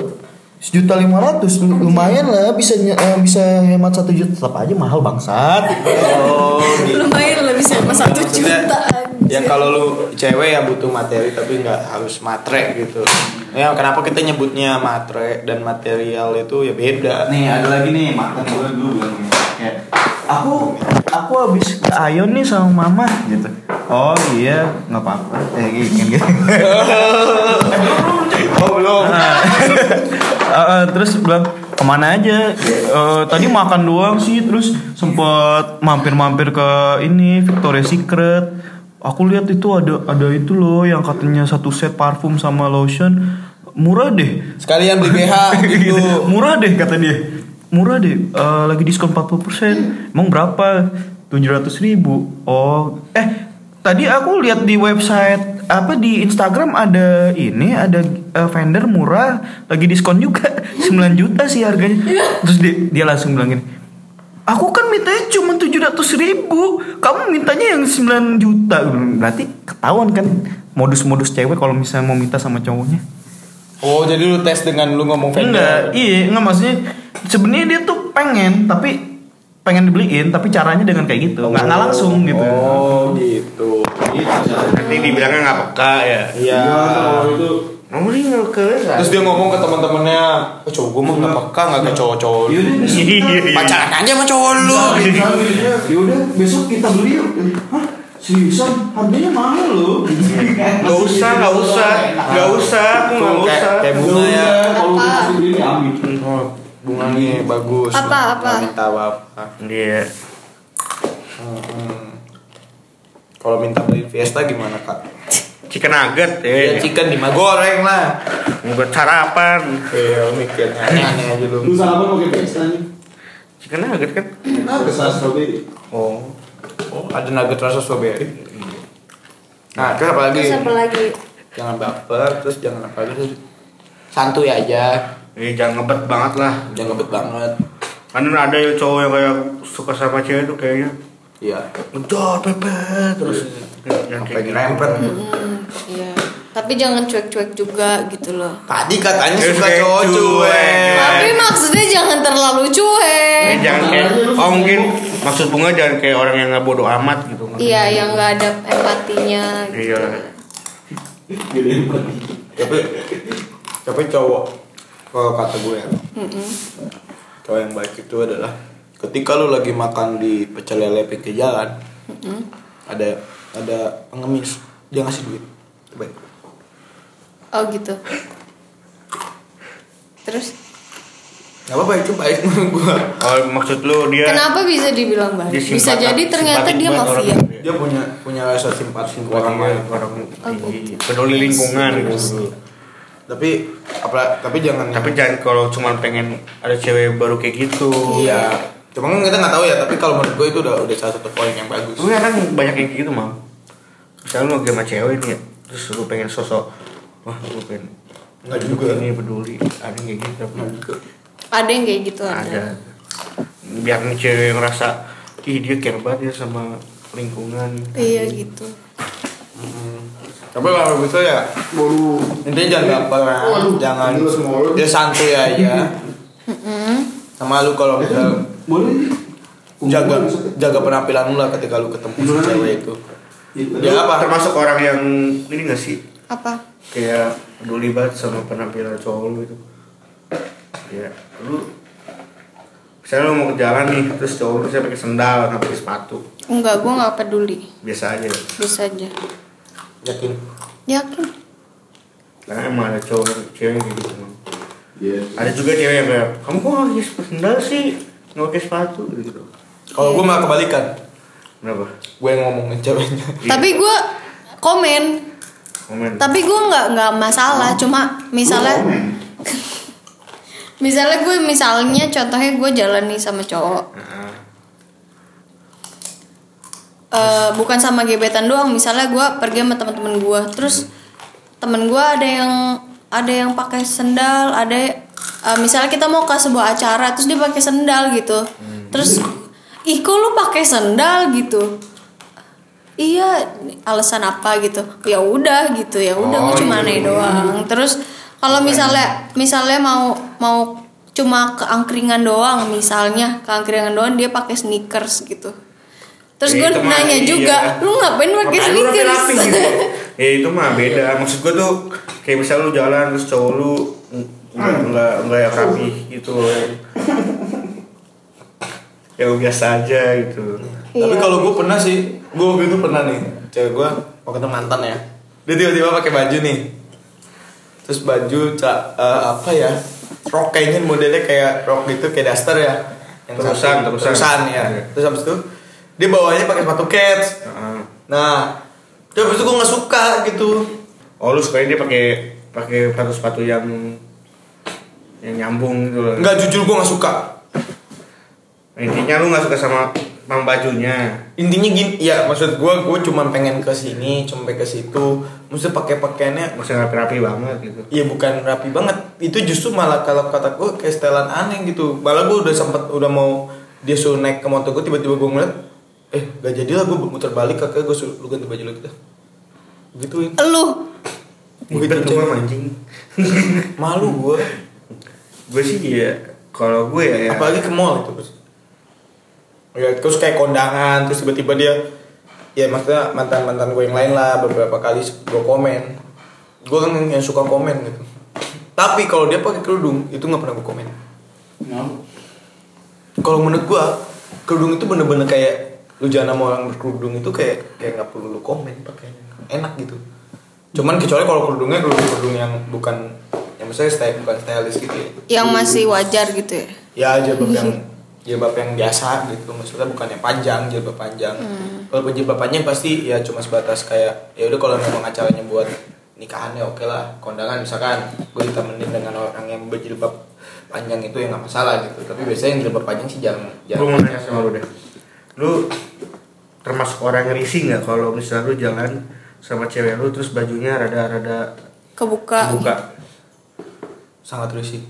S4: Sejuta lima ratus lumayan lah bisa nye- eh, bisa hemat satu juta tetap aja mahal bangsat.
S1: oh gitu
S3: Lumayan lebih sama satu
S1: Maksudnya,
S3: juta.
S1: yang kalau lu cewek ya butuh materi tapi nggak harus matre gitu ya kenapa kita nyebutnya matre dan material itu ya beda
S4: Nih ada lagi nih mantan gue dulu bilang gini, kayak, aku aku habis ke Ayon nih sama mama gitu. Oh iya nggak apa-apa. Eh gini gini. *laughs*
S1: oh belum
S4: Eh, terus bilang kemana aja? Eh, tadi makan doang sih. Terus sempet mampir-mampir ke ini Victoria Secret. Aku lihat itu ada ada itu loh yang katanya satu set parfum sama lotion murah deh.
S1: sekalian beli BH
S4: Gitu.
S1: *laughs* gitu
S4: Murah deh kata dia. Murah deh. eh, lagi diskon 40%. Emang berapa? 700 ribu. Oh, eh tadi aku lihat di website apa di Instagram ada ini ada eh, vendor murah lagi diskon juga *laughs* 9 juta sih harganya. Terus dia, dia langsung bilang gini, Aku kan mintanya cuma 700 ribu Kamu mintanya yang 9 juta Berarti ketahuan kan Modus-modus cewek kalau misalnya mau minta sama cowoknya
S1: oh jadi lu tes dengan lu ngomong
S4: Enggak,
S1: vendor
S4: iya, enggak maksudnya sebenarnya dia tuh pengen tapi pengen dibeliin tapi caranya dengan kayak gitu. Enggak enggak langsung gitu.
S1: oh gitu
S2: nanti dibilangnya nggak peka ya
S1: iya
S2: kamu sih nggak ke
S1: terus dia ngomong ke teman-temannya oh, cowok gue mah nggak peka nggak kayak cowok-cowok
S4: Iya,
S1: lu."
S2: Iya,
S1: pacaran aja sama cowok lu
S4: Yaudah, Iya, besok kita beli yuk. Hah? Seriusan? Harganya mahal loh. gitu
S2: nggak usah nggak usah nggak usah aku nggak
S1: Tuh, kayak
S2: usah Hmm.
S1: kayak bunga ya
S3: Apa?
S1: Oh, bunga nih bagus
S3: Apa,
S1: Nggak
S3: apa?
S1: minta apa
S2: iya
S1: Hmm. Kalau minta beli Fiesta gimana kak?
S2: chicken nugget
S1: Ya
S2: eh
S1: chicken lima goreng lah.
S2: mau buat sarapan
S1: Iya mikirnya aneh aja lu.
S4: sarapan pakai pesta nih.
S2: chicken nugget kan
S4: Apa strawberry?
S1: Oh, oh ada nugget rasa
S2: Iya.
S1: strawberry. Nah terus apa lagi?
S3: Terus apa lagi?
S1: Jangan baper, terus jangan apa lagi? terus Santuy aja,
S2: eh jangan ngebet banget lah
S1: jangan ngebet banget.
S2: kan ada ya cowok yang kayak suka sama cewek tuh kayaknya
S1: Iya.
S2: ngedor pepet terus yang
S1: Sampai
S2: kayak gitu.
S1: ngerempet.
S3: Hmm, Iya. Tapi jangan cuek-cuek juga gitu loh.
S1: Tadi katanya
S2: Terus
S1: suka
S2: kayak
S1: cowok
S2: cuek.
S1: cuek.
S3: Tapi maksudnya jangan terlalu
S2: Eh,
S3: cuek.
S2: jangan kayak oh mungkin maksud bunga jangan kayak orang yang nggak bodoh amat gitu
S3: Iya, yang nggak ada empatinya. gitu.
S2: iya
S1: Tapi tapi cowok kalau kata gue ya. Cowok yang baik itu adalah ketika lu lagi makan di pecel lele pinggir jalan, ada ada pengemis dia ngasih duit. Itu baik.
S3: Oh gitu. Terus
S1: Gak apa-apa itu baik *laughs* menurut gue.
S2: oh maksud lu dia
S3: kenapa bisa dibilang baik?
S2: Dia
S3: Bisa
S2: simpatik-
S3: jadi ternyata
S2: simpatik
S3: dia
S2: banget
S3: mafia.
S2: orang. gitu.
S1: Dia punya punya rasa simpati ke orang lain.
S2: orang
S3: Oh, gitu.
S2: peduli lingkungan gitu.
S1: Tapi apa tapi jangan
S2: Tapi jangan kalau cuma pengen ada cewek baru kayak gitu.
S1: iya. Cuma kan kita nggak tahu ya, tapi kalau menurut gue itu udah udah salah satu poin yang bagus.
S2: Tapi kan banyak yang kayak gitu, Mam. Misalnya lu lagi sama cewek nih ya, terus lu pengen sosok wah lu pengen
S1: Nggak juga.
S2: ini peduli ada yang kayak gitu tapi
S1: Nah.
S3: Ada yang kayak gitu ada.
S2: ada biar nih cewek ngerasa ih dia care banget ya sama lingkungan
S3: Iya gitu.
S1: Tapi kalau gitu ya
S4: Baru
S1: Intinya jangan baper,
S4: Waduh,
S1: jangan
S4: gila semua orang.
S1: dia santuy aja. sama lu kalau misal
S5: boleh
S1: jaga
S5: Umur bisa.
S1: jaga penampilan lu lah ketika lu ketemu si
S5: Gimana?
S1: cewek itu
S5: Iya.
S1: Ya, apa?
S2: termasuk orang yang ini gak sih
S3: apa
S2: kayak peduli banget sama penampilan cowok lu itu ya lu misalnya lu mau ke jalan nih terus cowok lu saya pakai sendal nggak pakai sepatu
S3: enggak gue nggak peduli
S2: biasa aja
S3: bisa aja
S1: yakin
S3: yakin
S2: karena emang ada cowok cewek yang kayak gitu emang.
S5: Iya.
S2: ada juga cewek yang kayak kamu kok nggak pakai sendal sih nggak pakai sepatu gitu
S1: kalau gue malah kebalikan
S2: kenapa
S1: gue yang ngomongin ceweknya
S3: tapi gue komen
S2: komen
S3: tapi gue nggak nggak masalah cuma misalnya misalnya gue misalnya contohnya gue jalan nih sama cowok
S2: Nah,
S3: Eh, bukan sama gebetan doang misalnya gue pergi sama teman-teman gue terus temen gue ada yang ada yang pakai sendal ada eh, misalnya kita mau ke sebuah acara terus dia pakai sendal gitu terus ih kok lu pakai sendal gitu iya alasan apa gitu ya udah gitu ya udah gue cuma aneh doang terus kalau misalnya misalnya mau mau cuma ke angkringan doang misalnya ke angkringan doang dia pakai sneakers gitu terus
S2: ya
S3: gue
S2: itu mah,
S3: nanya
S2: iya.
S3: juga lu ngapain pakai
S2: Makanya lu
S3: sneakers
S2: rapi-rapi
S3: *laughs*
S2: gitu. ya itu mah beda maksud gue tuh kayak misalnya lu jalan terus cowok lu ng- nggak nggak nggak yang rapi gitu ya biasa aja gitu
S1: tapi
S3: Iya.
S1: kalau gue pernah sih gue waktu itu pernah nih cewek gue waktu itu mantan ya dia tiba-tiba pakai baju nih terus baju ca- eh, apa ya rok kayaknya modelnya kayak rok gitu kayak daster ya
S2: Terusan,
S1: satu-
S2: terusan.
S1: ya
S2: Iya.
S1: terus habis itu dia bawanya pakai sepatu cats
S2: Heeh.
S1: nah terus habis itu gue nggak suka gitu
S2: oh lu sukanya dia pakai pakai sepatu sepatu yang yang nyambung gitu loh
S1: nggak jujur gue nggak suka
S2: intinya lu nggak suka sama sama bajunya
S1: intinya gini ya maksud gue gue cuma pengen ke sini cuma pengen ke situ maksudnya pakai pakaiannya
S2: maksudnya rapi-rapi banget gitu
S1: ya bukan rapi banget itu justru malah kalau kata gue kayak setelan aneh gitu malah gue udah sempet udah mau dia suruh naik ke motor gue tiba-tiba gue ngeliat eh gak jadi lah gue muter balik kakek gue suruh lu ganti baju Gitu, lu gitu gituin
S3: lu
S2: ribet
S1: Begitu,
S2: cuma
S1: Cek.
S2: mancing
S1: gitu, malu gue
S2: gue sih ya kalau gue ya, ya
S1: apalagi ke mall gitu terus ya terus kayak kondangan terus tiba-tiba dia ya maksudnya mantan mantan gue yang lain lah beberapa kali gue komen gue kan yang yang suka komen gitu tapi kalau dia pakai kerudung itu nggak pernah gue komen kalau menurut gua kerudung itu bener-bener kayak lu jangan sama orang berkerudung itu kayak kayak nggak perlu lu komen pakainya enak gitu cuman kecuali kalau kerudungnya kerudung kerudung yang bukan yang misalnya style bukan stylist gitu ya
S3: yang masih wajar gitu ya
S1: ya jilbab yang jilbab yang biasa gitu maksudnya bukan yang panjang jilbab panjang kalau jilbab panjang pasti ya cuma sebatas kayak ya udah kalau memang acaranya buat nikahannya oke lah kondangan misalkan gue ditemenin dengan orang yang berjilbab panjang itu ya nggak masalah gitu tapi biasanya yang jilbab panjang sih jarang
S2: gue
S1: jarang
S2: mau nanya sama lu deh lu termasuk orang yang risih nggak kalau misalnya lu jalan sama cewek lu terus bajunya rada-rada
S3: kebuka
S2: buka
S1: sangat risih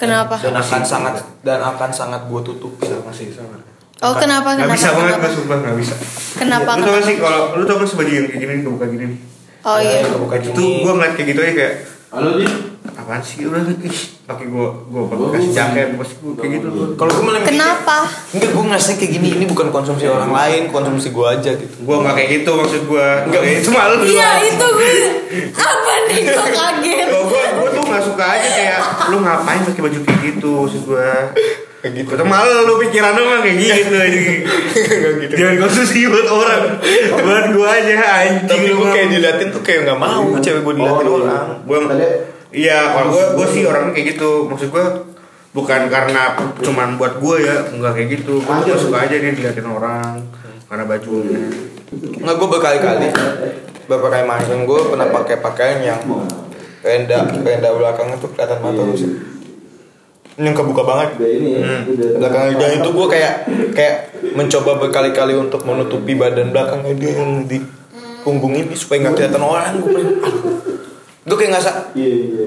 S3: kenapa
S1: dan akan sangat dan akan sangat gue tutupin
S2: sama sih sama
S3: oh kenapa
S2: nggak
S3: kenapa
S2: bisa banget
S3: kenapa?
S2: gue sumpah nggak bisa
S3: Kenapa?
S2: lu tau gak sih kalau lu tau gak sih baju yang kayak gini kebuka gini
S3: oh iya
S1: Ya, kebuka
S2: itu
S1: gini.
S2: gue ngeliat kayak gitu aja kayak
S5: Halo Din.
S2: apaan sih udah ih pakai gue gue
S5: Gua-
S2: kasih
S5: gua-
S2: jaket pasti gue kayak gitu
S1: kalau gue malah mikir,
S3: kenapa
S1: enggak gue ngerasa kayak gini ini bukan konsumsi orang lain konsumsi gue aja gitu
S2: gue nggak kayak gitu maksud gue nggak itu malu
S3: Iya itu gue apa nih kok kaget?
S2: Kalau gue gue tuh nggak suka aja kayak lu ngapain pakai baju kayak gitu maksud gue. Kayak gitu. Tuh malu lu pikiran lu mah kayak gitu. gitu. Jangan konsumsi buat orang. buat gue aja anjing
S1: tapi
S2: lu
S1: gue
S2: mah.
S1: kayak diliatin tuh kayak nggak mau cewek gue diliatin
S5: Oh, iya.
S1: orang
S2: Gue iya kalau gue gue sih orangnya kayak gitu maksud gue bukan karena cuman buat gue ya nggak kayak gitu gue tuh nggak suka aja nih diliatin orang karena bajunya
S1: nggak gue berkali-kali beberapa kali mantan gue pernah pakai pakaian yang renda renda belakangnya tuh kelihatan mata lu sih Ini yang kebuka banget
S5: Udah ini ya. Udah
S1: Hmm. belakang dan itu gue kayak kayak mencoba berkali-kali untuk menutupi badan belakangnya dia yang di punggung ini supaya nggak kelihatan orang gue gue kayak nggak sa-
S5: Iya iya iya.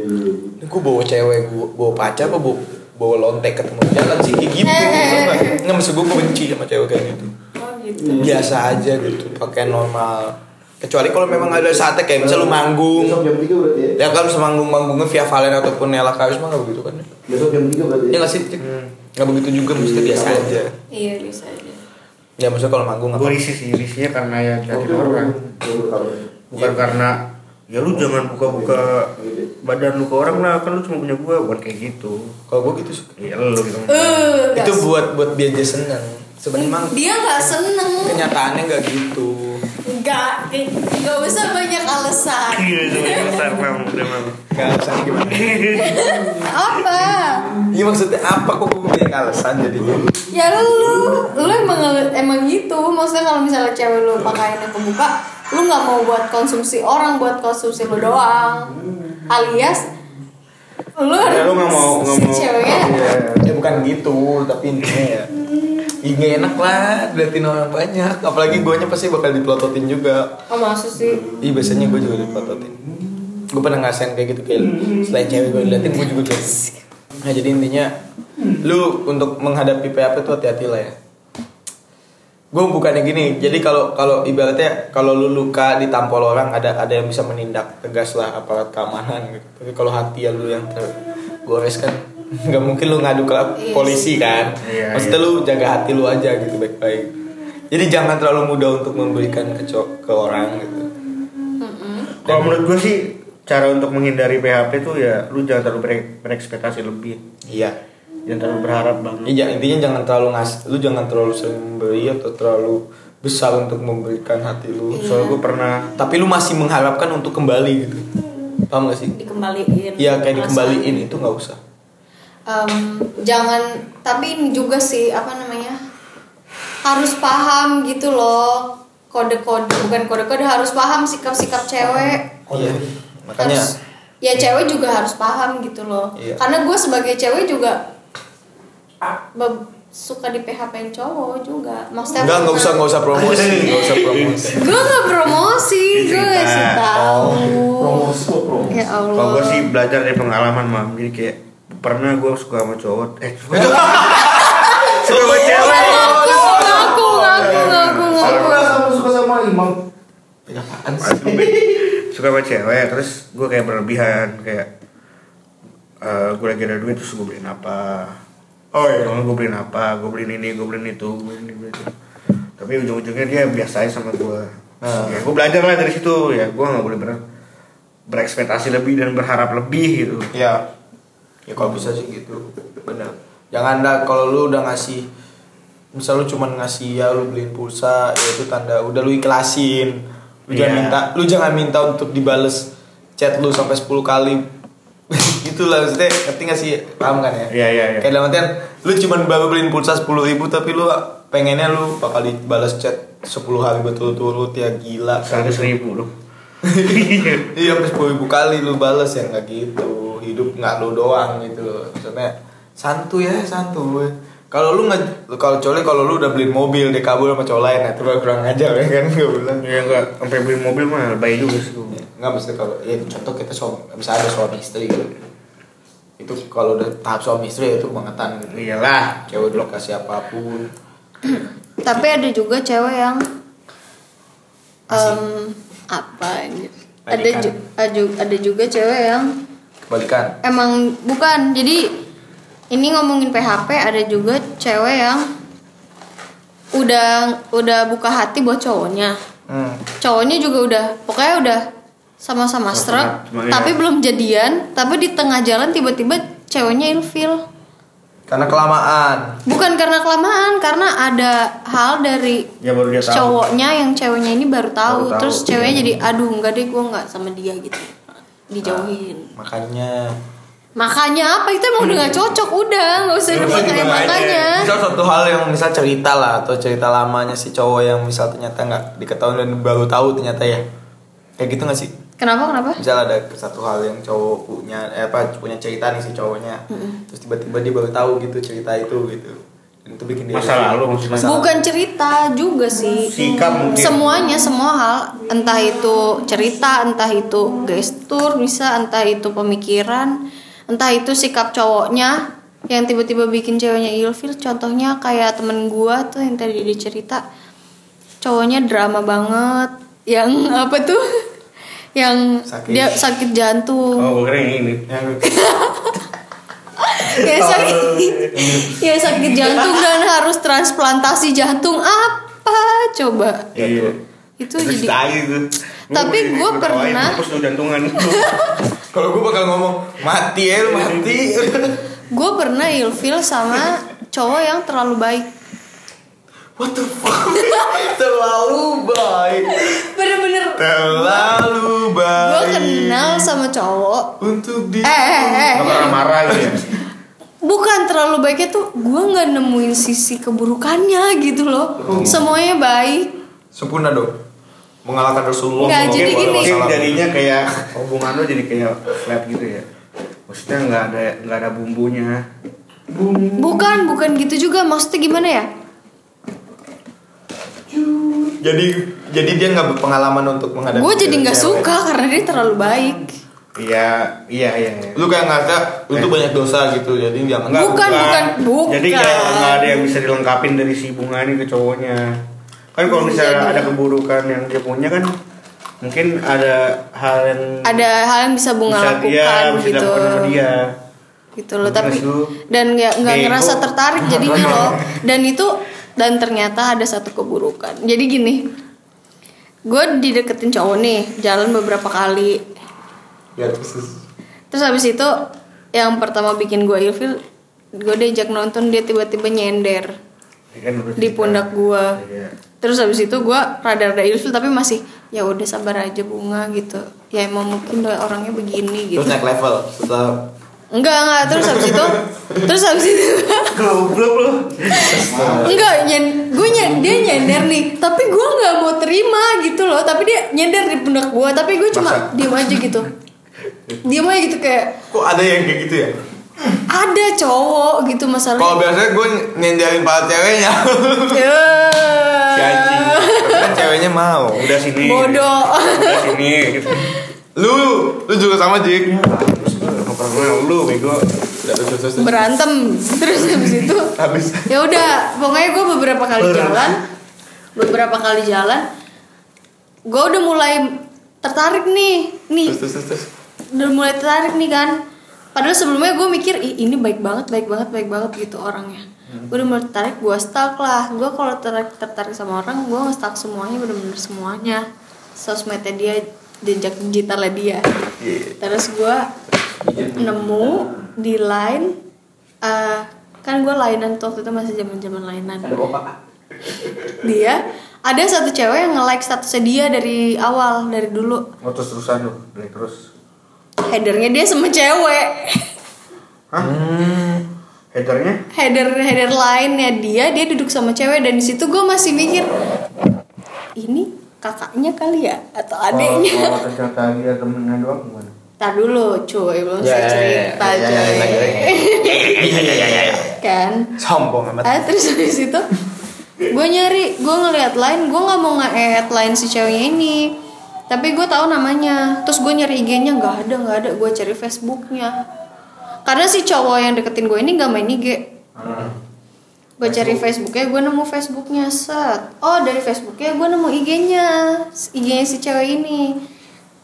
S1: ini gue bawa cewek gue bawa pacar apa bawa, bawa lontek ketemu di jalan sih kayak gitu nggak maksud gue benci sama cewek kayak gitu biasa aja gitu pakai normal kecuali kalau memang ada saatnya kayak misalnya lu manggung
S5: Iya. Besok jam 3 berarti ya.
S1: ya kan harus manggung manggungnya via Valen ataupun Nela Karisma nggak begitu kan ya
S5: Besok jam 3 berarti.
S1: Iya
S5: Ya.
S1: nggak sih Cik? nggak begitu juga maksudnya biasa aja
S3: iya bisa aja
S1: ya maksudnya kalau manggung
S2: gue
S1: apa
S2: risih sih risihnya karena ya
S5: Oke,
S2: nyakitin orang
S5: oke, oke.
S2: bukan karena ya lu jangan buka-buka badan lu ke orang lah kan lu cuma punya gue bukan kayak gitu
S1: kalau gue gitu suka
S2: ya lu gitu
S3: Eh, nggak
S1: itu
S3: se-
S1: buat buat dia aja seneng sebenarnya emang
S3: dia nggak seneng
S1: kenyataannya nggak gitu
S3: nggak nggak usah banyak alasan
S2: iya itu besar mam udah mam
S1: nggak alasannya gimana
S3: apa
S1: iya maksudnya apa kok gue punya alasan jadinya
S3: ya lu lu emang emang gitu maksudnya kalau misalnya cewek lu pakaiannya kebuka lu nggak mau buat konsumsi orang buat konsumsi lu doang alias lu
S2: ya lu nggak mau nggak
S3: si
S2: mau
S3: ceweknya
S2: Iya.
S1: ya bukan gitu tapi intinya ya Iya enak lah diliatin orang banyak apalagi guanya pasti bakal dipelototin juga
S3: oh, maksud sih
S1: Ih Iya, biasanya gue juga dipelototin Gue pernah ngerasain kayak gitu kayak Selain cewek gue diliatin gue juga diliatin Nah jadi intinya Lu untuk menghadapi PHP tuh hati-hati lah ya Gue bukannya gini Jadi kalau kalau ibaratnya Kalau lu luka ditampol orang Ada ada yang bisa menindak tegas lah aparat keamanan gitu Tapi kalau hati ya lu yang tergores kan *laughs* Gak mungkin lu ngadu ke
S3: Iya
S1: polisi kan
S2: Iya,
S1: Maksudnya lu jaga hati lu aja gitu baik-baik Jadi jangan terlalu mudah untuk memberikan ke, co- ke orang gitu
S2: kalau menurut gue sih cara untuk menghindari PHP tuh ya lu jangan terlalu bere- berekspektasi lebih
S1: Iya.
S2: jangan terlalu berharap banget
S1: Iya, intinya jangan terlalu ngas, lu jangan terlalu sering memberi atau terlalu besar untuk memberikan hati lu.
S2: soalnya gue pernah
S1: Tapi lu masih mengharapkan untuk kembali gitu. Paham gak sih?
S3: dikembaliin
S1: Iya, kayak
S3: perasaan.
S1: dikembaliin itu nggak usah.
S3: Em, jangan tapi ini juga sih apa namanya harus paham gitu loh kode-kode bukan kode-kode harus paham sikap-sikap cewek
S1: Iya. Makanya
S3: harus, ya cewek juga harus paham gitu loh
S1: Iya.
S3: karena gue sebagai cewek juga be- suka di PHP cowok juga maksudnya
S1: enggak nggak usah nggak usah promosi, nggak usah promosi.
S3: gue nggak promosi
S2: Ini
S3: gue nggak sih
S2: cerita.
S1: Oh,
S3: tahu
S5: Promosi kok promosi.
S3: ya Allah
S2: kalau gue sih belajar dari pengalaman mam jadi kayak pernah gue suka sama cowok eh suka suka sama cewek
S3: ngaku ngaku
S1: Iya,
S3: ngaku ngaku
S5: Saya
S3: ngaku
S5: pernah sama suka sama imam.
S2: Aduh, Be. suka sama cewek terus gue kayak berlebihan kayak eh gue lagi ada duit terus gue beliin apa oh iya gue beliin apa gue beliin ini gue beliin itu gue beliin ini beliin itu tapi ujung-ujungnya dia biasain sama gue
S1: Ah.
S2: ya, gue belajar lah dari situ ya gue nggak boleh ber berekspektasi lebih dan berharap lebih gitu
S1: Iya. Ya kalau bisa sih gitu. Benar. Jangan dah kalau lu udah ngasih misal lu cuman ngasih ya lu beliin pulsa ya itu tanda udah lu ikhlasin. Lu jangan
S2: Iya.
S1: minta lu jangan minta untuk dibales chat lu sampai 10 kali. *laughs* Itulah maksudnya ngerti gak sih paham kan ya?
S2: Iya, iya, iya.
S1: Kayak dalam artian lu cuman baru beliin pulsa 10.000 ribu tapi lu pengennya lu bakal dibalas chat 10 hari berturut-turut ya gila
S2: seratus ribu loh
S1: Iya, sampai sepuluh ribu kali lu bales ya nggak gitu. Hidup nggak lu doang gitu loh. Maksudnya santuy ya santuy. Kalau lu nggak, kalau coli kalau lu udah beli mobil dia kabur sama cowok lain, nah, itu baru kurang aja ya kan gue bilang.
S2: ya nggak sampai beli mobil mah lebay juga sih gua.
S1: Nggak mesti kalau, ya contoh kita suami, misalnya ada suami istri gitu. Itu kalau udah tahap suami istri ya itu bangetan gitu.
S2: iyalah
S1: Cewek dulu kasih apapun.
S3: tapi ada juga cewek yang em apa aja ada
S1: Majikan.
S3: ju- aju- ada juga cewek yang
S1: Kebalikan.
S3: emang bukan jadi ini ngomongin PHP ada juga cewek yang udah udah buka hati buat cowoknya
S1: Hmm.
S3: cowoknya juga udah pokoknya udah
S2: Sama-sama,
S3: sama-sama stroke
S2: cuma ya.
S3: tapi belum jadian tapi di tengah jalan tiba-tiba ceweknya ilfil
S1: Karena kelamaan.
S3: bukan karena kelamaan karena ada hal dari
S2: ya baru dia tahu
S3: cowoknya yang ceweknya ini baru tahu,
S2: Baru tahu,
S3: terus
S2: iya.
S3: ceweknya jadi aduh enggak deh gue nggak sama dia gitu dijauhin
S1: Makanya
S3: makanya apa itu emang udah nggak cocok udah nggak usah dipakai makanya
S1: misal satu hal yang misal cerita lah atau cerita lamanya si cowok yang misal ternyata nggak diketahui dan baru tahu ternyata ya kayak gitu nggak sih
S3: kenapa kenapa
S1: misal ada satu hal yang cowok punya eh, apa punya cerita nih si cowoknya terus tiba-tiba dia baru tahu gitu cerita itu gitu dan itu bikin dia
S2: masa lalu maksudnya
S3: bukan cerita juga sih
S2: Sikap mungkin.
S3: semuanya semua hal entah itu cerita entah itu gestur bisa entah itu pemikiran entah itu sikap cowoknya yang tiba-tiba bikin ceweknya ilfil contohnya kayak temen gua tuh yang tadi dia cerita cowoknya drama banget yang *laughs* apa tuh yang
S1: Sakit.
S3: dia sakit jantung
S2: oh gue kira yang ini
S1: Yang-
S3: ya
S2: *laughs*
S3: sakit ya sakit jantung dan harus transplantasi jantung apa coba
S2: Iya.
S3: itu
S2: Terus
S3: jadi
S2: tai tuh.
S3: Tapi
S2: Gua
S3: gua
S2: ketawain,
S3: pernah-
S2: mampus lu jantungan.
S1: Kalau gue bakal ngomong mati ya, lu
S2: *laughs*
S1: mati.
S3: gue pernah ilfil sama cowok yang terlalu baik
S1: What the fuck? *laughs* Terlalu baik.
S3: bener-bener
S1: Terlalu baik.
S3: gue kenal sama cowok
S1: untuk di
S3: eh eh eh
S2: Gak pernah marah gitu
S3: *laughs*
S2: ya.
S3: bukan terlalu baiknya tuh gue nggak nemuin sisi keburukannya gitu loh
S2: Oh.
S3: semuanya baik
S1: sempurna dong. Mengalahkan Rasulullah.
S3: Nggak,
S1: Nggak
S3: jadi gini.
S2: Mungkin jadinya kayak hubungan lu jadi kayak flat gitu ya. Maksudnya nggak ada nggak ada bumbunya.
S3: bukan bukan gitu juga maksudnya gimana ya
S1: Jadi jadi dia nggak berpengalaman untuk menghadapi.
S3: gue jadi nggak
S1: cewek.
S3: suka karena dia terlalu baik
S2: Iya iya iya. iya.
S1: Lu kayak ngerasa lu tuh banyak dosa gitu. Jadi jangan
S3: Bukan, bukan, bukan.
S2: Jadi kayak nggak ada yang bisa dilengkapin dari si bunga ini ke cowoknya. Kan kalau misalnya
S3: Jadi.
S2: ada keburukan yang dia punya kan mungkin ada hal yang
S3: ada hal yang bisa bunga
S2: bisa
S3: lakukan
S2: dia, bisa
S3: gitu
S2: dilakukan sama dia.
S3: gitu loh
S2: Terus
S3: tapi
S2: lu-
S3: dan nggak nggak
S2: Nih,
S3: ngerasa
S2: lu-
S3: tertarik
S2: *laughs*
S3: jadinya loh dan itu dan ternyata ada satu keburukan jadi gini gue dideketin cowok nih jalan beberapa kali
S1: Ya terus
S3: terus habis itu yang pertama bikin gue ilfil gue diajak nonton dia tiba-tiba nyender
S2: Ya kan, lu
S3: di
S2: cerita.
S3: pundak gue
S2: Iya.
S3: terus habis itu gue rada-rada ilfil tapi masih ya udah sabar aja bunga gitu ya emang mungkin dia orangnya begini gitu
S1: terus naik level setelah
S3: Enggak, enggak. Terus habis itu, terus habis itu *laughs*
S2: Goblok lu.
S3: enggak nyen, gue nyen, dia nyender nih, tapi gue nggak mau terima gitu loh. Tapi dia nyender di pundak gue, tapi gue cuma diem aja gitu. Diem aja gitu kayak
S1: kok ada yang kayak gitu ya?
S3: ada cowok gitu
S1: Kalau
S3: masalahnya.
S1: biasanya gue nyenderin kepala
S3: *laughs*
S1: ceweknya
S3: Ya.
S2: Si anjing.
S1: Kan ceweknya mau
S2: Udah sini.
S3: Bodoh. *laughs*
S2: Udah sini. Gitu.
S1: Lu, lu juga sama Jik
S2: Ngobrol gue sama lu bego.
S1: Ya, terus, terus, terus.
S3: Berantem. Terus habis itu
S1: Habis
S3: ya udah pokoknya gue beberapa kali jalan beberapa kali jalan gue udah mulai tertarik nih nih
S1: Terus, terus, terus, terus.
S3: udah mulai tertarik nih kan padahal sebelumnya gue mikir "Ih, ini baik banget baik banget baik banget gitu orangnya gue udah mulai tertarik gue stalk lah gue kalau tertarik tertarik sama orang gue nge-stalk semuanya bener-bener semuanya sosmednya dia jejak digitalnya dia terus gue nemu di line eh, kan gue lainan tuh waktu itu masih zaman zaman lainan dia ada satu cewek yang nge-like statusnya dia dari awal dari dulu
S2: Oh terus terusan lu. Beli terus.
S3: headernya dia sama cewek
S2: Hah?
S3: Hmm.
S2: Headernya?
S3: header header lainnya dia dia duduk sama cewek dan di situ gue masih mikir ini kakaknya kali ya atau
S1: Oh,
S3: adiknya *laughs*
S2: Kalau ternyata dia temennya doang gimana?
S3: Tar dulu cuy belum
S1: Ya,
S3: saya
S1: ya,
S3: cerita
S1: ya, ya, ya,
S3: cuy.
S1: ya,
S3: *laughs* kan
S1: Sombong amat
S3: ah, terus dari situ gue nyari gue ngeliat lain gue nggak mau nge-add lain si ceweknya ini tapi gue tahu namanya terus gue nyari IG-nya nggak ada nggak ada gue cari Facebooknya karena si cowok yang deketin gue ini nggak main IG gue cari Facebooknya gue nemu Facebooknya set oh dari Facebooknya gue nemu IG-nya IG-nya si cewek ini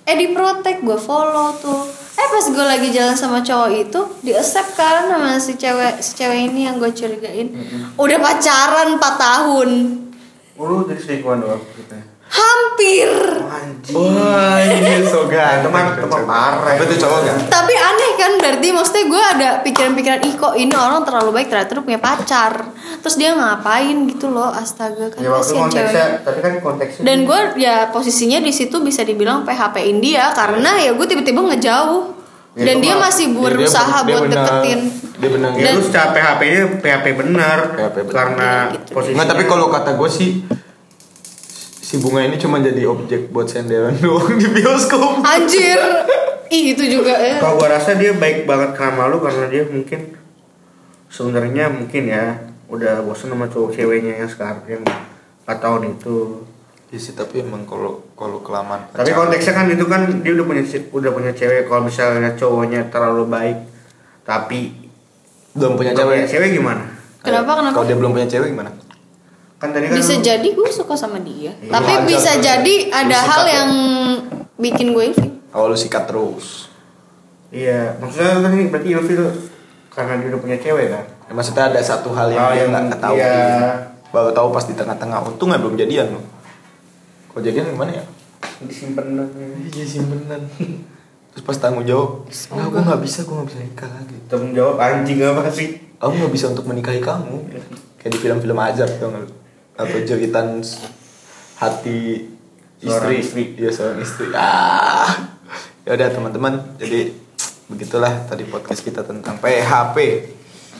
S3: eh di protect gue follow tuh eh pas gue lagi jalan sama cowok itu di accept kan sama si cewek si cewek ini yang gue curigain udah pacaran 4 tahun
S2: Oh, lu jadi selingkuhan doang gitu ya?
S3: hampir
S2: Anjing.
S1: Wah, ini so ganteng
S2: Teman, teman parah.
S1: kan, Tapi tuh cowok gak?
S3: tapi aneh kan berarti maksudnya gue ada pikiran-pikiran ih kok ini orang terlalu baik ternyata dia punya pacar terus dia ngapain gitu loh astaga kan
S2: Ya waktu
S3: kasihan
S2: konteksnya,
S3: ceweknya
S2: tapi kan konteksnya
S3: dan gue ya posisinya di situ bisa dibilang PHP India karena ya gue tiba-tiba ngejauh
S2: Ya,
S3: dan
S2: itu
S3: dia
S2: mah-
S3: masih
S1: Dia-
S3: berusaha
S1: dia- dia
S3: buat
S1: benar-
S3: deketin
S1: Dia benar
S2: Ya
S3: Dan-
S2: lu secara PHP-nya PHP benar
S1: PHP benar.
S2: karena
S3: Gitu.
S2: posisi.
S1: Nggak, tapi kalau kata gue sih Si bunga ini cuma jadi objek buat senderan *laughs* doang di bioskop
S3: anjir ih itu juga ya
S2: kalau gua rasa dia baik banget sama lu karena dia mungkin sebenarnya mungkin ya udah bosen sama cowok ceweknya yang sekarang yang 4 tahun itu.
S1: Iya sih, tapi emang kalau kalau kelamaan
S2: Tapi konteksnya kan itu kan dia udah punya ce- udah punya cewek kalau misalnya cowoknya terlalu baik tapi
S1: Belum punya
S2: udah
S1: cewek
S2: cewek gimana?
S3: Kenapa,
S1: Ayo,
S3: kenapa?
S1: Kalau dia belum punya cewek gimana?
S2: Kan tadi kan
S3: bisa
S2: lu-
S3: jadi gue suka sama dia
S2: Iya,
S3: tapi
S1: wajar
S3: bisa
S1: tuh.
S3: jadi ada
S1: Lu
S3: hal
S1: suka tuh.
S3: yang bikin gue ilfil
S1: Kalau lu sikat terus
S2: Iya, maksudnya kan ini berarti ilfil karena dia udah punya cewek kan
S1: Ya, maksudnya ada satu hal yang
S2: Oh,
S1: dia
S2: yang-
S1: nggak ketahui
S2: iya.
S1: baru tahu pas di tengah-tengah untung nggak belum jadian loh kalau jadian gimana ya
S2: disimpan
S1: iya simpenan terus pas tanggung jawab nggak gue nggak bisa gue nggak bisa nikah lagi
S2: tanggung jawab anjing apa sih
S1: aku nggak bisa untuk menikahi kamu kayak di film-film ajar tuh nggak lu? atau jeritan s- hati istri
S2: Seorang istri.
S1: iya seorang istri ah ya udah teman-teman jadi begitulah tadi podcast kita tentang PHP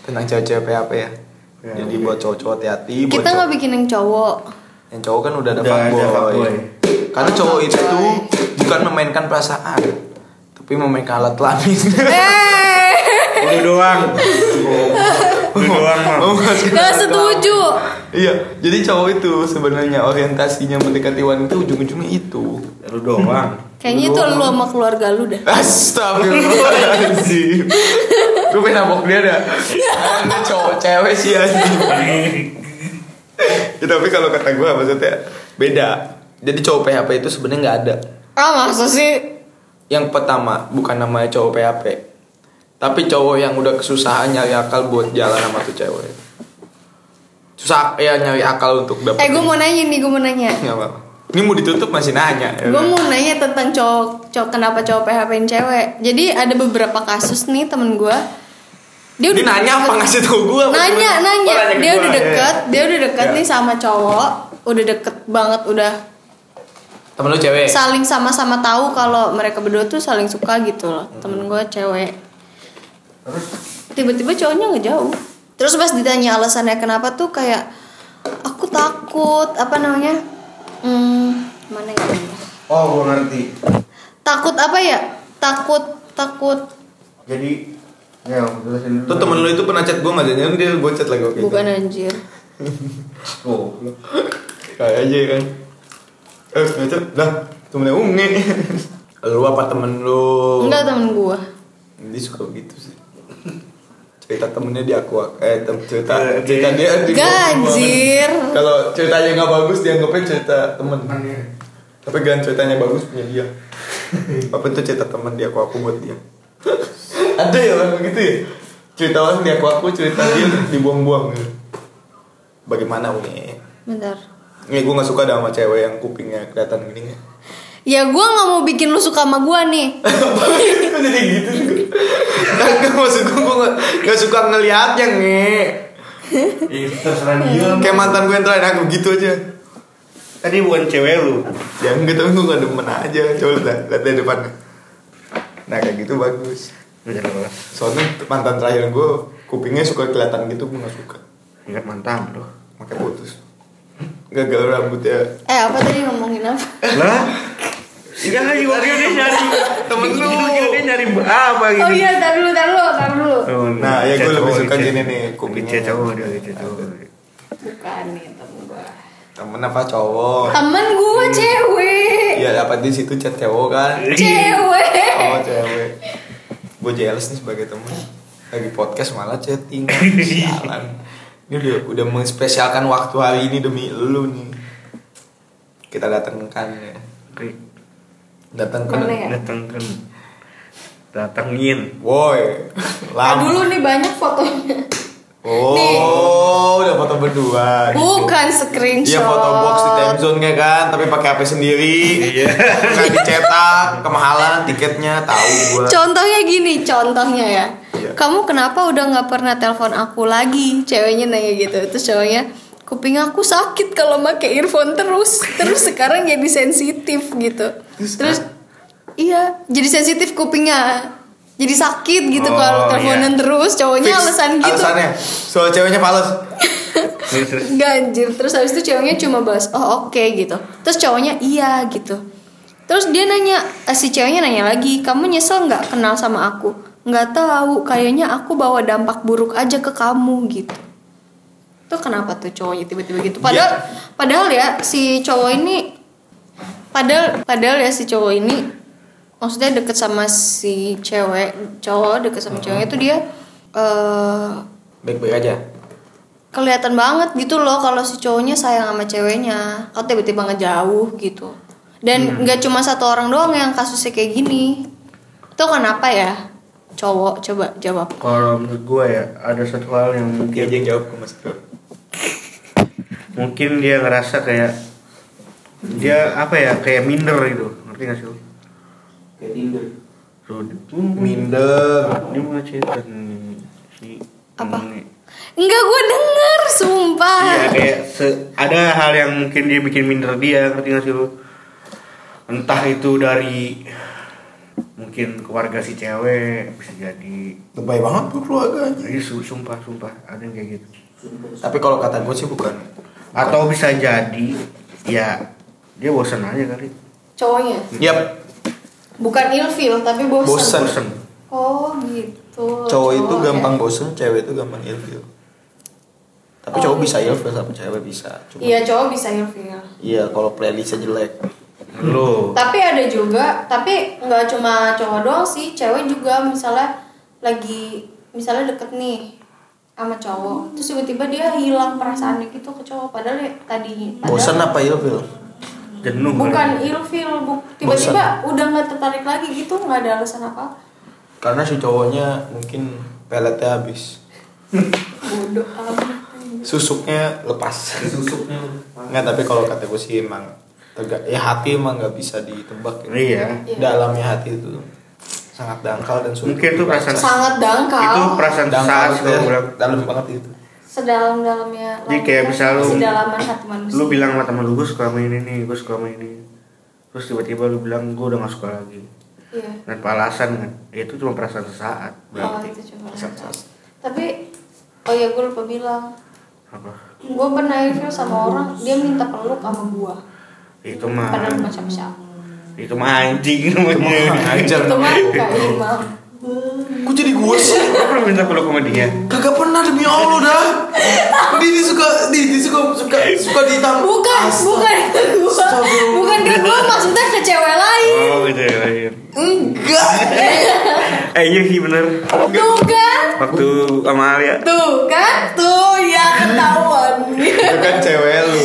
S1: tentang cewek-cewek PHP ya
S2: Ya,
S1: jadi
S2: oke.
S1: buat cowok-cowok hati-hati buat
S3: Kita nggak
S1: cowok-
S3: bikin yang
S1: *laughs*
S3: cowok.
S1: yang cowok kan udah ada
S2: Udah ada
S1: fuckboy.
S2: fuckboy.
S1: karena cowok itu bukan memainkan perasaan tapi memainkan alat kelamin
S3: Eh,
S2: lu doang lu doang Mam.
S1: Memanfaatkan
S3: nggak
S1: alat
S3: setuju.
S1: Iya, jadi cowok itu sebenarnya orientasinya mendekati wanita ujung-ujungnya itu.
S2: lu doang
S3: Kayaknya itu lu sama keluarga lu dah.
S1: Astagfirullahaladzim Gue pengen nabok dia dah Ada cowok cewek sih
S2: *laughs*
S1: anjing ya, Tapi kalau kata gue maksudnya beda Jadi cowok PHP itu sebenarnya nggak ada
S3: Ah masa sih?
S1: Yang pertama bukan namanya cowok PHP Tapi cowok yang udah kesusahan nyari akal buat jalan sama tuh cewek Susah ya nyari akal untuk dapet
S3: Eh gue mau nanya nih, gue mau nanya.
S1: Nggak apa-apa. Ini mau ditutup masih nanya ya
S3: Gue mau nanya tentang cowok, cowok kenapa cowok PHP-in cewek. Jadi ada beberapa kasus nih temen gue. Dia
S1: Dia nanya apa ngasih tau gue
S3: Nanya, nanya.
S2: nanya ke
S3: Dia
S2: gua,
S3: udah
S2: ya.
S3: deket, dia udah deket
S2: Ya.
S3: nih sama cowok. Udah deket banget, udah
S1: Temen lu cewek
S3: saling sama-sama tahu kalau mereka berdua tuh saling suka gitu loh. Temen gue cewek. Tiba-tiba cowoknya nggak jauh. Terus pas ditanya alasannya kenapa tuh kayak aku takut apa namanya? Hmm, mana ya?
S2: oh gua ngerti
S3: Takut apa ya? Takut takut
S2: jadi ya jelasin dulu.
S1: Tuh temen lu itu pernah chat gue gak jadi dia gue chat lagi oke kan?
S3: bukan anjir.
S2: Tuh.
S1: Kayak aja kan Eh ngaca Lah temennya unge *laughs* Lu apa temen lu
S3: Enggak temen gue.
S1: Dia suka begitu sih cerita temennya diaku eh tem cerita
S2: Eh, dia-
S1: cerita dia di-
S3: Gak anjir.
S1: kalau ceritanya nggak bagus dianggapnya cerita temen tapi kan ceritanya bagus punya dia apa itu cerita teman dia aku aku buat dia ada ya orang begitu ya cerita orang dia aku aku cerita dia dibuang-buang bagaimana uni
S3: Bentar.
S1: ini gue nggak suka dah sama cewek yang kupingnya kelihatan gini ya
S3: Ya gue nggak mau bikin lu suka sama gue nih. *laughs*
S1: Kok jadi gitu Kagak maksud gue gue nggak- nggak suka ngelihatnya nge
S2: Ih, Iya, terserah dia
S1: kayak mantan gue yang terakhir aku gitu aja
S2: tadi bukan cewek lu
S1: ya enggak tapi gue nggak demen aja coba lihat lihat dari depannya nah kayak gitu bagus
S2: Bener banget.
S1: soalnya mantan terakhir gue kupingnya suka kelihatan gitu gue nggak suka
S2: Ingat mantan lu
S1: makanya putus gagal ya. rambutnya
S3: Eh apa tadi ngomongin apa?
S2: lah Iya, iya, iya, dia nyari
S1: Temen lu.
S2: Gila, dia nyari apa gitu.
S3: *laughs* Oh iya, tar dulu, tar dulu, tar dulu.
S1: Nah, ya gua
S2: cewek,
S1: lebih suka
S2: cewek.
S1: gini nih,
S2: Lebih
S1: kupingnya.
S2: cewek cowok dia lebih cewek cowok.
S3: Bukan nih temen gue.
S1: temen apa cowok
S3: Temen gue cewek.
S1: ya dapat di situ chat cowok kan
S3: Cewek.
S1: oh cewek gue jealous nih sebagai temen lagi podcast malah chatting jalan ini udah udah menspesialkan waktu hari ini demi lu nih kita datangkan ya
S2: Oke,
S1: datangkan
S3: Mana ya?
S2: datang kan. Datangin.
S1: woi
S3: Tar
S1: lama
S3: dulu nih banyak fotonya. Nih.
S1: oh udah foto berdua gitu.
S3: Bukan screenshot.
S1: Iya foto box di time zone nya kan, tapi pakai HP sendiri. Iya. Nggak dicetak, kemahalan tiketnya, tahu gua.
S3: Contohnya gini, contohnya ya.
S1: Iya.
S3: Kamu kenapa udah nggak pernah telepon aku lagi? Ceweknya nanya gitu. Terus cowoknya, kuping aku sakit kalau pakai earphone terus. Terus sekarang jadi sensitif gitu. Terus iya, jadi sensitif kupingnya. Jadi sakit gitu
S2: Oh,
S3: kalau
S2: iya.
S3: teleponan terus. Cowoknya
S1: Fix,
S3: alasan gitu.
S1: Alasannya, soal ceweknya fals.
S2: Terus, terus.
S3: Nggak, anjir Terus habis itu ceweknya cuma bahas Oh oke gitu Terus cowoknya iya gitu Terus dia nanya eh, Si ceweknya nanya lagi Kamu nyesel nggak kenal sama aku Nggak tahu Kayaknya aku bawa dampak buruk aja ke kamu gitu Tuh kenapa tuh cowoknya tiba-tiba gitu Padahal Padahal ya si cowok ini Padahal Padahal ya si cowok ini Maksudnya deket sama si cewek Cowok deket sama ceweknya tuh dia eh
S1: Baik-baik aja.
S3: kelihatan banget gitu loh kalau si cowoknya sayang sama ceweknya atau tiba-tiba ngejauh gitu
S1: Hmm.
S3: dan nggak cuma satu orang doang yang kasusnya kayak gini itu kenapa ya cowok coba jawab
S2: Kalau menurut gue ya ada satu hal yang mungkin
S1: dia aja yang jawab ke mas Bro.
S2: mungkin dia ngerasa kayak dia apa ya kayak minder gitu ngerti gak sih lu?
S5: Kayak Tinder.
S2: So, minder
S1: minder
S2: dia mau cerita nih si
S3: Apa?
S2: ngomong nih.
S3: enggak gue denger sumpah *laughs*
S2: Iya kayak se- ada hal yang mungkin dia bikin minder dia ngerti gak sih lu? Entah itu dari mungkin keluarga si cewek bisa jadi
S1: lebay banget tuh keluarganya
S2: Ih, su- sumpah sumpah ada yang kayak gitu
S1: tapi kalau kata gue sih bukan
S2: atau bisa jadi ya dia bosan aja kali
S3: cowoknya
S1: Yap,
S3: bukan ilfil tapi bosen,
S1: Bosen.
S2: bosan
S3: oh gitu
S1: cowok itu
S3: ya.
S1: gampang bosen, cewek itu gampang ilfil. Tapi
S3: Oh,
S1: cowok bisa
S3: iya.
S1: ilfil sama cewek bisa. Cuma
S3: iya cowok bisa ilfil
S1: iya kalau playlistnya jelek.
S2: lo
S3: tapi ada juga tapi nggak cuma cowok doang sih cewek juga misalnya lagi misalnya deket nih sama cowok terus tiba-tiba dia hilang perasaannya gitu ke cowok padahal ya tadi padahal-
S1: Bosen apa ilfil?
S2: jenuh
S3: bukan
S2: kali.
S3: ilfil bu- tiba-tiba udah nggak tertarik lagi gitu nggak ada alasan apa
S1: Karena si cowoknya mungkin peletnya habis.
S3: bodoh amat
S1: Susuknya lepas. Susuknya. Nggak, tapi kalau kata gue sih emang tegak. Ya hati emang nggak bisa ditebak. ya.
S2: iya
S3: Iya.
S1: Dalamnya hati itu sangat dangkal dan sulit.
S2: Mungkin itu
S1: dibaca.
S2: perasaan-
S3: sangat dangkal
S2: itu perasaan
S1: dangkal
S2: saat
S1: ya,
S2: lo bilang
S1: dalam banget itu.
S3: sedalam-dalamnya
S2: Jadi kayak
S3: lautan,
S2: misal lu-
S3: sedalaman hati manusia
S2: lu bilang sama temen lu gue suka sama ini nih gue suka sama ini terus tiba-tiba lu bilang gue udah gak suka lagi
S3: iya
S2: tanpa alasan kan Ya, itu cuma perasaan sesaat
S3: oh
S2: berarti
S3: itu cuma
S1: Perasaan
S3: dangkal.
S1: saat.
S3: tapi oh ya gue lupa bilang Oh.
S2: apa
S3: gue pernah ilfil sama orang dia minta peluk sama gue
S2: itu mah
S3: padahal bukan siapa-siapa
S2: itu mah anjing namanya
S1: Ajar.
S3: itu mah gak imam
S1: Kok jadi gue sih?
S2: Lu pernah minta peluk sama dia
S1: Kagak pernah demi Allah dah. Didi suka Didi suka suka suka ditang.
S3: bukan bukan ke gue
S1: Astagfirullah.
S3: bukan ke gue maksudnya ke cewek lain
S2: oh gitu ya iya.
S1: Enggak.
S2: eh iya sih bener
S3: tuh kan
S2: waktu sama Alia
S3: tuh kan tuh ya ketahuan
S1: Itu kan cewek lu.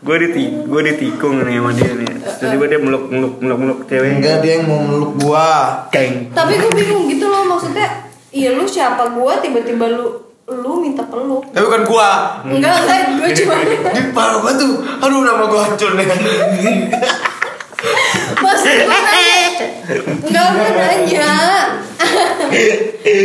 S2: gue diti gue ditikung nih sama dia nih Terus tiba dia meluk meluk meluk meluk cewek
S1: Enggak dia yang mau meluk gua.
S2: ceng
S3: tapi gue bingung gitu loh maksudnya iya lu siapa gue tiba-tiba lu lu minta peluk
S1: Tapi bukan gua.
S3: enggak enggak gue cuma
S1: Ini parah banget tuh. Aduh nama gua hancur nih.
S3: Mas, gue nanya Enggak, gue nanya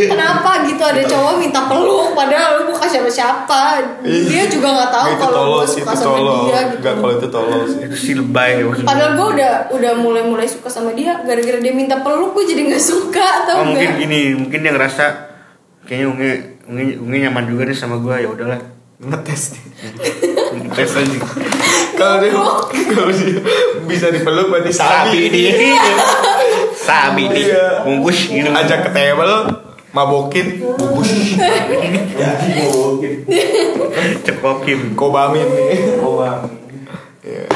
S3: Kenapa gitu ada cowok minta peluk Padahal lu bukan siapa-siapa Dia juga gak tahu
S1: itu
S3: kalau gue
S1: tolol sih,
S3: suka
S1: itu
S3: sama
S1: tolol.
S3: dia gitu
S1: Enggak kalau itu tolol sih.
S2: itu si lebay maksud
S3: Padahal
S2: gua.
S3: gue udah udah mulai-mulai suka sama dia Gara-gara dia minta peluk gue jadi gak suka tau
S2: Oh, mungkin
S3: gak
S2: gini, mungkin dia ngerasa kayaknya unge unge unge nyaman juga nih sama gua ya udahlah.
S1: Ngetes nih.
S2: Tes aja.
S1: Kalau dia kalau dia bisa dipeluk berarti sapi
S2: Sabi nih.
S1: ini.
S2: Sabi nih.
S1: Iya.
S2: Bungkus gitu.
S1: Ajak ke table, mabokin, bubus, Ya,
S2: cekokin.
S1: kobamin nih.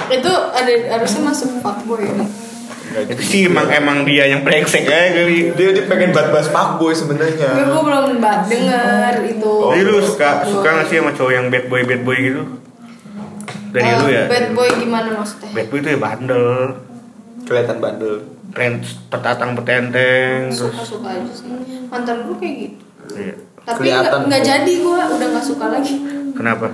S3: Itu ada harusnya masuk fuckboy ya
S2: Itu sih emang emang dia yang brengsek aja kali.
S1: Dia dia pengen bat-bas fuckboy
S3: Gue
S1: sebenarnya.
S3: gue belum ba- denger itu
S2: Oh, Jadi lu suka suka gak sih sama cowok yang bad boy bad boy gitu? Dari
S3: Eh,
S2: lu ya.
S3: Bad boy gimana maksudnya
S2: Bad boy itu ya bandel,
S1: Kelihatan bandel.
S2: keren petatang petenteng terus.
S3: Suka-suka aja sih Mantan gue kayak gitu
S2: Iya.
S3: tapi
S1: Kelihatan.
S3: nggak nggak jadi gue udah nggak suka lagi
S2: Kenapa?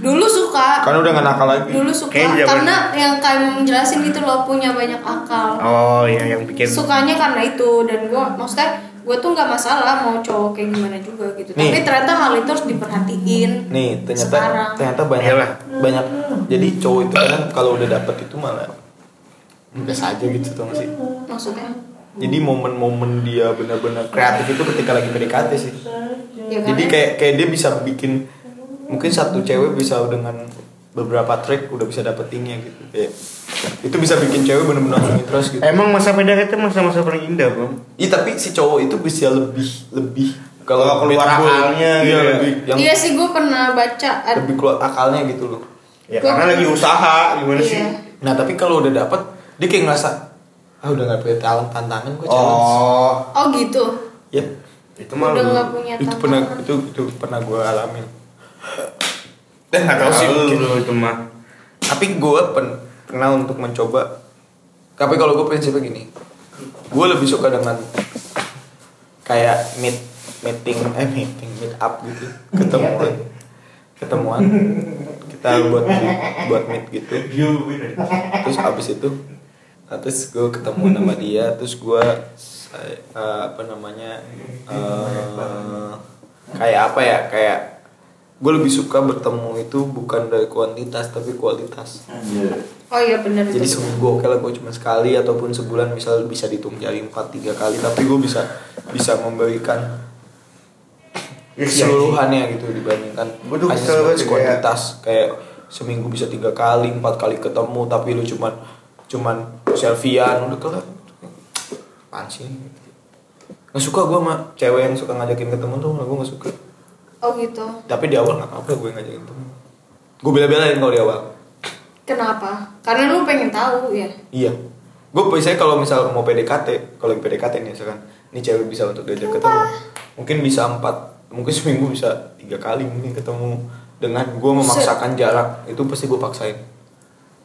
S3: dulu suka
S1: Karena udah gak nakal lagi.
S3: dulu suka
S2: Kayaknya zaman-
S3: karena yang kayak menjelasin gitu loh punya banyak akal
S2: Oh iya yang bikin
S3: sukanya karena itu dan gue maksudnya gue tuh nggak masalah mau cowok kayak gimana juga gitu
S1: Nih.
S3: tapi ternyata hal itu harus diperhatiin
S1: Nih ternyata
S3: Sekarang.
S1: ternyata banyak
S2: Iyalah.
S1: banyak. Jadi cowok itu kadang kalau udah dapet itu malah biasa aja gitu tuh sih.
S3: maksudnya
S1: Jadi momen-momen dia benar-benar kreatif itu ketika lagi PDKT sih.
S3: ya kan
S1: Jadi kayak kayak dia bisa bikin mungkin satu cewek bisa dengan beberapa trik udah bisa dapetinnya gitu. Kayak, itu bisa bikin cewek benar-benar langsung interest gitu.
S2: Emang masa PDKT masa-masa paling indah, Bang?
S1: Iya tapi si cowok itu bisa lebih lebih
S2: Kalau keluar
S1: lebih-
S2: akalnya
S1: iya,
S2: gitu ya.
S1: lebih yang
S3: iya sih gue pernah baca ad-
S1: lebih keluar akalnya gitu loh.
S2: Ya karena lagi usaha, gimana
S3: Iya.
S2: sih?
S1: Nah tapi kalau udah dapet dia kayak ngerasa ah udah gak punya talent tantangan gue challenge.
S2: Oh,
S3: oh gitu
S1: Ya
S2: itu mah
S3: udah
S2: lu.
S3: nggak punya
S1: itu
S3: tantangan.
S1: pernah itu itu pernah gue alamin. Dan
S2: Eh,
S1: gak
S2: Nggak
S1: tau sih.
S2: tahu
S1: mungkin.
S2: lu itu mah.
S1: Tapi gue pen- pernah untuk mencoba. Tapi kalau gue prinsipnya gini, gue lebih suka dengan kayak meet meeting eh meeting meet up gitu ketemuan ketemuan kita buat buat meet gitu terus abis itu nah, terus gue ketemu sama dia terus gue saya- eh, apa namanya eh, kayak apa ya kayak gue lebih suka bertemu itu bukan dari kuantitas tapi kualitas
S3: Oh iya benar
S1: jadi
S3: itu.
S1: seminggu oke lah gue cuma sekali ataupun sebulan misal bisa dihitung jari empat tiga kali tapi gue bisa bisa memberikan keseluruhannya gitu dibandingkan
S2: Gua tuh
S1: hanya
S2: kesel banget
S1: sebatas
S2: kayak-
S1: kuantitas kayak seminggu bisa tiga kali empat kali ketemu tapi lu cuman cuman selfiean udah kelar apaan sih nggak suka gue sama cewek yang suka ngajakin ketemu tuh gue nggak suka
S3: Oh gitu.
S1: tapi di awal nggak apa-apa gue ngajakin ketemu gue bela-belain kalau di awal
S3: Kenapa? Karena lu pengen tahu ya.
S1: Iya. Gue biasanya kalau misal mau PDKT, kalau yang PDKT nih misalkan, ini cewek bisa untuk diajak ketemu. Mungkin bisa empat, mungkin seminggu bisa tiga kali mungkin ketemu dengan gue memaksakan jarak itu pasti gue paksain.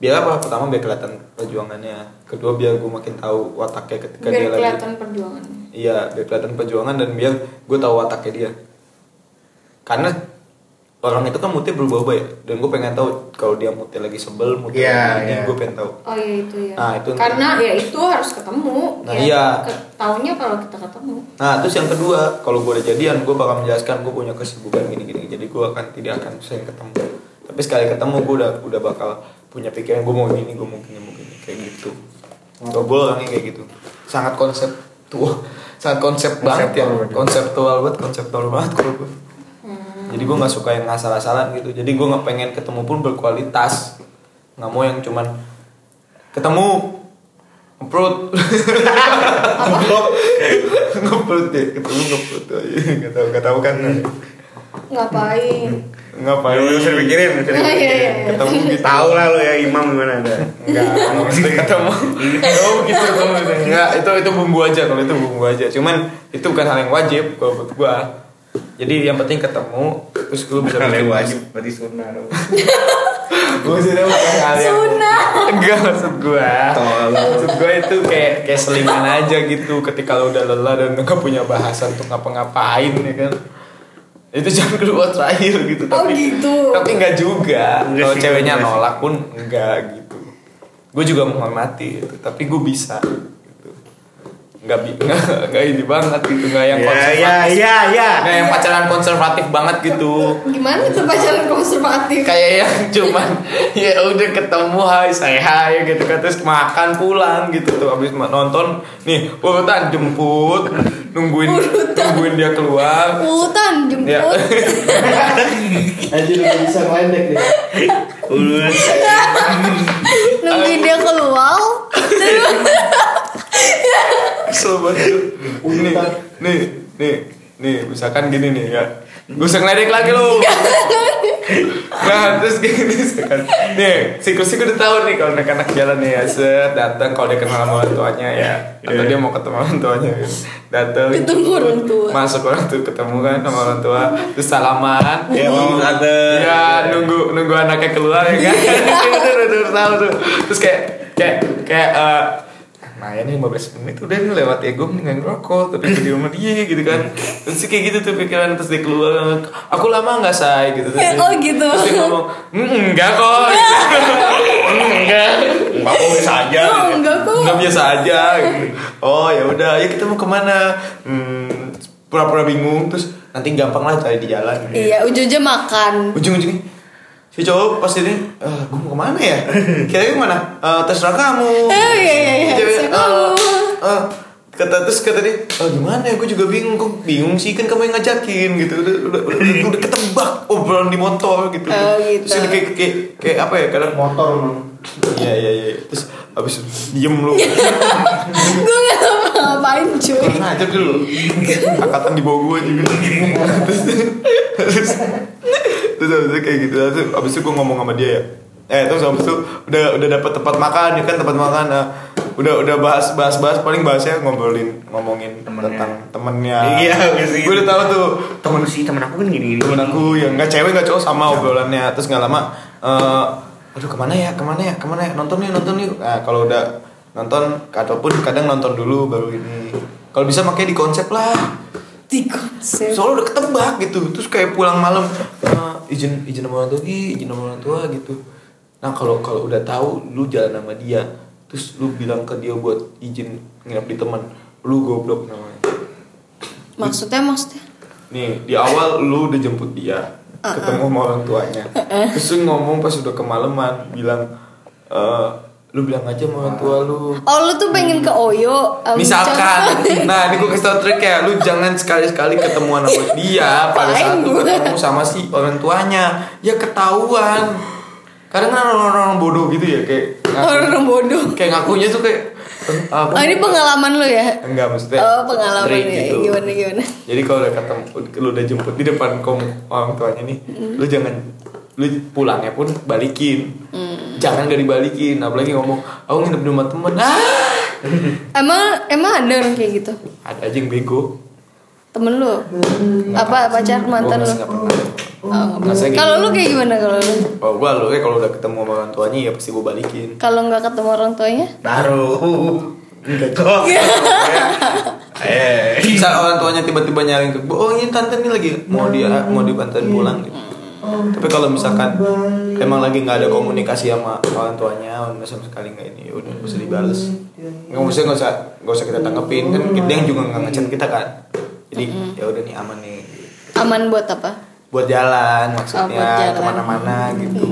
S1: Biar apa? Pertama biar kelihatan perjuangannya. Kedua biar gue makin tahu wataknya ketika dia
S3: Biar
S1: lagi.
S3: kelihatan perjuangannya.
S1: Iya, biar kelihatan perjuangan dan biar gue tahu wataknya dia. Karena orang itu kan moodnya berubah-ubah ya, dan gue pengen tahu kalau dia moodnya lagi sebel, moodnya
S2: Iya,
S1: lagi ini,
S2: iya.
S1: gue pengen tahu.
S3: Oh iya itu ya.
S1: Nah, itu-
S3: Karena ya itu harus ketemu.
S1: Nah,
S3: ya,
S1: iya.
S3: ke- Taunya kalau kita ketemu.
S1: Nah terus yang kedua, kalau gue udah jadian, gue bakal menjelaskan gue punya kesibukan gini-gini. Jadi gue akan tidak akan sering ketemu. Tapi sekali ketemu gue udah udah bakal punya pikiran gue mau gini, gue mau gini, mau gini kayak gitu. Kalau gue orangnya kayak gitu, sangat konseptual, sangat konsep banget ya,
S2: Konseptual.
S1: konseptual banget, konseptual banget kalau gue. Jadi gue nggak suka yang asal-asalan gitu. Jadi gue nggak pengen ketemu pun berkualitas. Nggak mau yang cuman ketemu *laughs* ngeprut ngeprut ngeprut deh ketemu ngeprut aja nggak tahu nggak tahu kan
S3: Ngapain?
S1: ngapain
S2: Lu usah dipikirin, lu usah
S3: *laughs* Iya, iya,
S2: dipikirin.
S3: iya.
S2: Ketemu gitu. Tahu lah lu ya imam gimana ada.
S1: Enggak, kalau misalnya ketemu Kalau gitu ketemu Enggak, itu itu bumbu aja Kalau itu bumbu aja Cuman itu bukan hal yang wajib Kalau buat gua Jadi yang penting ketemu Terus lu bisa
S2: Kalau
S1: bikin
S2: wajib berarti sunnah dong.
S1: Maksudnya bukan hal yang
S3: Sunnah.
S1: Enggak maksud gua
S2: Tolong.
S1: Maksud gua itu kayak kayak selingan aja gitu Ketika lu udah lelah dan lu gak punya bahasan untuk ngapa-ngapain ya kan itu *laughs* jangan keluar terakhir gitu
S3: Oh,
S1: tapi
S3: gitu.
S1: tapi enggak juga kalau
S2: Enggak sih,
S1: ceweknya
S2: enggak sih.
S1: nolak pun enggak gitu gue juga menghormati itu tapi gue bisa gitu nggak bi *laughs* nggak nggak ini banget gitu nggak yang
S2: Ya
S1: konservatif
S2: ya ya ya.
S1: nggak yang pacaran konservatif banget gitu
S3: Gimana tuh pacaran konservatif?
S1: kayak yang cuman ya udah ketemu hai say hai gitu kan terus makan pulang gitu tuh habis ma- nonton nih urutan jemput nungguin nungguin dia keluar
S3: Utan jemput.
S1: Ya.
S5: Anjir udah bisa ngelendek deh
S2: Ulun.
S3: *laughs* Nungguin dia keluar.
S1: kesel banget tuh. nih nih nih nih misalkan gini nih ya gue usah ngeledek lagi lu nah terus gini misalkan nih siklus udah tahu nih kalau anak-anak jalan nih ya set datang kalau dia kenal sama orang tuanya ya atau dia mau ketemu orang tuanya gitu. datang
S3: Ketemu orang tua.
S1: masuk orang tuh ketemu kan sama orang tua terus salaman
S2: Ya mau ada.
S1: Ya nunggu nunggu anaknya keluar ya kan. Udah, udah, udah, *laughs* tahu tuh. Terus kayak kayak kayak eh nah ya nih 15 menit udah nih lewat ya gue mendingan ngerokok tapi gue di rumah dia gitu kan terus sih kayak gitu tuh pikiran terus dia keluar aku lama nggak say gitu terus, dia-
S3: Eh, oh, gitu.
S1: terus dia ngomong "Mm, enggak
S3: *laughs*
S1: kok "Mm, enggak
S2: Bapak biasa aja.
S3: Oh, enggak kok.
S1: nggak gitu. biasa aja gitu. oh ya udah ya kita mau kemana hmm, pura-pura bingung terus nanti gampang lah cari di jalan gitu.
S3: Iya, ujungnya
S1: *laughs*
S3: makan.
S1: ujung-ujungnya si cowok pas ini eh gue mau kemana ya kira kemana Eh terserah kamu
S3: Eh, iya, iya, iya.
S1: Cewek,
S3: Terserah
S1: "Eh,
S3: kamu."
S1: eh." kata terus kata dia "Eh, gimana ya gue juga bingung kok bingung sih kan kamu yang ngajakin gitu udah udah udah, udah, udah ketebak obrolan di motor gitu
S3: Oh, gitu.
S1: terus dia kayak kayak kayak apa ya kadang
S5: Motor emang
S1: iya iya iya terus abis itu diem lu
S3: *laughs* Gue gak tau mau ngapain cuy.
S1: Nah, aja dulu. Angkatan di bawah gue juga. terus, terus, terus abis itu kayak gitu. Terus abis itu gue ngomong sama dia ya. Eh, terus abis itu udah udah dapat tempat makan, ya kan tempat makan. nah, udah udah bahas bahas bahas paling bahasnya ngobrolin ngomongin
S2: Temennya.
S1: tentang temennya.
S2: Iya, abis itu.
S1: Gue udah tahu tuh
S2: Temen sih temen aku kan gini gini.
S1: temen aku yang nggak cewek nggak cowok sama obrolannya terus nggak lama eh, aduh kemana ya kemana ya kemana ya nonton yuk nonton yuk nah kalau udah nonton ataupun kadang nonton dulu baru ini kalau bisa makanya di konsep lah
S3: di konsep
S1: soalnya udah ketebak gitu terus kayak pulang malam eh, izin izin sama orang tua Gi, izin sama orang tua gitu nah kalau kalau udah tahu lu jalan sama dia terus lu bilang ke dia buat izin nginep di teman lu goblok namanya
S3: maksudnya maksudnya
S1: nih di awal lu udah jemput dia
S3: Uh-uh.
S1: ketemu sama orang tuanya terus lu ngomong pas udah kemalaman bilang eh, lu bilang aja sama orang tua lu
S3: oh lu tuh pengen ke Oyo um,
S1: Misalkan,
S3: contoh-
S1: nah ini gue kasih tau trik ya, lu jangan sekali-sekali ketemuan sama dia pada saat lu
S3: Ngapain gua?
S1: ketemu sama si orang tuanya, ya ketahuan. Kadang kan orang-orang bodoh gitu ya, kayak
S3: *laughs* orang bodoh
S1: kayak ngakunya tuh kayak "Eh, aku
S3: oh ini pengalaman lu ya
S1: enggak maksudnya.
S3: oh pengalaman
S1: trik
S3: ya gimana gimana
S1: Jadi kalau udah ketemu, lu udah jemput di depan kom orang tuanya nih,
S3: Hmm.
S1: lu jangan lu pulangnya pun balikin,
S3: Hmm.
S1: jangan gak dibalikin, apalagi ngomong, aku nginep di rumah temen, ah!
S3: emang emang ada orang kayak gitu
S1: ada aja yang bego,
S3: temen lu apa pacar mantan lu
S1: Gua Hmm. nggak pernah.
S3: Oh,
S2: Nah,
S1: Nggak sih,
S2: gitu.
S3: kalau lu kayak gimana kalau lu
S1: Oh, gua lo kalau udah ketemu sama orang tuanya ya pasti gua balikin.
S3: kalau nggak ketemu orang tuanya
S2: Taruh. Kok.
S3: Iya.
S2: Eh.
S1: Misal orang tuanya tiba-tiba nyariin ke gua, oh ini tante nih lagi mau dia mau dibantuin pulang gitu. Tapi kalau misalkan emang lagi nggak ada komunikasi sama orang tuanya, sama sama sekali nggak ini, ya udah nggak usah dibales. Nggak usah nggak usah nggak usah kita tanggepin kan dia juga nggak ngechat kita kan. Jadi ya udah nih aman nih
S3: aman buat apa
S1: buat jalan
S3: Oh, buat
S1: maksudnya
S3: jalan. Hmm.
S1: kemana-mana gitu.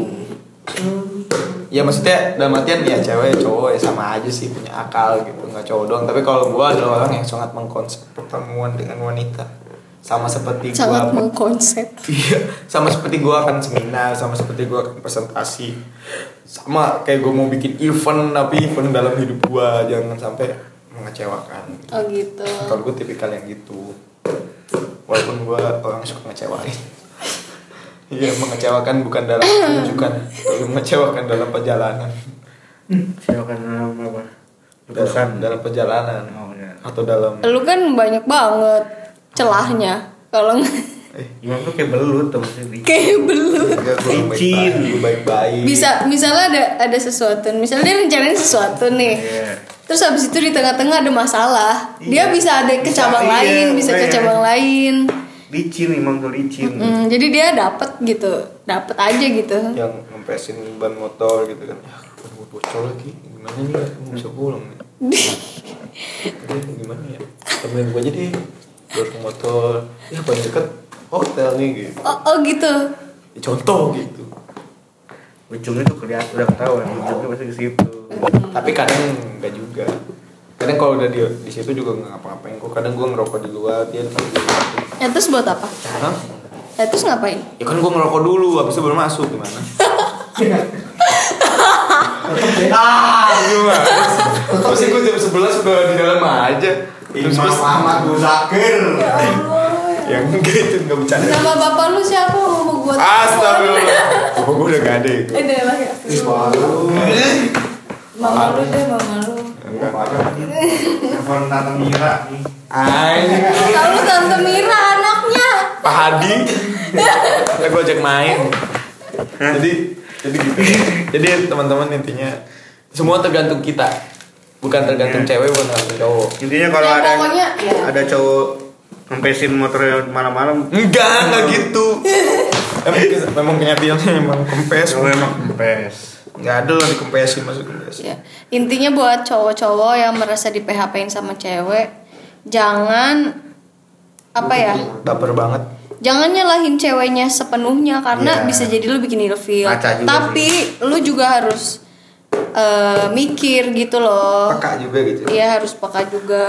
S1: Ya maksudnya dalam artian ya cewek cowok ya sama aja sih punya akal gitu nggak cowok doang. Tapi kalau gua adalah orang yang sangat mengkonsep pertemuan dengan wanita sama seperti gua
S3: sangat mengkonsep
S1: *laughs* iya sama seperti gua akan seminar sama seperti gua akan presentasi sama kayak gua mau bikin event tapi event dalam hidup gua jangan sampai mengecewakan.
S3: oh gitu
S1: Kalau gue tipikal yang gitu Walaupun gue orang yang suka
S3: *laughs*
S1: ngecewain Iya mengecewakan bukan dalam penunjukan Tapi mengecewakan dalam perjalanan
S2: Silakan nama apa?
S1: dalam,
S2: Pesan.
S1: dalam perjalanan
S2: Oh, iya.
S1: Atau dalam ya,
S3: lu kan banyak banget celahnya kalau nggak- *laughs*
S2: Gimana tuh kayak belut tuh maksudnya.
S3: kayak belum
S1: Gue
S2: Licin. Iya.
S1: baik-baik
S3: bisa misalnya ada ada sesuatu misalnya dia rencanain sesuatu nih
S2: Iya.
S3: terus habis itu di tengah-tengah ada masalah
S2: Iya.
S3: dia bisa ada ke
S2: Bisa,
S3: cabang
S2: iya,
S3: lain bisa ke
S2: iya.
S3: cabang lain
S2: Licin emang tuh licin.
S3: Mm, jadi dia dapat gitu dapat aja gitu
S1: Yang ngempesin ban motor gitu kan Ya kan gue bocor lagi Gimana nih gue bisa pulang
S3: *laughs*
S1: nih Aduh, Gimana ya Temenin gue aja deh Dorong motor Ya paling deket hotel nih gitu
S3: oh, oh gitu
S1: Ya, Contoh gitu
S2: Ujungnya tuh kelihatan udah ketahuan ujungnya pasti ke situ.
S1: tapi kadang enggak juga kadang kalau udah di di situ juga nggak ngapa-ngapain kok kadang gue ngerokok di luar dia di
S3: ya terus buat apa
S1: Hah?
S3: ya terus ngapain
S1: ya kan gue ngerokok dulu habis itu baru masuk gimana ah gimana terus gue jam sebelas udah di dalam aja terus terus
S5: Ahmad Muzakir.
S1: yang gitu nggak bercanda
S3: nama bapak lu siapa mau gua
S1: astagfirullah oh, gue udah gak ada itu
S3: Eh, deh lah ya. mama lu deh mama lu
S1: enggak
S5: Telepon Tante Mira nih.
S1: Anjing.
S3: kalau tante Mira anaknya
S1: Pak Hadi Ntar gue ajak main Jadi Jadi gitu Jadi teman-teman intinya Semua tergantung kita Bukan tergantung
S2: Iya.
S1: cewek Bukan tergantung cowok
S2: Intinya kalau
S3: Ya,
S2: ada
S3: pokoknya, ya.
S2: ada cowok ngempesin motornya malam-malam,
S1: Enggak Enggak gitu Emang, memang kenyataannya Emang kempes
S2: cowok emang kempes.
S1: Enggak ada lah dikempesin Masuk kempes
S3: Ya. Intinya buat cowok-cowok yang merasa di PHP-in sama cewek, jangan apa ya?
S1: Baper banget
S3: Jangan nyalahin ceweknya sepenuhnya karena
S2: Iya.
S3: bisa jadi lu bikin ilfeel.
S2: Kaca juga
S3: Tapi lu juga harus eh, mikir gitu loh.
S1: Peka juga gitu
S3: Iya harus peka juga.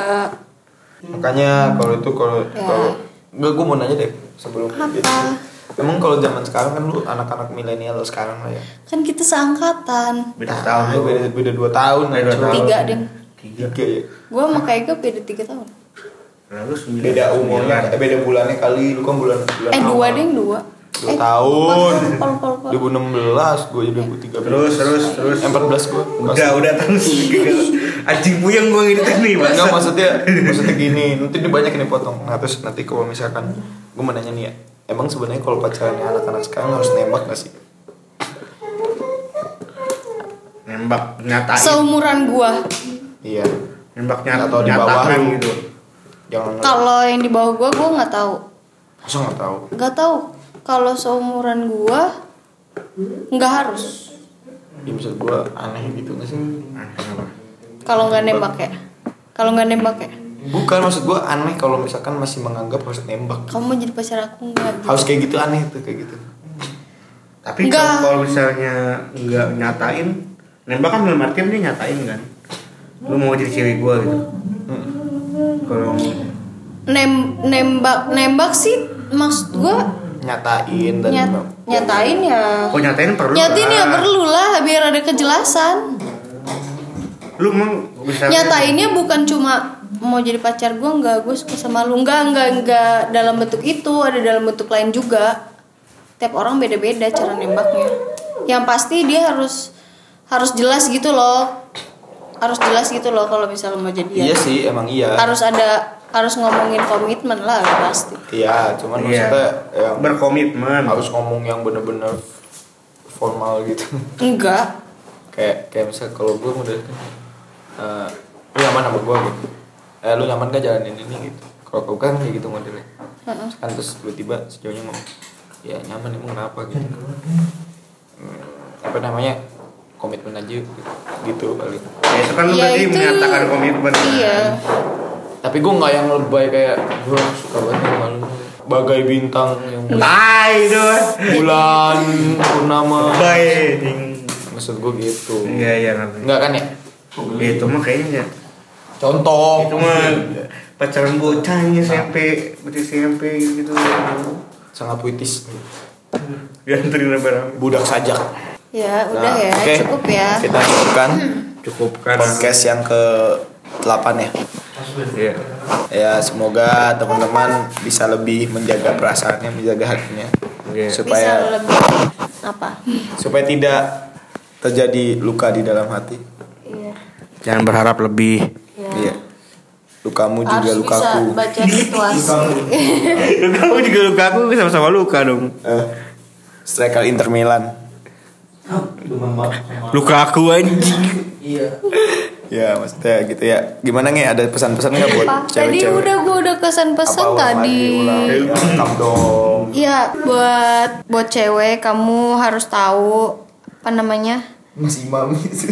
S1: Makanya kalau itu kalau
S3: Ya.
S1: kalau enggak gue mau nanya deh sebelum
S3: Apa?
S1: gitu. Emang kalau zaman sekarang kan lu anak-anak milenial sekarang lah ya.
S3: Kan kita seangkatan.
S2: Beda
S1: Nah,
S2: tahun tuh.
S1: beda, beda 2 tahun.
S2: Beda dua
S1: anjing.
S2: tahun.
S3: Tiga deh.
S2: Tiga.
S1: Tiga ya.
S3: Gua sama Kak Ega beda tiga tahun.
S2: Lalu sembilan.
S1: beda umurnya eh,
S2: Sembilan.
S1: beda bulannya kali lu kan bulan bulan
S3: Eh
S1: awal.
S3: dua deh dua.
S1: dua
S3: eh,
S1: tahun
S3: lupa, lupa, lupa, lupa.
S1: 2016 gue jadi 2013
S2: Terus terus terus.
S1: Eh, 14 gue
S2: Udah udah
S1: *laughs*
S2: terus. Anjing puyeng gue ngedit nih bang.
S1: Enggak maksudnya maksudnya gini nanti dia banyak yang dipotong nah terus nanti kalau misalkan gue mau nanya nih ya emang sebenarnya kalau pacarannya anak-anak sekarang harus nembak gak sih
S2: Nembak nyatain.
S3: Seumuran gua.
S1: iya
S2: nembak nyata
S1: Atau di bawah
S2: nyatakan
S1: lu.
S2: gitu
S1: Jangan
S3: Kalau yang di bawah gua gua nggak tahu.
S1: Masa nggak tahu?
S3: Nggak tahu. Kalau seumuran gua nggak harus.
S1: Ya maksud gue aneh gitu nggak sih?
S2: Nah,
S3: Kalau nggak nembak ya. Kalau nggak nembak ya.
S1: Bukan maksud gue aneh kalau misalkan masih menganggap harus nembak.
S3: Kamu jadi pacar aku nggak? gitu.
S1: Harus kayak gitu aneh tuh kayak gitu.
S2: Tapi
S3: Enggak.
S2: kalau- kalau misalnya nggak nyatain, nembak kan dalam artian dia nyatain kan. Lu mau jadi cewek gua gitu.
S1: Hmm.
S2: Kalau
S3: Nem nembak nembak sih maksud gua
S1: Nyatain dan
S3: nyat, nyatain ya.
S2: oh nyatain perlu.
S3: Nyatain ya
S2: lah.
S3: perlu lah biar ada kejelasan.
S2: Lu emang bisa
S3: nyatainnya bukan cuma mau jadi pacar gue nggak gue suka sama lu nggak nggak nggak dalam bentuk itu ada dalam bentuk lain juga tiap orang beda-beda cara nembaknya yang pasti dia harus harus jelas gitu loh harus jelas gitu loh kalau misalnya mau
S1: Iya
S3: jadian
S1: sih emang iya.
S3: harus ada harus ngomongin komitmen lah pasti
S1: Iya, cuman
S2: Iya.
S1: maksudnya yang
S2: berkomitmen.
S1: harus ngomong yang bener-bener formal gitu. *laughs*
S3: enggak
S1: kayak kayak misalnya kalau gue modelnya eh lu nyaman sama gue gitu. Eh lu nyaman gak jalanin ini gitu. Kalau gue kan kayak gitu modelnya. Kan terus tiba-tiba sejauhnya ngomong ya nyaman emang kenapa gitu. Hmm, apa namanya komitmen aja yuk, gitu, gitu kali.
S2: Ya, itu kan lu berarti menyatakan komitmen. kan?
S3: iya
S1: Tapi gue nggak yang lebay kayak gue suka banget sama lu. Bagai bintang yang
S2: Iya. Tai dong.
S1: bulan purnama.
S2: Baik.
S1: Maksud gue gitu.
S2: Iya iya ngerti.
S1: Enggak kan ya?
S2: Ya, itu mah kayaknya.
S1: Contoh.
S2: Itu mah pacaran bocahnya SMP, berarti SMP gitu.
S1: Sangat puitis.
S2: Dianterin rame-rame.
S1: Budak sajak.
S3: ya udah
S1: Nah,
S3: ya
S1: oke.
S3: cukup ya
S1: Kita cukupkan
S2: Cukupkan.
S1: podcast yang ke 8 ya.
S2: Iya.
S1: Ya semoga teman-teman bisa lebih menjaga perasaannya, menjaga hatinya.
S2: Iya.
S1: Supaya
S3: bisa lebih apa
S1: supaya tidak terjadi luka di dalam hati.
S3: iya
S2: Jangan berharap lebih.
S3: Iya.
S1: Iya. Lukamu juga
S3: harus bisa
S1: lukaku.
S3: baca Eh, situasi
S2: Kamu juga luka aku sama-sama luka dong.
S1: Eh, striker Inter Milan.
S2: Luka aku anjing.
S1: Ya, maksudnya gitu ya. Gimana nih ada pesan-pesan nggak buat
S3: Pak, tadi
S1: cewek-cewek?
S3: udah gue udah kesan pesan tadi.
S1: Lengkap Eh, dong.
S3: Iya, buat buat cewek kamu harus tahu apa namanya?
S1: Masih mami sih.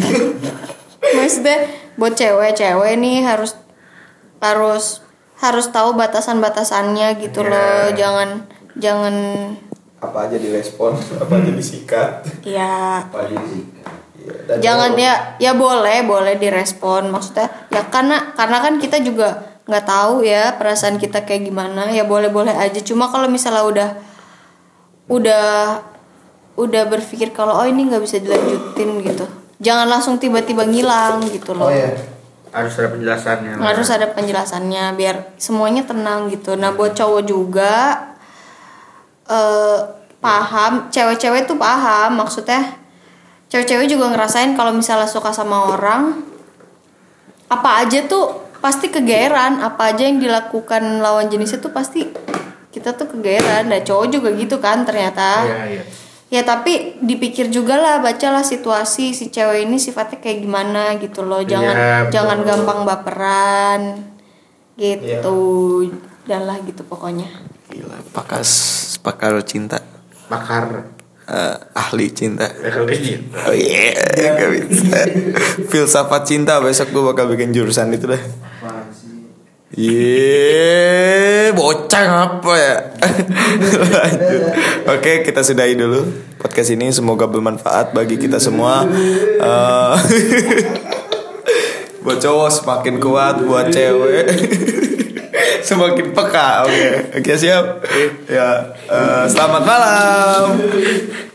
S3: Maksudnya buat cewek-cewek nih harus harus harus tahu batasan-batasannya gitu
S1: Iya.
S3: loh. Jangan jangan
S1: Apa aja direspon, *laughs* apa aja disikat,
S3: ya
S1: apa aja di. Iya, dan
S3: jangan
S1: kalau-
S3: ya ya boleh boleh direspon maksudnya ya karena karena kan kita juga nggak tahu ya perasaan kita kayak gimana ya boleh boleh aja cuma kalau misalnya udah udah udah berpikir kalau oh ini nggak bisa dilanjutin gitu jangan langsung tiba-tiba ngilang gitu
S5: Oh,
S1: Oh,
S3: loh
S5: iya.
S1: iya.
S2: Harus ada penjelasannya.
S3: harus Nah, ada penjelasannya biar semuanya tenang gitu nah buat cowok juga eh paham cewek-cewek tuh paham maksudnya cewek-cewek juga ngerasain kalau misalnya suka sama orang apa aja tuh pasti kegeeran apa aja yang dilakukan lawan jenisnya tuh pasti kita tuh kegeeran nah cowok juga gitu kan ternyata
S2: Iya iya.
S3: Ya tapi dipikir juga lah, bacalah situasi si cewek ini sifatnya kayak gimana gitu loh. Jangan
S2: Iya, betul.
S3: jangan gampang baperan gitu.
S2: Iya.
S3: Dan lah gitu pokoknya.
S1: Gila, pakar pakar cinta,
S2: Bakar.
S1: Eh, ahli cinta.
S2: Iya.
S1: Oh iya, gak bisa. Filsafat cinta besok gue bakal bikin jurusan itu deh. Ye, Iya, bocah apa ya? Lanjut. Oke, kita sudahi dulu podcast ini. Semoga bermanfaat bagi kita semua. Eh, *laughs* buat cowok semakin kuat, buat cewek *laughs* semakin peka. Oke, oke siap. Ya, eh, selamat malam.